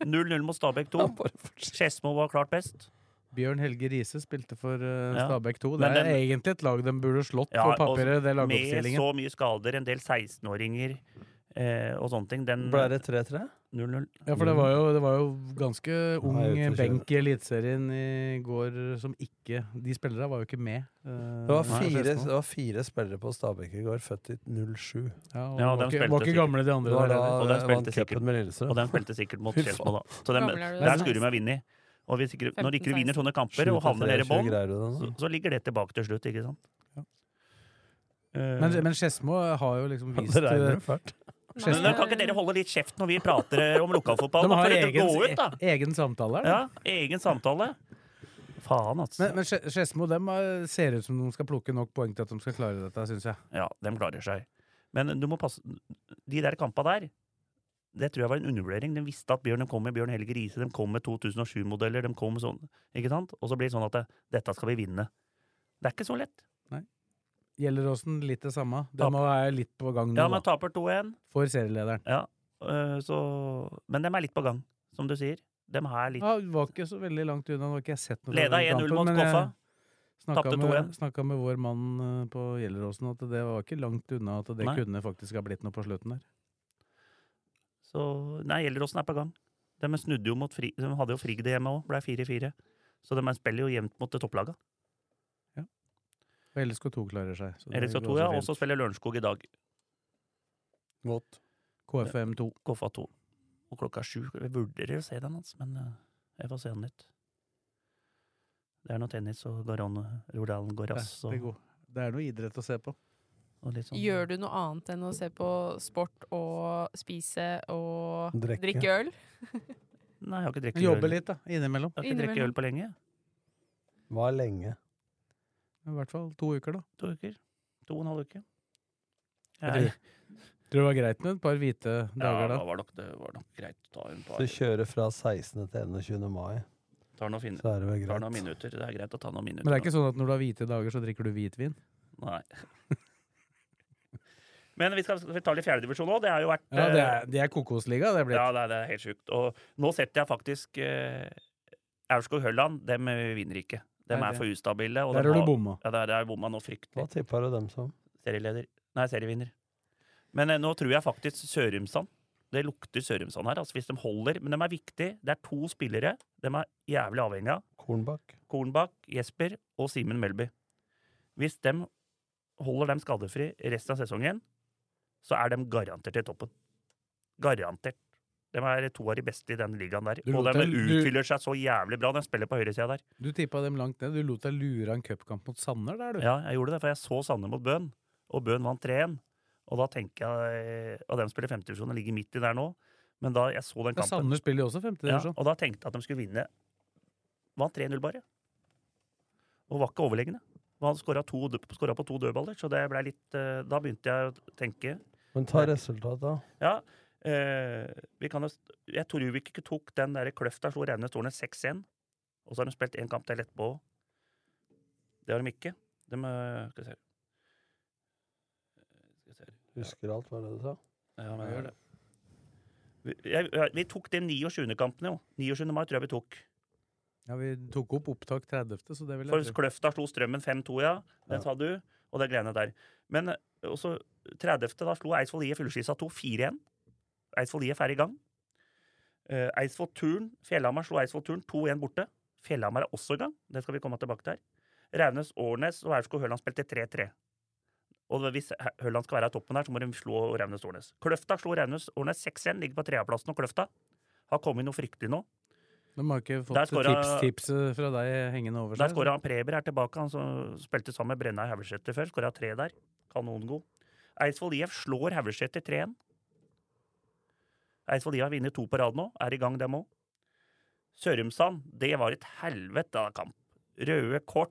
0-0 mot Stabæk
Ja,
2.
bare fortsett.
Skedsmo var klart best.
Bjørn Helge Riise spilte for eh,
Ja.
Stabæk 2. Det
Men
er
den-
egentlig et lag de burde slått
Ja,
på papiret, det
Med
lagoppstillingen.
så mye skader, en del 16-åringer eh, og sånne ting. Den
Ble det 3-3?
0-0.
Ja, for det var jo, det var jo ganske ung
Nei, jeg vet ikke.
benk i Eliteserien i går som ikke De spillerne var jo ikke med. eh,
Det var
når
fire,
Skedsmo-
det var fire spillere på Stabæk i går, født i 07.
Ja, og de var
Ja, de
ikke,
spilte
var ikke
sikkert.
gamle, de
Det
andre.
var
der
da
heller.
Og den
eh,
spilte
vant
sikkert.
cupen med
Og
Lillestrøm.
den spilte sikkert mot
Fy faen.
Skedsmo, da. Så dem,
Gammel er du da?
der skulle de ha vunnet. Og hvis ikke, når ikke du vinner sånne kamper og havner nede i
7-3,
bånn,
greier du
så,
det nå?
så ligger det tilbake til slutt, ikke sant?
Ja.
Eh,
Men, men Skedsmo har jo liksom vist
Det regner jo fælt.
Men da kan ikke dere holde litt kjeft når vi prater om lokalfotball?
De
Da
har
får dere
egen, e-,
gå ut, da!
egen samtale. her, da.
Ja, egen samtale. Faen, altså.
Men, men Ske- Skedsmo dem er- ser ut som de skal plukke nok poeng til at de skal klare dette, syns jeg.
Ja, dem klarer seg. Men du må passe De der kampa der, det tror jeg var en undervurdering. De visste at Bjørn de kom med Bjørn Helge Riise, de kom med 2007-modeller, de kom med sånn, ikke sant? Og så blir det sånn at det, dette skal vi vinne. Det er ikke så lett.
Gjelleråsen litt det samme. De
Tap.
må være litt på gang nå,
Ja, man
da,
taper 2-1,
for serielederen.
øh, så Men dem er litt på gang, som du sier. Dem her er litt
Ja, var ikke så veldig langt unna. Nå har ikke jeg sett noe fra
Leda
den
1-0
kampen,
mot
men
Koffa.
jeg snakka
Tapte
med,
2-1.
snakka med vår mann eh, på Gjelleråsen at det var ikke langt unna at det
Nei.
kunne faktisk ha blitt noe på slutten der.
Så nei, Gjelleråsen er på gang. De snudde jo mot fri, De hadde jo Frigg det hjemme òg, ble 4-4. Så de spiller jo jevnt mot topplaga.
Og LSK2 klarer seg. så det går
LSK2,
også
ja.
fint.
Og så spiller Lørenskog i dag.
Mot.
KFM2.
Koffa 2. Og klokka er sju. Jeg vurderer å se den hans, men eh, jeg får se den litt. Det er noe tennis og Garan Rodalen
Ja,
Goras
det, er
og,
god. det er noe idrett å se på.
og litt sånn.
Gjør du noe annet enn å se på sport og spise og
Drikke.
drikke øl?
Nei, jeg har ikke drukket
Jobbe
øl.
litt, da. Innimellom.
Jeg har ikke drukket
Innimellom.
øl på lenge.
Var lenge.
I hvert fall to uker, da.
To uker. To og en halv uke.
Jeg
Jeg-
Tror det var greit med et par hvite
Ja,
dager da.
da var nok, det var nok greit. Ta en par,
Så kjøre fra 16. til 21. mai,
tar noen, fin,
så er det vel
tar noen
greit.
minutter. Det er greit å ta noen minutter.
Men det er ikke sånn at når du har hvite dager, så drikker du hvitvin?
Nei. Men vi skal vi tar litt fjerdedivisjon òg. Det har jo vært
Ja, det
eh,
er, det er kokosliga, det er blitt.
Ja, det er, det er helt sjukt. Og nå setter jeg faktisk eh, Aurskog-Hølland. Dem eh, vinner ikke. Dem
Nei,
er
det-
for ustabile. Og
Der
dem
har du
har-
bomma.
Ja, der er bomma nå fryktelig.
Hva tippa du dem som?
Serieleder. Nei, serievinner. Men eh, nå tror jeg faktisk Sørumsand. Det lukter Sørumsand her, altså hvis de holder. Men de er viktige. Det er to spillere. De er jævlig avhengig av.
Kornbakk?
Kornbakk, Jesper og Simen Melby. Hvis de holder dem skadefri resten av sesongen, så er de garantert til toppen. Garantert. De er to av de beste i den ligaen der.
Du
Og
lot
de
dem- du-
utfyller seg så jævlig bra. De spiller på høyresida der.
Du tippa dem langt ned. Du lot deg lure av en cupkamp mot Sanner der, du.
Ja, jeg gjorde det, for jeg så Sanne mot Bøhn, og Bøhn vant 3-1. Og da tenker jeg Og de spiller femtedivisjon og ligger midt i der nå. Men da jeg så den
Ja,
kampen
Sandnes spiller jo også femte
ja,
divisjon.
Og da tenkte jeg at de skulle vinne. Vant 3-0 bare. Og var ikke overlegne. Og Han skåra på to dødballer, så det ble litt eh, Da begynte jeg å tenke
Men ta resultatet, da.
Ja, eh, vi kan jo st- Jeg tror vi ikke tok den der kløfta, slo Raunes Tårnet 6-1. Og så har de spilt én kamp til etterpå. Det har de ikke. De, eh, skal vi se. Skal vi se.
Husker alt, hva er det du sa?
Ja, men jeg gjør det. Vi, jeg, jeg- vi tok de 29. kampene, jo. 29. mai tror jeg vi tok.
Ja, vi tok opp opptak 30., så det vil
For
jeg tro.
Kløfta slo Strømmen 5-2, ja. Den sa du. Og det greiene der. Men eh, også 30. da slo Eidsvoll IE Fugleskissa 2 4-1. Eidsvoll IF er i gang. Eh, Eidsvoll Turn, Fjellhamar slo Eidsvoll Turn 2-1 borte. Fjellhamar er også i gang. Det skal vi komme tilbake til. Raunes, Årnes og Aurskog Høland spilte 3-3. Og hvis Hø- Høland skal være i toppen her, så må de slå Raunes Årnes. Kløfta slo Raunes Årnes 6-1, ligger på tredjeplassen. Og Kløfta har kommet noe fryktelig nå.
De har ikke
Der
fått
skåra-
tips, tipset fra deg hengende over
Der
seg.
skåra han Preber er tilbake, han som spilte sammen med Brenna i Haugleseter før. Skåra tre der. Kanongod. Eidsvoll IF slår Haugleseter 3-1. Eidsvoll IF har vunnet to på rad nå. Er i gang, dem òg. Sørumsand, det var et helvete av kamp. Røde kort,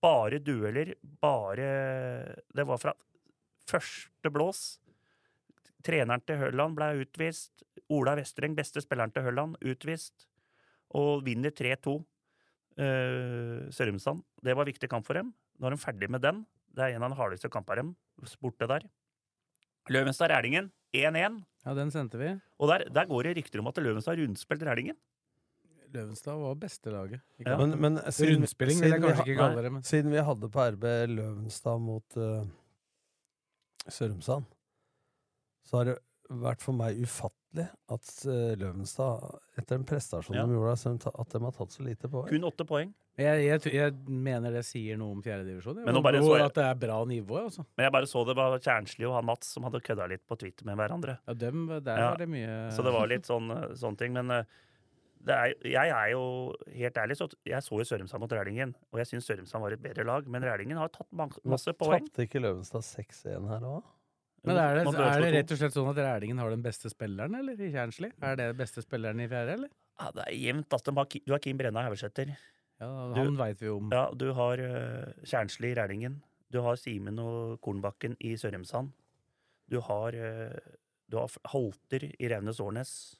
bare dueller, bare Det var fra første blås. Treneren til Hølland ble utvist. Ola Vestreng, beste spilleren til Hølland, utvist. Og vinner 3-2 uh, Sørumsand. Det var en viktig kamp for dem. Nå er de ferdig med den. Det er en av de hardeste kampene dem borte der. Løvenstad Rælingen 1-1.
Ja, den sendte vi.
Og der, der går det rykter om at Løvenstad har rundspilt Rælingen.
Løvenstad var beste laget. i
Ja.
kampen.
Men, men siden,
Rundspilling vil jeg
vi
kanskje
ha-
ikke
nei.
kalle det, men
Siden vi hadde på RB Løvenstad mot eh, Sørumsand, så har det vært for meg ufattelig at eh, Løvenstad, etter den prestasjonen
Ja.
de gjorde, så de ta- at de har tatt så lite poeng.
Kun åtte poeng.
jeg, jeg, tror- jeg mener det sier noe om fjerdedivisjon.
Men nå bare så jeg-
At det er bra nivå, altså.
Men jeg bare så det var Kjernsli og han Mats som hadde kødda litt på Twitter med hverandre.
Ja, dem, der
Ja.
var det mye
Så det var litt sånn, eh, sånne ting. Men eh, det er, jeg er jo helt ærlig, så jeg så jo Sørumsand mot Rælingen. Og jeg syns Sørumsand var et bedre lag, men Rælingen har tatt man- masse poeng.
Tapte ikke Løvenstad 6-1 her òg?
Men er det,
Mot
er det
Lørenskog to.
rett og slett sånn at Rælingen har den beste spilleren, eller? I Kjernsli? Er det beste spilleren i fjerde, eller?
Ja, det er jevnt. ass. De har Ki- Du har Kim Brenna Haugesæter.
Ja,
Du-
han veit vi jo om.
Ja, du har eh, Kjernsli i Rælingen. Du har Simen og Kornbakken i Sørumsand. Du har, eh, du har F- Holter i Raunes Årnes.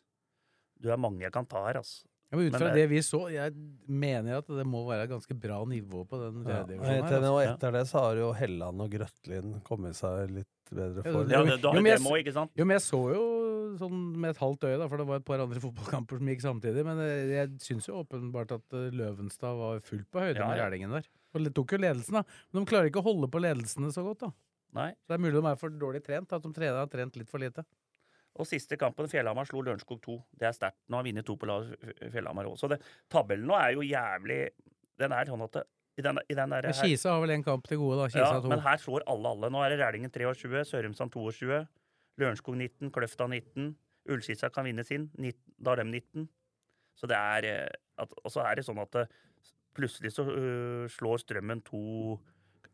Du er mange jeg kan ta her, altså.
Ja, men ut
men
fra det
det-
vi så, jeg mener at det må være et ganske bra nivå på den fjerde
Ja. Og
divisjonen her.
etter,
altså.
og etter det så har jo Helland og Grøtlin kommet seg litt bedre
Ja,
for.
Ja, det, du har
Jo,
jo
men jeg
dem òg, ikke sant?
Jo, men jeg så jo sånn med et halvt øye, da, for det var et par andre fotballkamper som gikk samtidig, men eh, jeg syns jo åpenbart at eh, Løvenstad var fullt på høyde
Ja,
med
ja.
Rælingen der. Og de tok jo ledelsen, da. Men de klarer ikke å holde på ledelsene så godt, da.
Nei.
Så det er mulig de er for dårlig trent, at de trener har trent litt for lite.
Og siste kampen, Fjellhamar slo Lørenskog 2. Det er sterkt. Nå har vunnet to på lag, F- Fjellhamar òg. Så det, tabellen nå er jo jævlig Den er sånn at det, i den, i den der,
Men Kisa har vel en kamp til gode, da. Kisa
ja,
to.
Men her slår alle alle. Nå er det Rælingen 23, Sørumsand 22, Lørenskog 19, Kløfta 19. Ullskissa kan vinne sin. 19, da har de 19. Så det er eh, at, Og så er det sånn at det, plutselig så øh, slår Strømmen to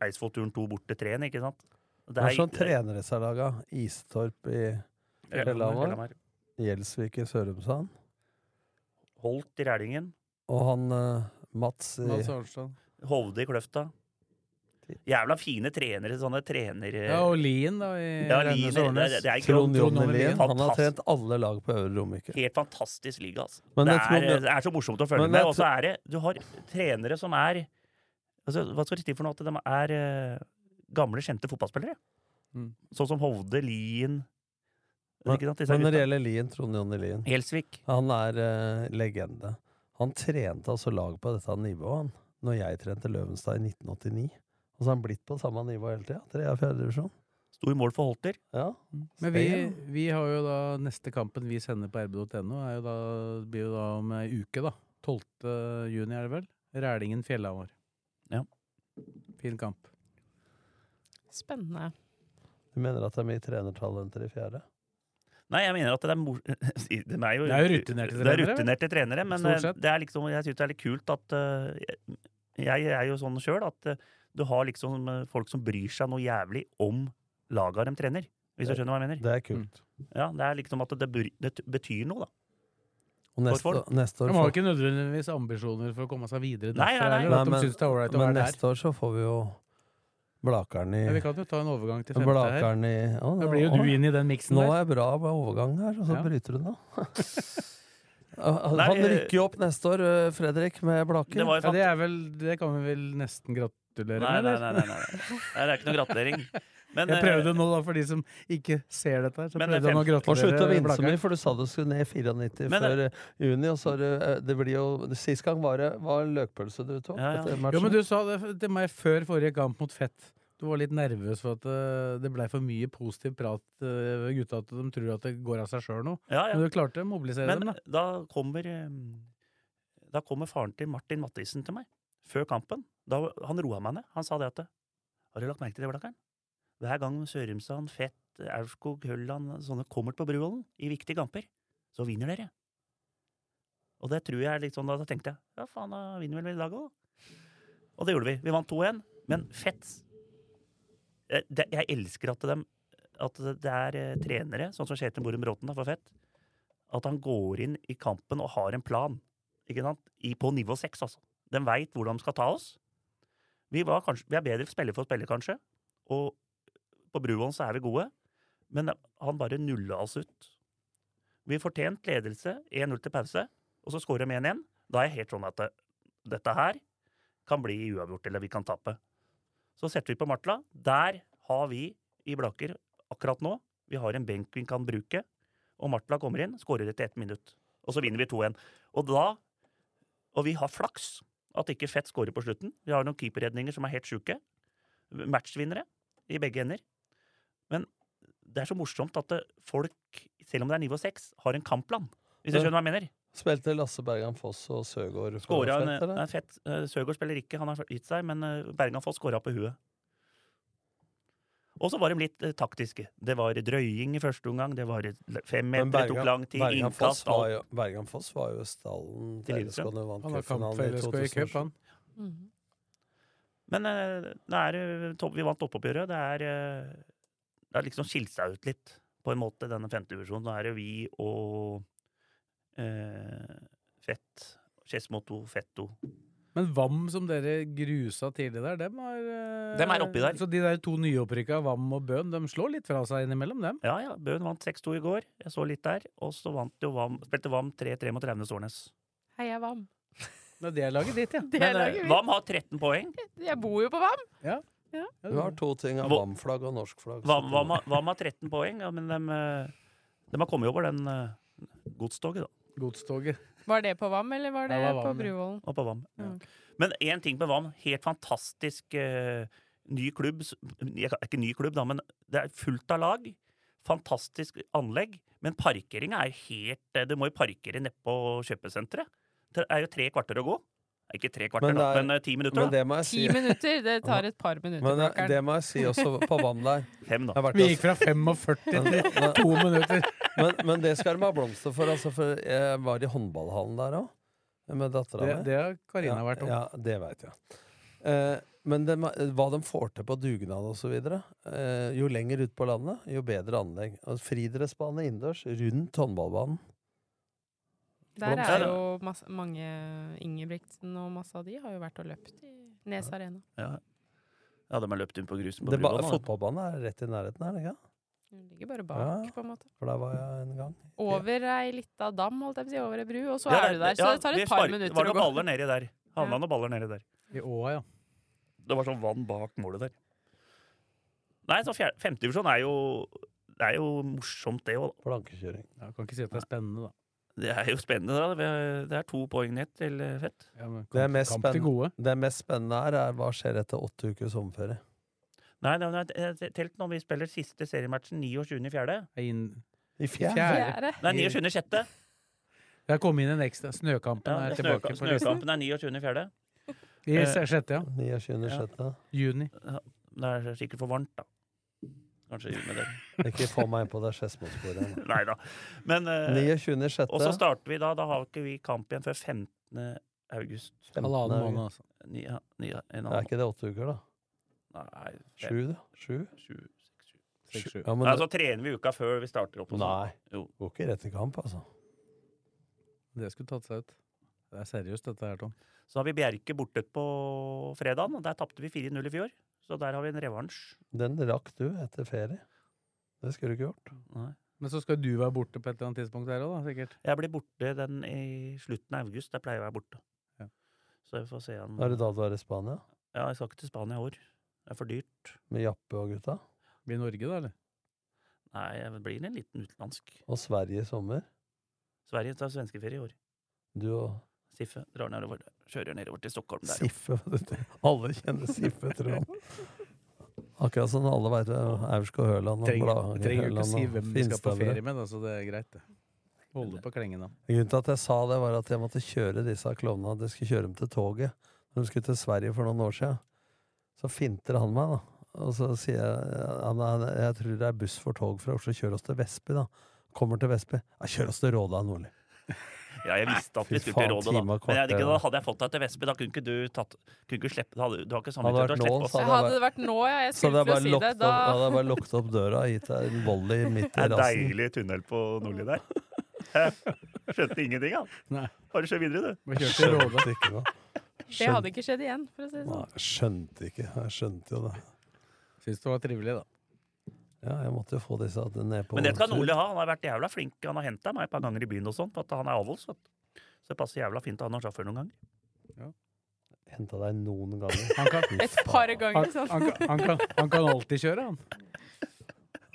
Eidsvollturen to borte 3-en, ikke sant?
Det er sånn trenere som har laga. Istorp i
Ja,
Fjellhamar.
Fjellhamar.
Gjelsvik i Sørumsand.
Holt i Rælingen.
Og han eh, Mats i
Mads Arnstad.
Hovde i Kløfta. Jævla fine trenere, sånne trener... eh,
Ja, og Lien, da, i
Ja, Lien,
Rennes
det-
og Årnes.
det- det er ikke-
Trond
Trond
Jonny
Jonny
Lien. Han har
Fantastisk.
trent alle lag på Øvre Romerike.
Helt fantastisk liga, altså.
Men
det,
jeg tror
er,
det-
det er så morsomt å følge
Men
med.
jeg
Og så er det Du har trenere som er altså, Hva skal jeg si for noe? At de er eh, gamle, kjente fotballspillere.
Mm.
Sånn som Hovde, Lien
Men,
ikke sant, disse
men når det
gutta.
gjelder Lien, Trond Jonny Lien
Gjelsvik.
Han er eh, legende. Han trente altså lag på dette nivået, han. Når jeg trente Løvenstad i 1989. Og så har han blitt på samme nivå hele tida. Tredje og fjerde divisjon.
Sto i mål for Holter.
Ja.
Mm. Men vi,
Stay, ja.
vi har jo da neste kampen vi sender på rb.no, er jo da, blir jo da om ei uke, da. 12. juni, er det vel? Rælingen Fjellhamar.
Ja.
Fin kamp.
Spennende.
Du mener at det er mye trenertalenter i fjerde?
Nei, jeg mener at det er mor... De er jo,
Det er jo rutinerte
Det er
trenere, vel?
rutinerte trenere, men
Stort
eh,
sett.
det er liksom, jeg syns det er litt kult at eh, Jeg jeg er jo sånn sjøl at eh, du har liksom eh, folk som bryr seg noe jævlig om laga de trener. Hvis du skjønner hva jeg mener?
Det er
Mm.
kult.
Ja, Det er liksom at det, bur- det t- betyr noe, da.
Og neste,
Hvorfor?
neste år
De har
får-
jo ikke nødvendigvis ambisjoner for å komme seg videre derfra.
Nei, nei, nei.
Eller, at
Nei, men-
de synes det er all right å
Men
være der.
neste år så får vi jo Blakeren i
Ja, vi kan jo ta en overgang til femte her.
Blakeren i å,
Da blir jo
å,
du inn i den miksen
Nå
der.
er jeg bra med overgang her, og så
Ja.
bryter du den av. Han
Nei,
han
eh,
rykker jo opp neste år, eh, Fredrik, med Blaker.
Det var jo
Ja,
fant...
det, er vel, det kan vi vel nesten gratulere
nei,
med.
nei,
eller?
nei, nei, nei. nei, Det er ikke noe gratulering. Men, eh,
Jeg prøvde nå, da, for de som ikke ser dette her. Så
Men eh, det er
prøvde jeg nå å
Og slutt å
gratulere
vinse
Blakkaren.
mye, for du sa du skulle ned i 94
Men,
før eh, juni. Og så har du, eh, det blir jo, Sist gang var det var løkpølse du tok.
Ja, ja.
etter
Jo,
matchen.
men du sa det f- til meg før forrige kamp mot Fett. Du var litt nervøs for at eh, det blei for mye positiv prat eh, ved gutta, at de tror at det går av seg sjøl nå.
eh, ja, ja.
Men du klarte å mobilisere
Men
dem, da.
da kommer eh, Da kommer faren til Martin Mattisen til meg før kampen. Da, han roa meg ned. Han sa det at Har du lagt merke til det, Blakkern? Hver gang Sørumsand, Fett, Aurskog, Hølland sånne kommer på Bruvollen i viktige kamper, så vinner dere. Og det tror jeg er litt sånn, da, da tenkte jeg ja faen, da vinner vel vi i dag òg. Og det gjorde vi. Vi vant 2-1. Men Fett eh, det, Jeg elsker at, dem, at det det er eh, trenere, sånn som Kjetil Borum Bråten da, for Fett, at han går inn i kampen og har en plan. Ikke sant? I, på nivå seks, altså. De veit hvor de skal ta oss. Vi, var kanskje, vi er bedre spiller for spiller, kanskje. Og på Bruvollen så er vi gode. Men han bare nulla oss ut. Vi fortjente ledelse 1-0 til pause, og så scorer de 1-1. Da er jeg helt sånn at det, dette her kan bli uavgjort, eller vi kan tape. Så setter vi på Martla. Der har vi i Blaker akkurat nå Vi har en benk vi kan bruke og Martla kommer inn, skårer etter ett minutt. Og så vinner vi 2-1. Og da Og vi har flaks at ikke Fett skårer på slutten. Vi har noen keeperredninger som er helt sjuke. Matchvinnere i begge ender. Men det er så morsomt at det- folk, selv om det er nivå seks, har en kampplan. Hvis du
Ja.
skjønner hva jeg mener?
Spilte Lasse Bergan Foss og Søgaard for
Skåra
Fett,
en,
eller?
nei, Fett eh, Søgaard spiller ikke, han har gitt seg, men eh, Bergan Foss skåra på huet. Og så var de litt eh, taktiske. Det var drøying i første omgang, det var
Men
femmeter, det tok lang tid,
Bergan Foss
innkast, alt.
var jo, Bergan Foss var jo i stallen
Til
til LSK
Lillestrøm.
når de vant
Han har kamp
cupfinalen
for
i
LSK i cup,
2007.
han.
Mhm.
Men eh, det er, eh, topp- vi vant toppoppgjøret. Det er, eh, det er liksom skilt seg ut litt, på en måte, denne femtedivisjonen. Nå er det vi og eh, Fett, Skedsmoto, Fetto.
Men Vam, som dere grusa tidlig der, dem er eh,
Dem er oppi der.
Så de der to nyopprykka, Vam og Bøhn, de slår litt fra seg innimellom, dem.
Ja, ja, Bøen vant 6-2 i går. Jeg så litt der. Og så vant jo Vam, spilte Vam 3-3 mot Raunes Årnes.
Heia Vam.
Nei, det er laget ditt, ja.
Det
Men
er
eh,
laget mitt.
Vam har 13 poeng.
Jeg bor jo på Vam.
Ja,
Du har to ting av
Hvor-
VAM-flagg og norsk flagg. så
Vam,
det-
Vam, har- Vam har 13 poeng, ja, men de, har kommet over den eh, godstoget, da.
Godstoget.
Var det på Vam, eller var det,
Det var
på
Vam, ja.
Bruvollen?
Og på Vam.
Ja.
Men én ting med Vam. Helt fantastisk eh, ny klubb. s- jeg kan- Ikke ny klubb, da, men det er fullt av lag. Fantastisk anlegg. Men parkeringa er helt eh, Du må jo parkere nedpå kjøpesenteret. Det er jo tre kvarter å gå. Ikke tre kvarter,
Men
men,
det
da,
er-
men eh, ti minutter.
Men
da.
det må jeg si,
Ti minutter! Det tar et par minutter.
men eh,
Blakkaren.
det må jeg si også på vann der.
Fem,
Jeg
da.
har vært
Vi
og-
gikk fra 45 til
men, men,
to minutter.
men, men det skal de ha blomster for, altså, for jeg var i håndballhallen der òg, med dattera
Det,
mi.
det har Karina vært om.
Ja, det veit jeg. Eh, men det, hva de får til på dugnad osv. Eh, jo lenger ut på landet, jo bedre anlegg. Og Friidrettsbane innendørs rundt håndballbanen.
Der
Ja,
er
da.
jo masse, mange Ingebrigtsen og masse av de har jo vært og løpt i Nes Arena.
Ja. ja, de har løpt inn på grusen på
Det ba-
Bruvoll. da.
Fotballbanen er rett i nærheten her, ikke? sant?
De ligger bare bak,
Ja.
på en måte.
for der var jeg en gang.
Over ei lita dam, holdt jeg på å si, over ei bru, og så
Ja,
er du der. Så
ja,
det tar
vi
et par
spark-
minutter
Var
å
noen
gå.
baller nedi der. Havna
Ja.
noen baller nedi der.
I Åa, ja.
Det var sånn vann bak målet der. Nei, så fjer- femtedivisjon er jo Det er jo morsomt, det òg.
Plankekjøring.
ja. Kan ikke si at det er spennende, da.
Det er jo spennende. da. Vi er- Det er to poeng ned til eh, Fett.
Ja, men
Det er
kamp-
mest
Kamp til
spennende.
gode.
Det mest spennende her er hva skjer etter åtte ukers sommerferie.
Nei, nei, eh, nei jeg telte når vi spiller siste seriematchen 29.4.
Det er inn...
I fjerde.
Fjerde.
Fjerde.
Nei, 29.6.
Det har kommet inn en ekstra. Snøkampen
Ja,
er
snøka-
tilbake på listen.
snøkampen er 29.4.
I
Eh,
se- sjette, ja.
29. sjette.
Juni.
Det er sikkert for varmt, da. Kanskje juni der.
Ikke få meg inn på det Skedsmo-sporet. igjen, da.
Nei da. Men eh,
29.
Og så
sjette.
starter vi da. Da har ikke vi kamp igjen før 15. august.
Halvannen måned, altså.
Ni, ja, ni, en
Det er
annen.
ikke det åtte uker, da.
Nei, fem,
Sju, da. Sju.
sju, seks, sju.
Seks-sju.
Ja, men
Nei,
det
så trener vi uka før vi starter opp. og sånn.
Nei.
Jo.
går ikke rett i kamp, altså.
Det skulle tatt seg ut. Det er seriøst, dette her, Tom.
Så har vi Bjerke borte på fredagen, og der tapte vi 4-0 i fjor. Så der har vi en revansj.
Den rakk du etter ferie. Det skulle du ikke gjort.
Men så skal du være borte på et eller annet tidspunkt her òg, da, sikkert.
Jeg blir borte den i slutten av august. Der pleier jeg å være borte.
Ja.
Så vi får se
Mm.
han
Er det da du er i Spania?
Ja, jeg skal ikke til Spania i år. Det er for dyrt.
Med Jappe og gutta?
Blir Norge, da, eller?
Nei, jeg blir en liten utenlandsk.
Og Sverige i sommer?
Sverige tar svenskeferie i år.
Du og
Siffe drar nedover, kjører nedover til Stockholm der.
Siffe. vet du. Alle kjenner Siffe, tror jeg. Akkurat som alle veit hvem Aurskog Høland og
Trenger,
Blahanger
trenger jo ikke
Høland
si
og
hvem du skal på
Finstadbre.
ferie med, da, så det er greit, det. Holde på klengen, da.
Grunnen til at jeg sa det, var at jeg måtte kjøre disse klovnene. at Jeg skulle kjøre dem til toget. Når de skulle til Sverige for noen år siden, så finter han meg, da. Og så sier jeg ja, men jeg tror det er buss for tog fra Oslo. Kjør oss til Vestby, da. Kommer til Vestby. Ja, kjør oss til Råda, Nordli.
Ja, jeg visste at
Fy
vi skulle til
faen,
Rådet, da.
time og
Men jeg,
kvarter,
da
da.
hadde jeg fått deg til Vestby, da kunne ikke du tatt kunne ikke slippe, hadde, Du har ikke
Hadde
samvittighet
vært
til å slippe
lån,
oss.
sa
Hadde, det vært nå, ja,
Så
jeg
hadde jeg
skulle til å
bare
si det,
lukket
da
opp, hadde jeg bare lukket opp døra og gitt deg en volley midt i
Det er
rassen.
deilig tunnel på Nordli der. Skjønte ingenting, han.
Nei.
Bare kjør videre, du.
Må kjøre til Råde.
Skjønte ikke noe.
Det hadde ikke skjedd igjen, for å si det sånn.
Nei, skjønte ikke. Jeg skjønte jo det.
Syns det var trivelig, da.
Ja, jeg måtte jo få disse ned på
Men det skal
tur.
Nordli ha. Han har vært jævla flink. Han har henta meg et par ganger i byen og sånn, for at han er avholds. vet du. Så det passer jævla fint å ha noen sjåfør noen ganger.
Henta deg noen ganger.
Han kan,
Fy
Et par
faen.
han,
ganger sånn.
han, kan- han, kan, han kan alltid kjøre, han.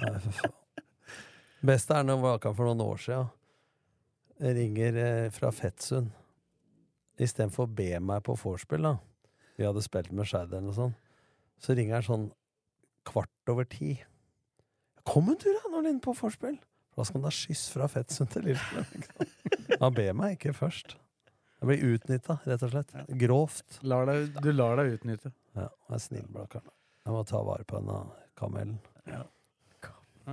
Nei, for faen. Best er når Vakan for noen år siden Jeg ringer eh, fra Fettsund. Istedenfor å be meg på vorspiel, da. Vi hadde spilt med Shadderen og sånn. Så ringer han sånn kvart over ti. Kom en tur, da, når du er inne på vorspiel! Da skal han ha skyss fra Fettsund til Lillestrøm. ikke sant? Han ber meg ikke først. Jeg blir utnytta, rett og slett. Grovt.
Lar deg, du lar deg utnytte.
Ja, jeg er snill, Blakkaren. Jeg må ta vare på denne kamelen.
Ja,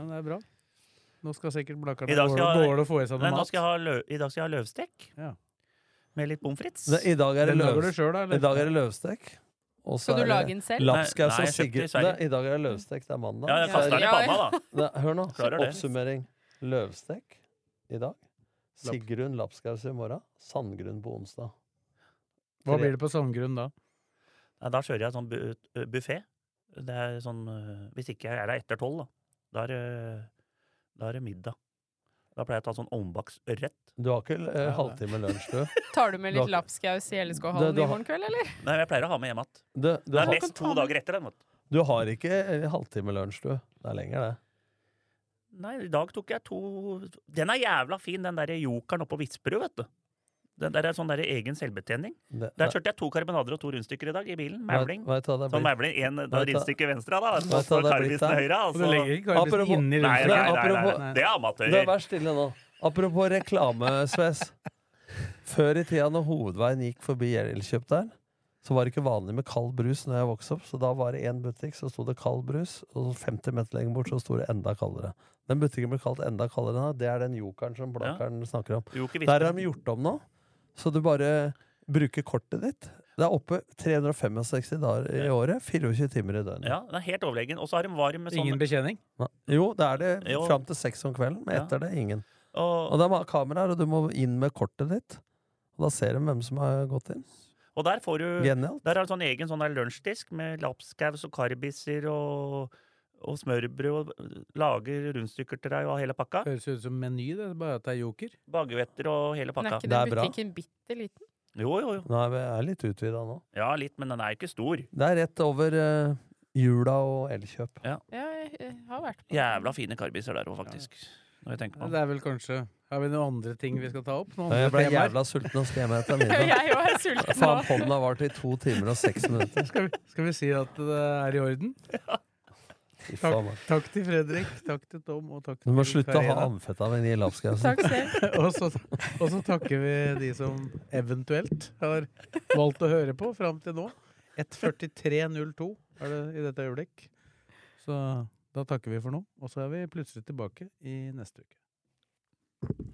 det er bra. Nå skal sikkert Blakkaren
I dag
Går
skal
det-
jeg-
går det å få i seg noe
Nei, nå
mat?
skal jeg ha lø- I dag skal jeg ha løvstek
Ja.
med litt pommes frites.
Det- I dag er det
Den lager
løvstek.
du sjøl, da?
I dag
Eller?
er det løvstek. og så er
Skal du lage
det
den selv?
Lapskaus
Nei,
og
jeg kjøpte i
Sigurd.
Sverige.
Nei, I dag er det løvstek. Det er mandag.
Ja, jeg kaster den i
Ja, ja.
panna, da.
Nei, hør nå.
Klarer det.
Oppsummering. Løvstek i dag. Sigrun Lapskaus i morgen. Sandgrunn på onsdag.
Hva blir det på sandgrunn da?
Nei, da kjører jeg sånn bu buffé. Det er sånn øh, Hvis ikke jeg er der etter tolv, da. Da er, det- da er det middag. Da pleier jeg å ta sånn ombaks ørret.
Du har ikke eh,
Ja,
halvtime lunsj, du.
Tar du med litt
Du har-
lapskaus i
Du-
LSK-hallen
du
i
har-
morgen kveld, eller?
Nei, jeg pleier å ha med hjem igjen.
Du, du,
Det er
har,
mest to dager etter den. vet du.
du har ikke eh, halvtime lunsj, du. Det er lenger, det.
Nei, i dag tok jeg to Den er jævla fin, den derre jokeren oppe på Vitsbrud, vet du. Den der er sånn der egen selvbetjening.
det,
Der kjørte jeg to karbonader og to rundstykker i dag i bilen. Mævling.
Vet, vet du hva det
Sånn
blir?
mævling, én
hva-
rundstykke venstre, da.
hva-
Og så
hva- det er blitt
karbisen
der?
høyre.
Og du legger
Altså.
ikke karmisen
Apropos-
inni
Nei, nei,
rundstykken?
nei, nei, nei,
apropos-
Det er
Du,
amatører.
vær stille nå. Apropos reklame, Sves. Før i tida når hovedveien gikk forbi Elkjøp der, så var det ikke vanlig med kald brus når jeg vokste opp. Så da var det én butikk, så sto det kald brus, og 50 meter lenger bort så sto det enda kaldere. Den butikken ble kalt enda kaldere nå. Det er den jokeren som Blakkaren snakker om.
Jo, ikke
Der har
Vitsbrud.
de gjort om nå, så du bare bruker kortet ditt. Det er oppe 365 dager i året, 24 timer i døgnet.
Ja, den er helt overlegen. Og så har de varm med sånn
Ingen betjening?
Jo, det er det
Jo.
fram til seks om kvelden, men
Ja.
etter det ingen.
og,
Og de har kameraer, og du må inn med kortet ditt. Og da ser de hvem som har gått inn.
Og der får du
Genialt.
Der er det sånn egen sånn der lunsjdisk med lapskaus og karbiser og, og smørbrød. Og lager rundstykker til deg og hele pakka.
Høres jo ut som Meny, det. Bare at det er joker.
Bagevetter og hele
Men er
pakka.
ikke
Det er
den
bra.
butikken bitte liten?
Jo, jo, jo.
Nei, vi er litt utvida nå.
Ja, litt, men den er ikke stor.
Det er rett over eh, jula og Elkjøp.
Ja, jeg, jeg har vært på
Jævla fine karbiser der òg, faktisk. Når jeg tenker på
Det
det.
er vel kanskje Har vi noen andre ting vi skal ta opp? Noen
Jeg ble
andre temaer?
jævla sulten og skal hjem og hente
Ja,
middag.
jeg òg er sulten nå.
Faen, podden har vart i to timer og seks minutter.
Skal vi, skal vi si at det er i orden?
Fy faen,
Takk,
man.
takk til Fredrik, takk til Tom og takk
Du
til
må slutte å ha
Karina.
amfetamin i lapskausen.
Takk selv.
og, så, og så takker vi de som eventuelt har valgt å høre på fram til nå. 1.43,02 er det i dette øyeblikk. Så da takker vi for nå, og så er vi plutselig tilbake i neste uke.